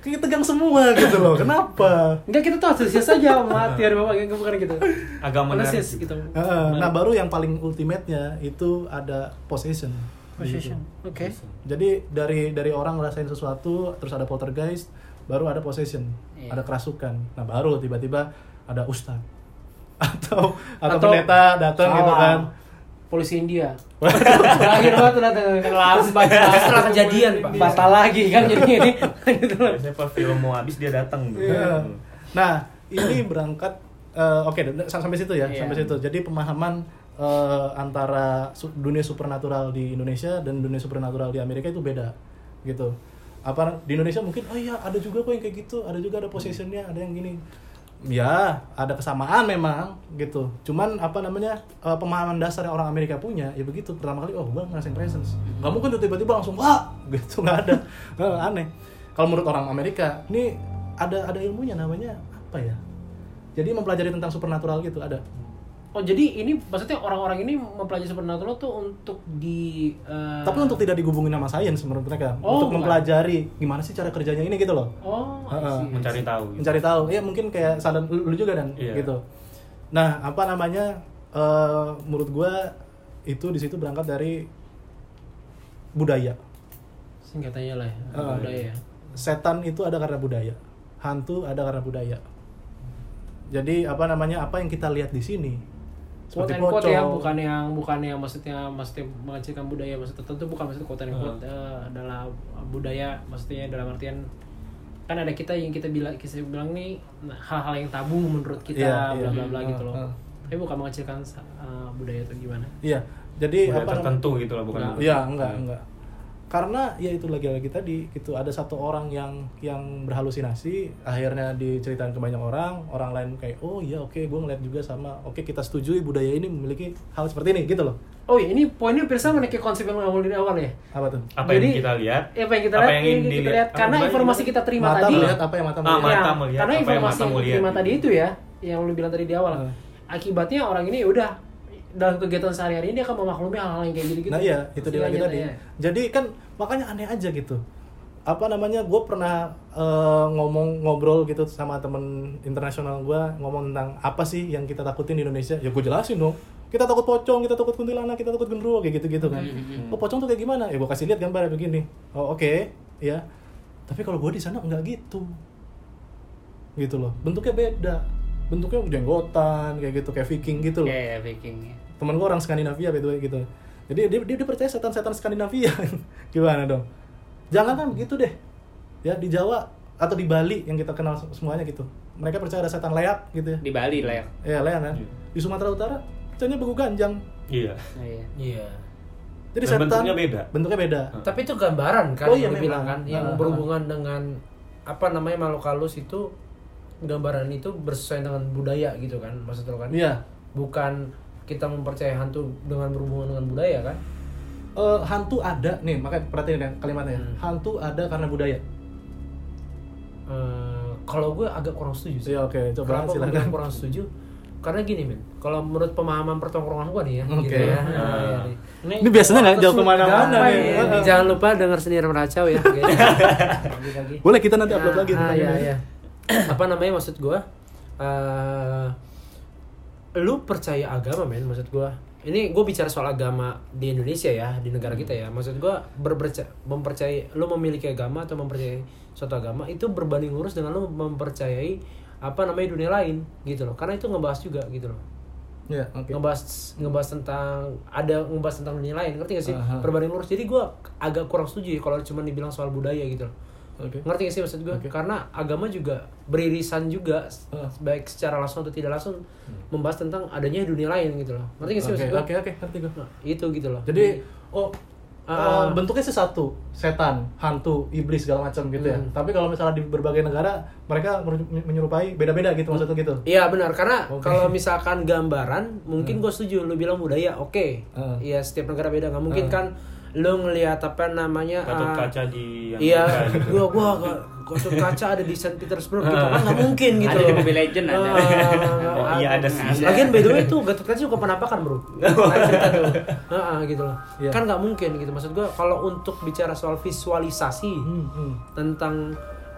Speaker 3: Kayak tegang semua gitu loh. Kenapa?
Speaker 1: Enggak kita tuh antusias aja sama teori bapak kayak bukan gitu.
Speaker 4: Agak menarik.
Speaker 1: Antusias gitu.
Speaker 3: Nah, Heeh, nah baru yang paling ultimate-nya itu ada possession.
Speaker 1: Possession. Oke.
Speaker 3: Jadi dari dari orang ngerasain sesuatu, terus ada poltergeist, baru ada possession,
Speaker 2: Iya.
Speaker 3: ada kerasukan. Nah baru tiba-tiba ada ustadz atau atau,
Speaker 1: Atau-
Speaker 3: pendeta datang gitu
Speaker 1: Salah.
Speaker 3: kan.
Speaker 1: Polisi India. Terakhir banget udah kelas
Speaker 5: Setelah kejadian, Pak.
Speaker 1: Batal lagi kan jadi ini.
Speaker 4: Biasanya pas film mau habis dia datang gitu.
Speaker 3: Iya. Nah ini berangkat eh, oke d- sam- sampai situ ya
Speaker 2: Iya.
Speaker 3: sampai situ. Jadi pemahaman eh, antara su- dunia supernatural di Indonesia dan dunia supernatural di Amerika itu beda gitu. Apa di Indonesia mungkin oh iya ada juga kok yang kayak gitu, ada juga ada possessionnya, ada yang gini. Ya, ada kesamaan memang gitu. Cuman apa namanya eh, pemahaman dasar yang orang Amerika punya ya begitu. Pertama kali oh gua ngerasain presence. Gak mungkin tuh tiba-tiba langsung wah gitu nggak ada. Eh, aneh. Kalau menurut orang Amerika, ini ada ada ilmunya namanya apa ya? Jadi mempelajari tentang supernatural gitu ada.
Speaker 1: Oh jadi ini maksudnya orang-orang ini mempelajari supernatural tuh untuk di eh,
Speaker 3: Tapi untuk tidak digubungin sama sains menurut mereka.
Speaker 1: Oh,
Speaker 3: untuk
Speaker 1: bukan.
Speaker 3: mempelajari gimana sih cara kerjanya ini gitu loh.
Speaker 1: Oh, I
Speaker 3: Heeh.
Speaker 1: see.
Speaker 4: Mencari tahu. gitu.
Speaker 3: mencari tahu ya mungkin kayak saran lu, lu juga dan
Speaker 4: Iya.
Speaker 3: gitu nah apa namanya eh, menurut gua itu di situ berangkat dari budaya
Speaker 1: singkat aja lah ya.
Speaker 3: Heeh.
Speaker 1: Udah ya.
Speaker 3: setan itu ada karena budaya hantu ada karena budaya jadi apa namanya apa yang kita lihat di sini
Speaker 1: Quote
Speaker 3: seperti
Speaker 1: and quote ya,
Speaker 3: pocong.
Speaker 1: bukan yang bukan yang maksudnya maksudnya mengecilkan budaya maksud tertentu bukan maksud quote and
Speaker 3: Nah.
Speaker 1: quote eh, adalah budaya maksudnya dalam artian kan ada kita yang kita bilang kita bilang nih nah, hal-hal yang tabu menurut kita
Speaker 3: Iya, iya.
Speaker 1: bla bla bla gitu loh.
Speaker 3: Heeh.
Speaker 1: Tapi bukan mengecilkan eh, budaya atau gimana.
Speaker 3: iya jadi
Speaker 4: Budaya
Speaker 3: apa namanya-
Speaker 4: tertentu gitu lah bukan.
Speaker 3: Iya, enggak, enggak. Karena ya itu lagi-lagi tadi gitu ada satu orang yang yang berhalusinasi akhirnya diceritain ke banyak orang, orang lain kayak oh iya oke gue ngeliat juga sama. Oke kita setujui budaya ini memiliki hal seperti ini gitu loh.
Speaker 1: Oh ya ini poinnya Pirsa menaiki konsep yang awal dari awal ya.
Speaker 3: Apa tuh?
Speaker 4: Apa
Speaker 1: Jadi,
Speaker 4: yang kita lihat?
Speaker 1: Ya, apa yang kita
Speaker 4: Apa
Speaker 1: lihat,
Speaker 4: yang
Speaker 1: ini
Speaker 4: ingin
Speaker 1: kita
Speaker 4: dilihat?
Speaker 1: lihat.
Speaker 4: Apa
Speaker 1: karena
Speaker 4: yang
Speaker 1: informasi
Speaker 4: dilihat?
Speaker 1: kita terima
Speaker 3: mata
Speaker 1: tadi
Speaker 3: melihat apa yang mata
Speaker 4: Ah,
Speaker 3: melihat.
Speaker 4: mata
Speaker 1: Ya, karena
Speaker 4: melihat apa yang
Speaker 1: informasi
Speaker 4: mata
Speaker 1: yang
Speaker 4: melihat. Ah.
Speaker 1: diterima tadi itu ya yang lu bilang tadi di awal
Speaker 3: Hmm.
Speaker 1: akibatnya orang ini udah dalam kegiatan sehari-hari dia akan memaklumi hal-hal yang kayak gini gitu
Speaker 3: Nah iya, itu dia lagi
Speaker 1: Iya,
Speaker 3: tadi.
Speaker 1: iya.
Speaker 3: Jadi kan makanya aneh aja gitu. Apa namanya? Gue pernah eh, ngomong ngobrol gitu sama temen internasional gue ngomong tentang apa sih yang kita takutin di Indonesia? Ya gue jelasin dong. Kita takut pocong, kita takut kuntilanak, kita takut genderuwo kayak gitu-gitu kan.
Speaker 1: Hmm,
Speaker 3: Oh pocong tuh kayak gimana? Ya gue kasih lihat gambarnya begini. Oh oke, ya. Tapi kalau gue di sana nggak gitu gitu loh bentuknya beda bentuknya jenggotan kayak gitu kayak Viking gitu loh
Speaker 2: Iya, ya, Viking.
Speaker 3: temen gue orang Skandinavia by the way gitu jadi dia, dia, dia percaya setan-setan Skandinavia gimana dong jangan kan begitu deh ya di Jawa atau di Bali yang kita kenal semuanya gitu mereka percaya ada setan leak gitu ya
Speaker 2: Di Bali lah ya.
Speaker 3: ya leak kan
Speaker 4: Iya.
Speaker 3: di Sumatera Utara percayanya begu ganjang
Speaker 4: Iya.
Speaker 2: Oh, iya.
Speaker 5: Iya.
Speaker 3: jadi
Speaker 4: Dan
Speaker 3: setan
Speaker 4: bentuknya beda.
Speaker 3: bentuknya beda
Speaker 5: Tapi itu gambaran kan
Speaker 3: Oh, iya,
Speaker 5: yang
Speaker 3: memang.
Speaker 5: dibilang kan yang
Speaker 3: Nah,
Speaker 5: berhubungan dengan apa namanya makhluk halus itu gambaran itu bersesuaian dengan budaya gitu kan maksud lo kan?
Speaker 3: iya
Speaker 5: Bukan kita mempercayai hantu dengan berhubungan dengan budaya kan?
Speaker 3: Eh, hantu ada nih makanya perhatiin ya kalimatnya
Speaker 4: Hmm.
Speaker 3: ya. hantu ada karena budaya
Speaker 5: Eh, kalau gue agak kurang setuju sih.
Speaker 3: iya oke coba
Speaker 5: Kenapa gue
Speaker 3: silakan
Speaker 5: bilang kurang setuju? Karena gini men, kalau menurut pemahaman pertongkrongan gue nih ya,
Speaker 3: Oke.
Speaker 5: gitu ya.
Speaker 4: Ah.
Speaker 3: ini biasanya nggak jauh kemana-mana nih
Speaker 5: Gampang ya.
Speaker 3: Heeh.
Speaker 5: Jangan lupa dengar sendiri meracau ya. guys. Lagi-lagi.
Speaker 3: boleh kita nanti upload lagi
Speaker 5: Ah,
Speaker 3: tentang
Speaker 4: iya,
Speaker 5: ya,
Speaker 3: ini.
Speaker 5: ya. apa namanya maksud gua eh, lu percaya agama men maksud gua ini gue bicara soal agama di Indonesia ya di negara kita ya maksud gua berperca mempercayai lu memiliki agama atau mempercayai suatu agama itu berbanding lurus dengan lu mempercayai apa namanya dunia lain gitu loh karena itu ngebahas juga gitu loh
Speaker 3: Iya, oke
Speaker 5: ngebahas ngebahas tentang ada ngebahas tentang dunia lain ngerti gak sih
Speaker 3: Aha.
Speaker 5: berbanding lurus jadi gua agak kurang setuju ya kalau cuma dibilang soal budaya gitu loh
Speaker 3: oke
Speaker 5: ngerti gak sih maksud gue?
Speaker 3: Oke.
Speaker 5: Karena agama juga beririsan juga s-
Speaker 3: Ah.
Speaker 5: baik secara langsung atau tidak langsung membahas tentang adanya dunia lain gitu loh. Ngerti gak sih
Speaker 3: Hmm. Oke,
Speaker 5: maksud gue?
Speaker 3: oke, oke, ngerti gue.
Speaker 5: Nah, itu gitu loh.
Speaker 3: Jadi, oh,
Speaker 5: Ah.
Speaker 3: eh, bentuknya sih satu, setan, hantu, iblis segala macam gitu ya.
Speaker 5: Hmm.
Speaker 3: Tapi kalau misalnya di berbagai negara, mereka meru- menyerupai beda-beda gitu maksudnya gitu.
Speaker 5: Iya benar karena
Speaker 3: Oke.
Speaker 5: kalau misalkan gambaran mungkin gue setuju lu bilang budaya oke
Speaker 3: Ah.
Speaker 5: Iya setiap negara beda nggak
Speaker 3: Ah.
Speaker 5: mungkin kan lu ngelihat apa namanya
Speaker 4: Gatot
Speaker 5: ah,
Speaker 4: kaca di
Speaker 3: Kan
Speaker 5: Iya,
Speaker 4: Amerika gitu.
Speaker 5: gua gua ga- gatot kaca ada di Saint Petersburg gitu
Speaker 3: Ah.
Speaker 5: kan nggak mungkin gitu.
Speaker 2: Ada di
Speaker 5: loh.
Speaker 2: Mobile Legend, ada.
Speaker 1: Eh,
Speaker 5: Ah,
Speaker 4: Oh, iya, ada sih.
Speaker 5: Lagian by the way itu gatot kaca juga penampakan bro. Nah, cerita tuh. Heeh, gitu loh.
Speaker 3: Iya.
Speaker 5: Kan nggak mungkin gitu. Maksud gua kalau untuk bicara soal visualisasi
Speaker 3: Hmm, hmm.
Speaker 5: tentang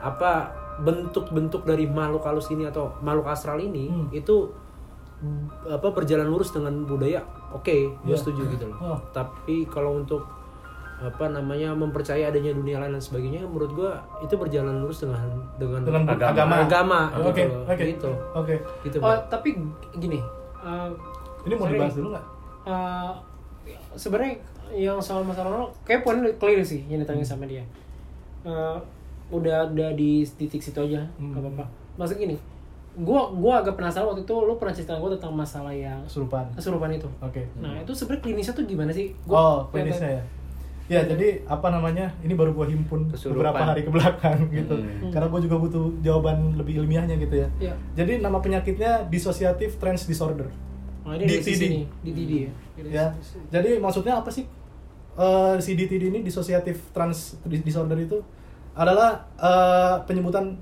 Speaker 5: apa bentuk-bentuk dari makhluk halus ini atau makhluk astral ini
Speaker 3: Hmm.
Speaker 5: itu mm, apa berjalan lurus dengan budaya oke gue
Speaker 3: Iya.
Speaker 5: setuju gitu loh
Speaker 3: Oh.
Speaker 5: tapi kalau untuk apa namanya mempercayai adanya dunia lain dan sebagainya menurut gua itu berjalan lurus dengan dengan,
Speaker 3: Dengan
Speaker 4: Agama.
Speaker 3: agama.
Speaker 5: agama gitu
Speaker 3: Oke,
Speaker 5: loh.
Speaker 3: oke.
Speaker 5: gitu
Speaker 3: Oke.
Speaker 5: gitu
Speaker 1: Oh,
Speaker 5: Bang.
Speaker 1: tapi gini. eh,
Speaker 3: Ini mau
Speaker 1: sorry
Speaker 3: dibahas
Speaker 1: nih.
Speaker 3: dulu nggak?
Speaker 1: Eh, sebenarnya yang soal masalah Ronaldo kayak poinnya clear sih yang ditanya
Speaker 4: Hmm.
Speaker 1: sama dia Eh, udah udah di titik situ aja
Speaker 3: Hmm.
Speaker 1: nggak apa-apa maksud gini gua gua agak penasaran waktu itu lu pernah cerita gua tentang masalah yang
Speaker 3: Kesurupan.
Speaker 1: kesurupan itu
Speaker 3: Oke.
Speaker 1: nah itu sebenarnya klinisnya tuh gimana sih
Speaker 3: Hmm. oh,
Speaker 1: Gua-
Speaker 3: klinisnya ya. Ya, jadi apa namanya? Ini baru gua himpun
Speaker 2: Kesurupan.
Speaker 3: beberapa hari ke belakang gitu.
Speaker 2: Hmm.
Speaker 3: Karena gua juga butuh jawaban lebih ilmiahnya gitu ya.
Speaker 1: Iya.
Speaker 3: Jadi nama penyakitnya dissociative trans disorder.
Speaker 1: Nah, ini dari
Speaker 3: DTD.
Speaker 1: sini DTD ya
Speaker 2: gitu
Speaker 3: ya jadi maksudnya apa sih Eh, CDTD ini dissociative trans disorder itu adalah eh, penyebutan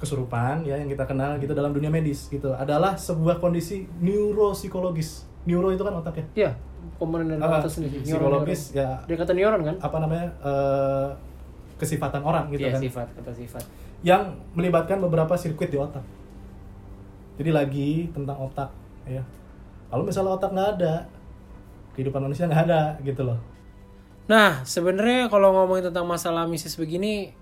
Speaker 3: kesurupan ya yang kita kenal gitu dalam dunia medis gitu adalah sebuah kondisi neuropsikologis neuro itu kan otak ya
Speaker 1: Iya, komponen dari
Speaker 3: Ah,
Speaker 1: atas sendiri neuron,
Speaker 3: psikologis
Speaker 1: neuron.
Speaker 3: ya
Speaker 1: dia kata neuron kan
Speaker 3: apa namanya eh, kesifatan orang gitu
Speaker 2: Iya,
Speaker 3: kan
Speaker 2: sifat kata sifat
Speaker 3: yang melibatkan beberapa sirkuit di otak. Jadi lagi tentang otak, ya. Kalau misalnya otak nggak ada, kehidupan manusia nggak ada gitu loh.
Speaker 1: Nah, sebenarnya kalau ngomongin tentang masalah misis begini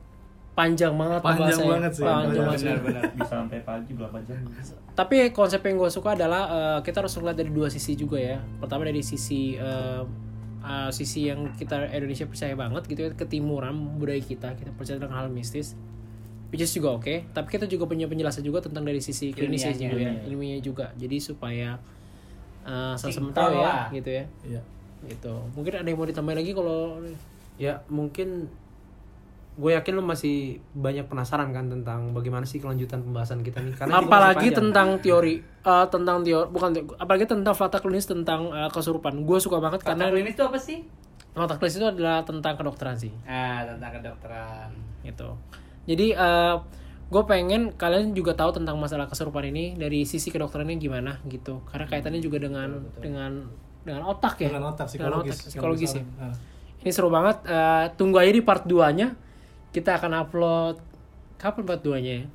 Speaker 1: panjang banget
Speaker 3: Panjang
Speaker 5: ya.
Speaker 1: pembahasannya.
Speaker 3: banget sih.
Speaker 1: Panjang banget sih.
Speaker 4: benar-benar bisa sampai pagi berapa jam gitu.
Speaker 1: Tapi konsep yang gue suka adalah eh, kita harus ngeliat dari dua sisi juga ya. Pertama dari sisi eh, eh, sisi yang kita Indonesia percaya banget gitu ya, ketimuran budaya kita, kita percaya tentang hal mistis. Which is juga oke, tapi kita juga punya penjelasan juga tentang dari sisi klinisnya
Speaker 2: Ilmiahnya.
Speaker 1: juga ya, ilmiahnya juga. Jadi supaya eh sama-sama
Speaker 2: Sinkron
Speaker 1: tahu ya,
Speaker 2: lah.
Speaker 1: gitu ya.
Speaker 3: Iya.
Speaker 1: Gitu. Mungkin ada yang mau ditambahin lagi kalau
Speaker 5: ya mungkin gue yakin lo masih banyak penasaran kan tentang bagaimana sih kelanjutan pembahasan kita nih karena ini
Speaker 1: apalagi
Speaker 5: masih panjang.
Speaker 1: tentang teori eh, tentang teori bukan teori- apalagi tentang fakta klinis tentang eh, kesurupan gue suka banget
Speaker 2: karena
Speaker 1: karena
Speaker 2: klinis itu apa sih
Speaker 1: fakta klinis itu adalah tentang kedokteran sih
Speaker 2: ah tentang kedokteran
Speaker 1: gitu jadi gue pengen kalian juga tahu tentang masalah kesurupan ini dari sisi kedokterannya gimana gitu karena kaitannya juga dengan dengan dengan otak ya
Speaker 3: Hmm. Dengan otak
Speaker 1: Dengan
Speaker 3: psikologis.
Speaker 1: otak, psikologis ya
Speaker 3: Yang misalnya, Ah.
Speaker 1: ini seru banget Eh, tunggu aja di part 2 nya kita akan upload kapan part 2 nya ya
Speaker 3: eh,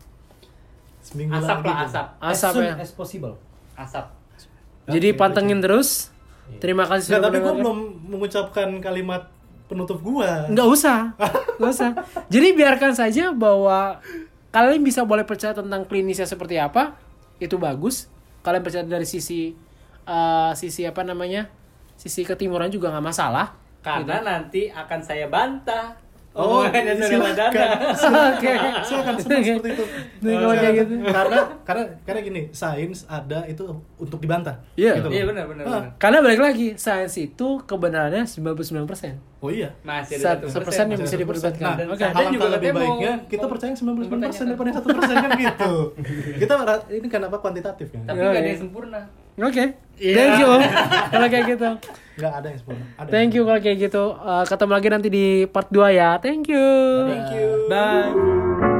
Speaker 3: seminggu
Speaker 2: asap lah
Speaker 3: lagi gitu.
Speaker 2: asap
Speaker 1: asap
Speaker 5: as soon
Speaker 1: ya
Speaker 5: as possible
Speaker 2: asap
Speaker 1: jadi pantengin terus terima kasih
Speaker 3: Iya. Nggak,
Speaker 1: sudah
Speaker 3: tapi gue
Speaker 1: mendengarkan.
Speaker 3: belum mengucapkan kalimat penutup gua.
Speaker 1: Nggak usah, nggak usah. Jadi biarkan saja bahwa kalian bisa boleh percaya tentang klinisnya seperti apa, itu bagus. Kalian percaya dari sisi eh, sisi apa namanya, sisi ketimuran juga nggak masalah.
Speaker 2: karena
Speaker 1: Gitu.
Speaker 2: nanti akan saya bantah
Speaker 3: Oh,
Speaker 2: omongannya Surya Dana
Speaker 3: silakan.
Speaker 1: Gitu. Oke,
Speaker 3: Silakan silakan seperti itu.
Speaker 1: Nih, kalau kayak gitu.
Speaker 3: Karena karena karena gini, sains ada itu untuk dibantah.
Speaker 1: Iya.
Speaker 3: Gitu loh.
Speaker 2: iya benar benar
Speaker 3: Ah.
Speaker 2: benar
Speaker 1: Karena balik lagi, sains itu kebenarannya 99%.
Speaker 3: Oh iya.
Speaker 2: masih
Speaker 1: Sat-
Speaker 2: ada satu
Speaker 1: sepersen yang
Speaker 2: persen.
Speaker 1: bisa diperdebatkan.
Speaker 3: Nah,
Speaker 1: Oke.
Speaker 2: Dan
Speaker 3: alangkah
Speaker 2: juga
Speaker 3: lebih
Speaker 2: katanya
Speaker 3: baiknya
Speaker 2: mau-
Speaker 3: kita percaya 99%
Speaker 2: mempertanyakan.
Speaker 3: daripada satu persen kan gitu. kita ra- ini kan apa kuantitatif kan?
Speaker 2: tapi
Speaker 1: Oh, iya.
Speaker 2: nggak ada yang sempurna
Speaker 1: Oke.
Speaker 3: Iya.
Speaker 1: Thank you. kalau kayak gitu.
Speaker 3: Enggak ada yang sepuluh. Ada
Speaker 1: Thank you
Speaker 3: yang
Speaker 1: kalau kayak gitu. Eh, ketemu lagi nanti di part 2 ya. Thank you.
Speaker 3: Nah, sepuluh. Thank you.
Speaker 1: Bye.